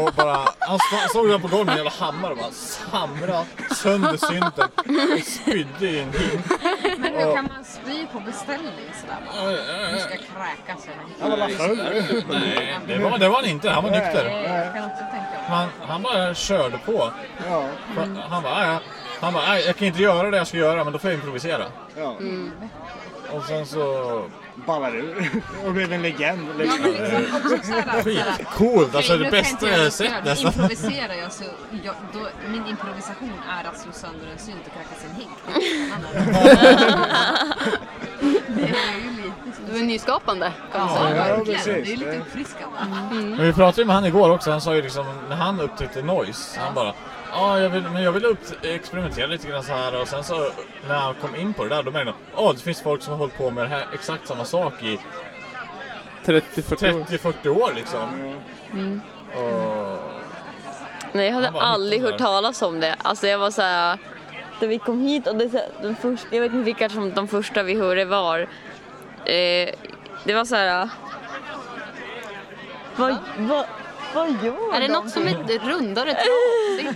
Speaker 5: Och bara, han stå- såg där på golvet med en jävla hammare och bara hamrade sönder synten och spydde i en hink.
Speaker 1: Men hur kan man spy på beställning sådär?
Speaker 5: Ja, ja, ja.
Speaker 1: Du ska kräkas eller något.
Speaker 5: Han var bara full. Nej, det var, det var han inte. Han var
Speaker 1: Nej,
Speaker 5: nykter.
Speaker 1: Jag kan också tänka mig.
Speaker 5: Han, han bara körde på.
Speaker 2: Ja.
Speaker 5: Han, han bara, "Ah, ja." han bara "Ah, jag kan inte göra det jag ska göra men då får jag improvisera.
Speaker 2: Ja.
Speaker 5: Och sen så...
Speaker 2: Ballade ur och blev en legend.
Speaker 1: Ja, men liksom också såhär,
Speaker 5: Skitcoolt, alltså
Speaker 1: Okej,
Speaker 5: det
Speaker 1: nu kan
Speaker 5: bästa
Speaker 1: inte
Speaker 5: jag har
Speaker 1: göra
Speaker 5: sett
Speaker 1: det.
Speaker 5: nästan.
Speaker 1: Improviserar jag så, jag, då, min improvisation är att slå sönder en synt och kräka sin hink. Det är ju lite
Speaker 11: Det var nyskapande kan man
Speaker 1: Ja,
Speaker 11: säga.
Speaker 1: verkligen. Det är lite uppfriskande.
Speaker 5: Men vi pratade ju med han igår också, han sa ju liksom när han upptäckte noise, han bara Ja, jag vill, men jag vill upp, experimentera lite grann så här och sen så när han kom in på det där då märkte han Åh, det finns folk som har hållit på med det här, exakt samma sak i
Speaker 3: 30-40 år.
Speaker 5: 30-40 år liksom.
Speaker 8: Mm.
Speaker 5: Och,
Speaker 8: Nej, jag hade
Speaker 5: Han bara,
Speaker 8: aldrig
Speaker 5: "Hittar
Speaker 8: hört
Speaker 5: det här."
Speaker 8: talas om det. Alltså jag var så här, när vi kom hit och det, är så här, den första, jag vet inte vilka som de första vi hörde var. Eh, det var så här, vad, vad, vad gör
Speaker 11: Är det
Speaker 8: de?
Speaker 11: något som är ett rundare tråd?
Speaker 8: Ja.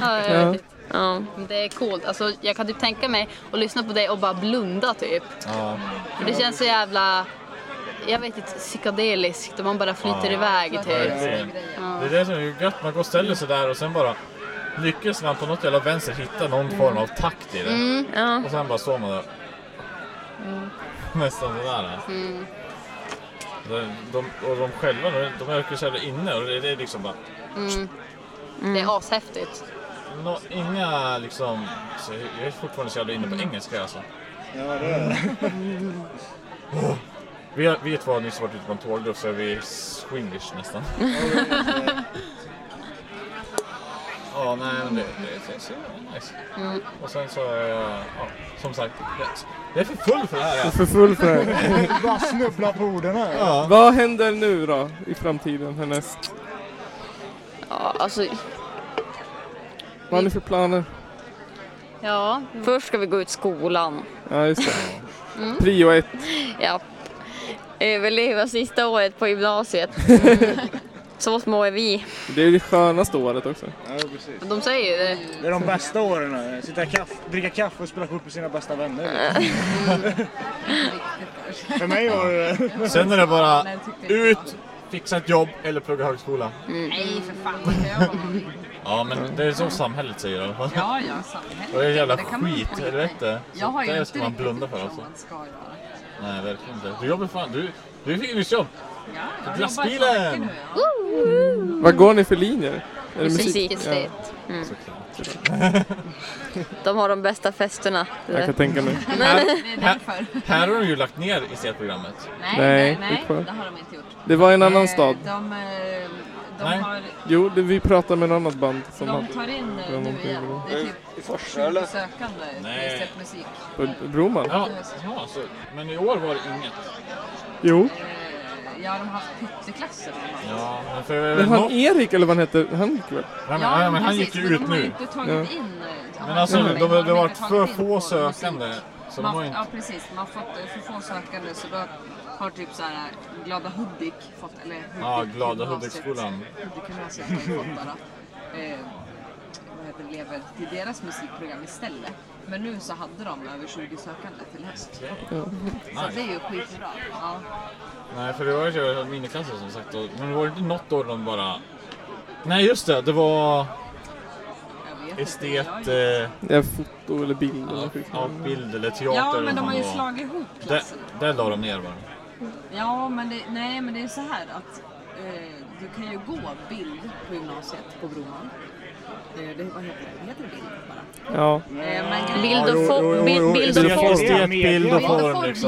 Speaker 11: Ja, jag vet inte. Men Det är coolt. Alltså, jag kan typ tänka mig att lyssna på dig och bara blunda typ.
Speaker 5: Ja.
Speaker 11: För det känns så jävla, jag vet inte, psykedeliskt och man bara flyter
Speaker 5: Ja.
Speaker 11: iväg
Speaker 5: Ja,
Speaker 11: typ.
Speaker 5: verkligen.
Speaker 11: Ja.
Speaker 5: Det är det som är gött, man går och ställer sig där och sen bara lyckas man på något jävla vänster hitta någon form av takt i det.
Speaker 11: Mm, ja.
Speaker 5: Och sen bara står man där. Nästan sådär.
Speaker 11: Mm.
Speaker 5: De, de, och de själva, de, de verkar så jävla inne och det, det är liksom bara
Speaker 11: Mm. Det är ashäftigt.
Speaker 5: nå- inga liksom... Så jag är fortfarande så jävla inne på engelska alltså.
Speaker 11: Ja,
Speaker 5: det är Vi, har, vi två har nyss varit ute på en tågluff så är vi swinglish nästan. Ja, nej men det, det, det, det är nice.
Speaker 11: Mm.
Speaker 5: Och sen så är jag, ja, som sagt, jag, jag är för full för det här.
Speaker 3: Jag är för full för det här.
Speaker 2: Bara snubbla på orden här.
Speaker 5: Ja.
Speaker 3: Vad händer nu då i framtiden härnäst?
Speaker 8: Ja, alltså,
Speaker 3: Vad har ni för planer?
Speaker 11: Ja.
Speaker 8: Först ska vi gå ut skolan.
Speaker 3: Ja, just det.
Speaker 8: Mm.
Speaker 3: Prio ett.
Speaker 8: Ja. Överleva sista året på gymnasiet. Så små är vi.
Speaker 3: Det är det skönaste året också.
Speaker 2: precis.
Speaker 11: De säger ju det.
Speaker 2: Det är de bästa åren. eh. Sitta och kaff, dricka kaffe och spela kort med sina bästa vänner. För mig var det...
Speaker 5: Sen är det bara ut, fixa ett jobb eller plugga högskola.
Speaker 4: Nej för fan, det kan jag vara med om.
Speaker 5: Ja men det är så samhället säger i alla fall.
Speaker 4: Ja, ja, samhället.
Speaker 5: Och det är jävla
Speaker 4: Det kan man
Speaker 5: skit,
Speaker 4: skita i.
Speaker 5: helvete.
Speaker 4: Jag har ju
Speaker 5: det
Speaker 4: inte
Speaker 5: ska man
Speaker 4: riktigt
Speaker 5: blunda för
Speaker 4: förstått
Speaker 5: alltså.
Speaker 4: vad man ska göra.
Speaker 5: Nej verkligen inte. Du jobbar fan, du, du fick ju nyss jobb.
Speaker 4: Ja, jag
Speaker 5: Glassbilen!
Speaker 4: jobbar ett par veckor nu,
Speaker 3: Vad går ni för linjer? Är det
Speaker 8: Musik istället. Mm. De har de bästa festerna.
Speaker 3: Jag kan tänka mig.
Speaker 8: Men-
Speaker 5: Här,
Speaker 4: Det är därför.
Speaker 5: här, här har de ju lagt ner IC-programmet.
Speaker 4: Nej,
Speaker 3: Nej,
Speaker 4: nej,
Speaker 3: det är
Speaker 4: nej,
Speaker 3: kvar.
Speaker 4: det har de inte gjort.
Speaker 3: Det var i en annan
Speaker 4: Eh,
Speaker 3: stad.
Speaker 4: De, eh, de
Speaker 5: Nej.
Speaker 4: har...
Speaker 3: Jo, det, vi pratade med en annat band som
Speaker 4: De
Speaker 3: hade-
Speaker 4: tar in eh,
Speaker 3: det var
Speaker 4: nu
Speaker 3: någonting
Speaker 4: igen.
Speaker 3: med
Speaker 4: Det är
Speaker 16: I
Speaker 4: typ
Speaker 16: Forsa,
Speaker 4: 20
Speaker 16: eller?
Speaker 4: sökande
Speaker 5: Nej.
Speaker 4: till Sätt musik.
Speaker 3: På Broman?
Speaker 5: Ja, ja så, men i år var det inget.
Speaker 3: Jo.
Speaker 4: Eh, Ja, de har haft pytteklasser.
Speaker 5: Ja, men för...
Speaker 3: Men han
Speaker 5: något-
Speaker 3: Erik eller vad han heter, han gick väl?
Speaker 5: Ja, men, ja, men han gick ju ut
Speaker 4: De har ju
Speaker 5: nu.
Speaker 4: inte tagit
Speaker 3: Ja.
Speaker 4: in... eh,
Speaker 5: Men alltså,
Speaker 4: har-
Speaker 5: det var- det
Speaker 4: har
Speaker 5: var
Speaker 4: inte
Speaker 5: för
Speaker 4: tagit in
Speaker 5: få
Speaker 4: på
Speaker 5: sökande.
Speaker 4: musik.
Speaker 5: Så de
Speaker 4: man,
Speaker 5: har inte...
Speaker 4: Ja, precis. Man har fått eh, för få sökande så då har typ så här Glada Hudik fått, eller Hudik
Speaker 5: Ja, Glada
Speaker 4: gymnasiet-
Speaker 5: Hudikskolan.
Speaker 4: Hudikgymnasiet har ju fått bara eh, vad heter det, elever till deras musikprogram istället. Men nu så hade de över 20 sökande till höst.
Speaker 5: Ja.
Speaker 4: Så
Speaker 5: Nice.
Speaker 4: det är ju skitbra. Ja.
Speaker 5: Nej, för det var ju miniklasser som sagt. Och, men det var inte något år de bara... Nej, just det. Det var... Estet... Eh,
Speaker 3: Ja, foto eller bild. eller
Speaker 5: ja,
Speaker 3: något skit.
Speaker 5: ja, bild eller teater.
Speaker 4: Ja, men
Speaker 5: eller
Speaker 4: de
Speaker 5: vad
Speaker 4: har ju
Speaker 5: det var.
Speaker 4: slagit ihop
Speaker 5: Där,
Speaker 4: klasserna.
Speaker 5: där la de ner bara.
Speaker 4: Ja, men det, nej, men det är så här att eh, du kan ju gå bild på gymnasiet på Broman. Eh, det, vad heter det? Heter det bild bara?
Speaker 3: Ja.
Speaker 4: Eh, men grejen-
Speaker 8: Bild och form. Bild, bild och form.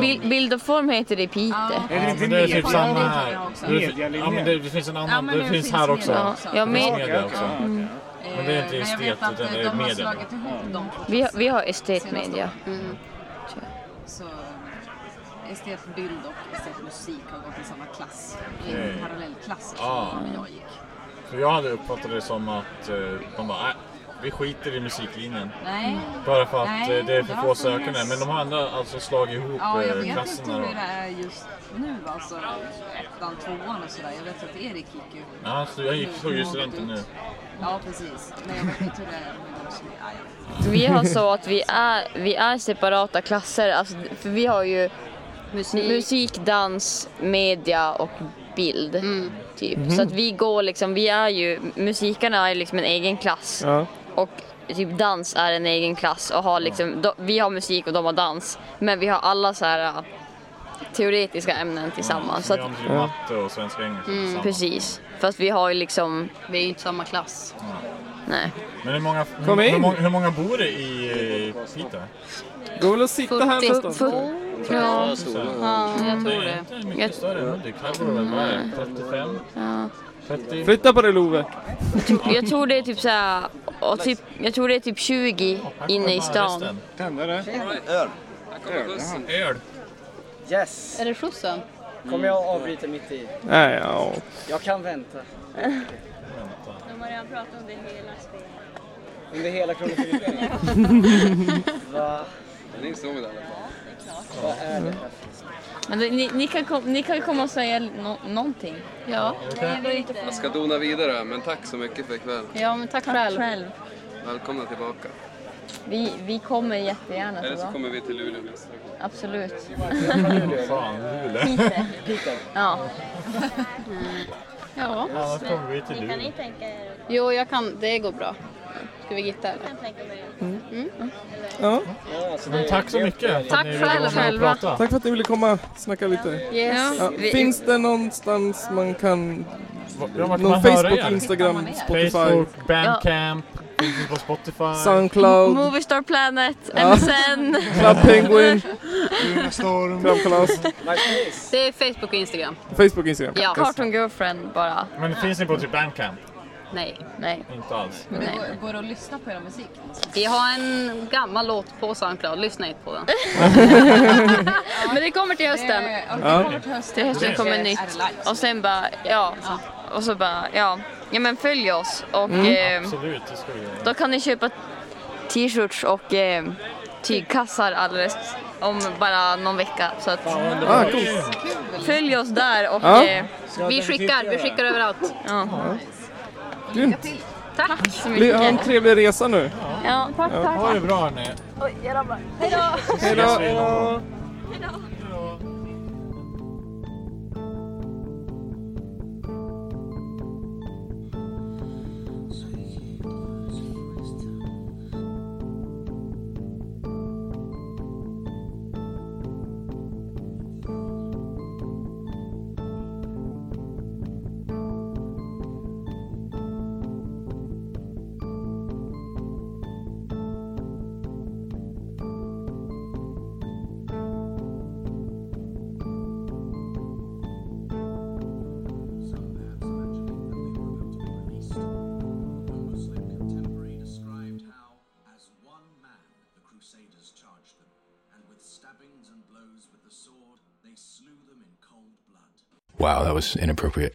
Speaker 8: Bild, bild och form heter det i Piteå.
Speaker 5: Ja, men det är typ samma här. Det, ja, men det, det finns en
Speaker 4: Ja,
Speaker 5: annan.
Speaker 4: men
Speaker 5: det,
Speaker 4: nu
Speaker 5: finns
Speaker 4: finns
Speaker 5: här
Speaker 4: media
Speaker 5: också.
Speaker 4: också.
Speaker 8: Ja,
Speaker 5: det finns
Speaker 8: men-
Speaker 5: media också.
Speaker 8: Okej, okej.
Speaker 5: Mm. Men det är
Speaker 4: men Eh,
Speaker 5: inte
Speaker 1: Eh,
Speaker 4: jag
Speaker 5: estet
Speaker 4: vet att
Speaker 5: utan det
Speaker 4: de
Speaker 5: är
Speaker 4: har
Speaker 5: media.
Speaker 4: slagit ihop dem.
Speaker 8: Vi, har- vi har estetmedia.
Speaker 4: Så estetbild och estetmusik har gått i samma klass. I
Speaker 5: Okej. Ah.
Speaker 4: parallellklass
Speaker 5: Ja.
Speaker 4: som jag gick.
Speaker 5: För jag hade uppfattat det som att eh, de bara, "Nej, vi skiter i musiklinjen.
Speaker 4: Nej.
Speaker 5: Bara för att
Speaker 4: Nej,
Speaker 5: eh, det är för
Speaker 4: det
Speaker 5: få
Speaker 4: har
Speaker 5: sökande.
Speaker 4: funnits.
Speaker 5: Men de har ändå alltså slagit ihop
Speaker 4: Ja, jag
Speaker 5: eh,
Speaker 4: vet inte
Speaker 5: klasserna.
Speaker 4: hur
Speaker 5: då.
Speaker 4: det är just nu alltså. Ettan, tvåan och sådär. Jag vet att Erik gick ju.
Speaker 5: Ja, han stod- jag gick- tog ju
Speaker 4: något
Speaker 5: studenten
Speaker 4: ut.
Speaker 5: nu.
Speaker 4: Ja, precis. Men jag vet inte hur det är med de som är... Ja, jag vet inte.
Speaker 8: Vi har så att vi är, vi är separata klasser. Alltså, för vi har ju musik, dans, media och bild. Typ.
Speaker 3: Mhm.
Speaker 8: Så att vi går liksom, vi är ju, musikarna är liksom en egen klass.
Speaker 3: Ja.
Speaker 8: Och typ dans är en egen klass och har liksom, de, vi har musik och de har dans. Men vi har alla så här äh, teoretiska ämnen tillsammans. Så
Speaker 5: Så vi har
Speaker 8: att,
Speaker 5: typ matte och svenska och engelska
Speaker 8: mm,
Speaker 5: tillsammans.
Speaker 8: precis. Fast vi har ju liksom...
Speaker 11: Vi är ju inte samma klass.
Speaker 8: Nej.
Speaker 5: Men hur många,
Speaker 3: Kom
Speaker 5: hur, hur,
Speaker 3: in.
Speaker 5: många, hur många bor det i eh, Piteå?
Speaker 3: Gå väl och sitta här någonstans.
Speaker 8: Ja.
Speaker 11: Ja, jag tror
Speaker 5: Det är
Speaker 11: det.
Speaker 5: inte mycket större
Speaker 4: Mm.
Speaker 5: än Hudik. Här bor det väl, vad är det, 35?
Speaker 8: Ja.
Speaker 5: 30?
Speaker 3: Flytta på dig Love.
Speaker 8: Jag tror det är typ såhär, och typ, jag tror det är typ 20 inne i stan.
Speaker 2: Tändare.
Speaker 16: Öl.
Speaker 5: Öl.
Speaker 17: Yes.
Speaker 11: Är det skjutsen?
Speaker 17: Kommer jag avbryta mitt i?
Speaker 3: Nej, ja.
Speaker 17: Jag kan vänta.
Speaker 18: De har redan pratat om det hela spelet.
Speaker 17: Under hela Kronofogdeföreningen. Va?
Speaker 16: Den är inte såg i alla fall.
Speaker 17: Vad är det här?
Speaker 8: Men det- ni, ni, kan kom, ni kan ju komma och säga no, någonting. Ja.
Speaker 16: Jag ska dona vidare men tack så mycket för ikväll.
Speaker 11: Ja, men tack själv.
Speaker 19: Välkomna tillbaka.
Speaker 8: Vi, vi kommer jättegärna
Speaker 19: Eller så
Speaker 8: tillbaka.
Speaker 19: kommer vi till Luleå nästa gång.
Speaker 8: Absolut.
Speaker 5: Fan, Luleå.
Speaker 8: Piteå. Ja.
Speaker 11: Ja.
Speaker 5: Annars kommer vi till
Speaker 11: Kan
Speaker 5: Luleå.
Speaker 11: ni tänka er? Jo, jag kan. Det går bra. Ska vi gitta eller?
Speaker 3: Mm.
Speaker 11: Mm.
Speaker 3: Ja.
Speaker 5: Men tack så mycket för att
Speaker 11: Tack
Speaker 5: ni
Speaker 11: för
Speaker 5: ville vara med och
Speaker 11: själva.
Speaker 5: prata.
Speaker 3: Tack för att ni ville komma och snacka lite.
Speaker 11: Yes.
Speaker 3: Ja,
Speaker 11: Vi-
Speaker 3: finns det någonstans man kan...
Speaker 5: Ja, vart kan man
Speaker 3: någon
Speaker 5: höra
Speaker 3: Facebook,
Speaker 5: er?
Speaker 3: Instagram, Spotify?
Speaker 5: Facebook, Bandcamp, finns ni på Spotify.
Speaker 3: Soundcloud.
Speaker 8: Moviestar Planet,
Speaker 3: Ja.
Speaker 8: MSN.
Speaker 3: Club Penguin.
Speaker 5: Storm.
Speaker 3: Kramkalas.
Speaker 11: Det är Facebook och Instagram.
Speaker 3: Facebook, Instagram.
Speaker 8: Ja,
Speaker 3: Yes.
Speaker 8: Cartoon Girlfriend bara.
Speaker 5: Men finns ni på typ Bandcamp?
Speaker 11: Nej.
Speaker 8: Nej.
Speaker 5: Inte alls.
Speaker 11: Men det
Speaker 1: går- Går det att lyssna på er musik?
Speaker 11: Vi har en gammal låt på Soundcloud. Lyssna inte på den.
Speaker 8: Men det kommer till hösten.
Speaker 11: det kommer till hösten.
Speaker 8: Till hösten kommer nytt. Och sen bara, ja. Och så bara, ja. Ja men följ oss och eh,
Speaker 5: Absolut, det ska vi göra.
Speaker 8: då kan ni köpa t-shirts och eh, tygkassar alldeles om bara någon vecka. Så att,
Speaker 3: underbart. Ah, coolt.
Speaker 8: Följ oss där och
Speaker 3: Ja.
Speaker 8: eh,
Speaker 11: Vi skickar, vi skickar överallt.
Speaker 8: Ja.
Speaker 3: Grymt.
Speaker 11: Tack. så
Speaker 3: Bli- Ha en trevlig resa nu.
Speaker 8: Ja, tack,
Speaker 3: Ja.
Speaker 8: tack.
Speaker 5: Ha det bra hörni.
Speaker 8: Oj, jag ramlade. Hej då!
Speaker 3: Hej då.
Speaker 5: Ses vi
Speaker 3: Hej
Speaker 5: någon gång.
Speaker 3: då.
Speaker 20: Wow, that was inappropriate.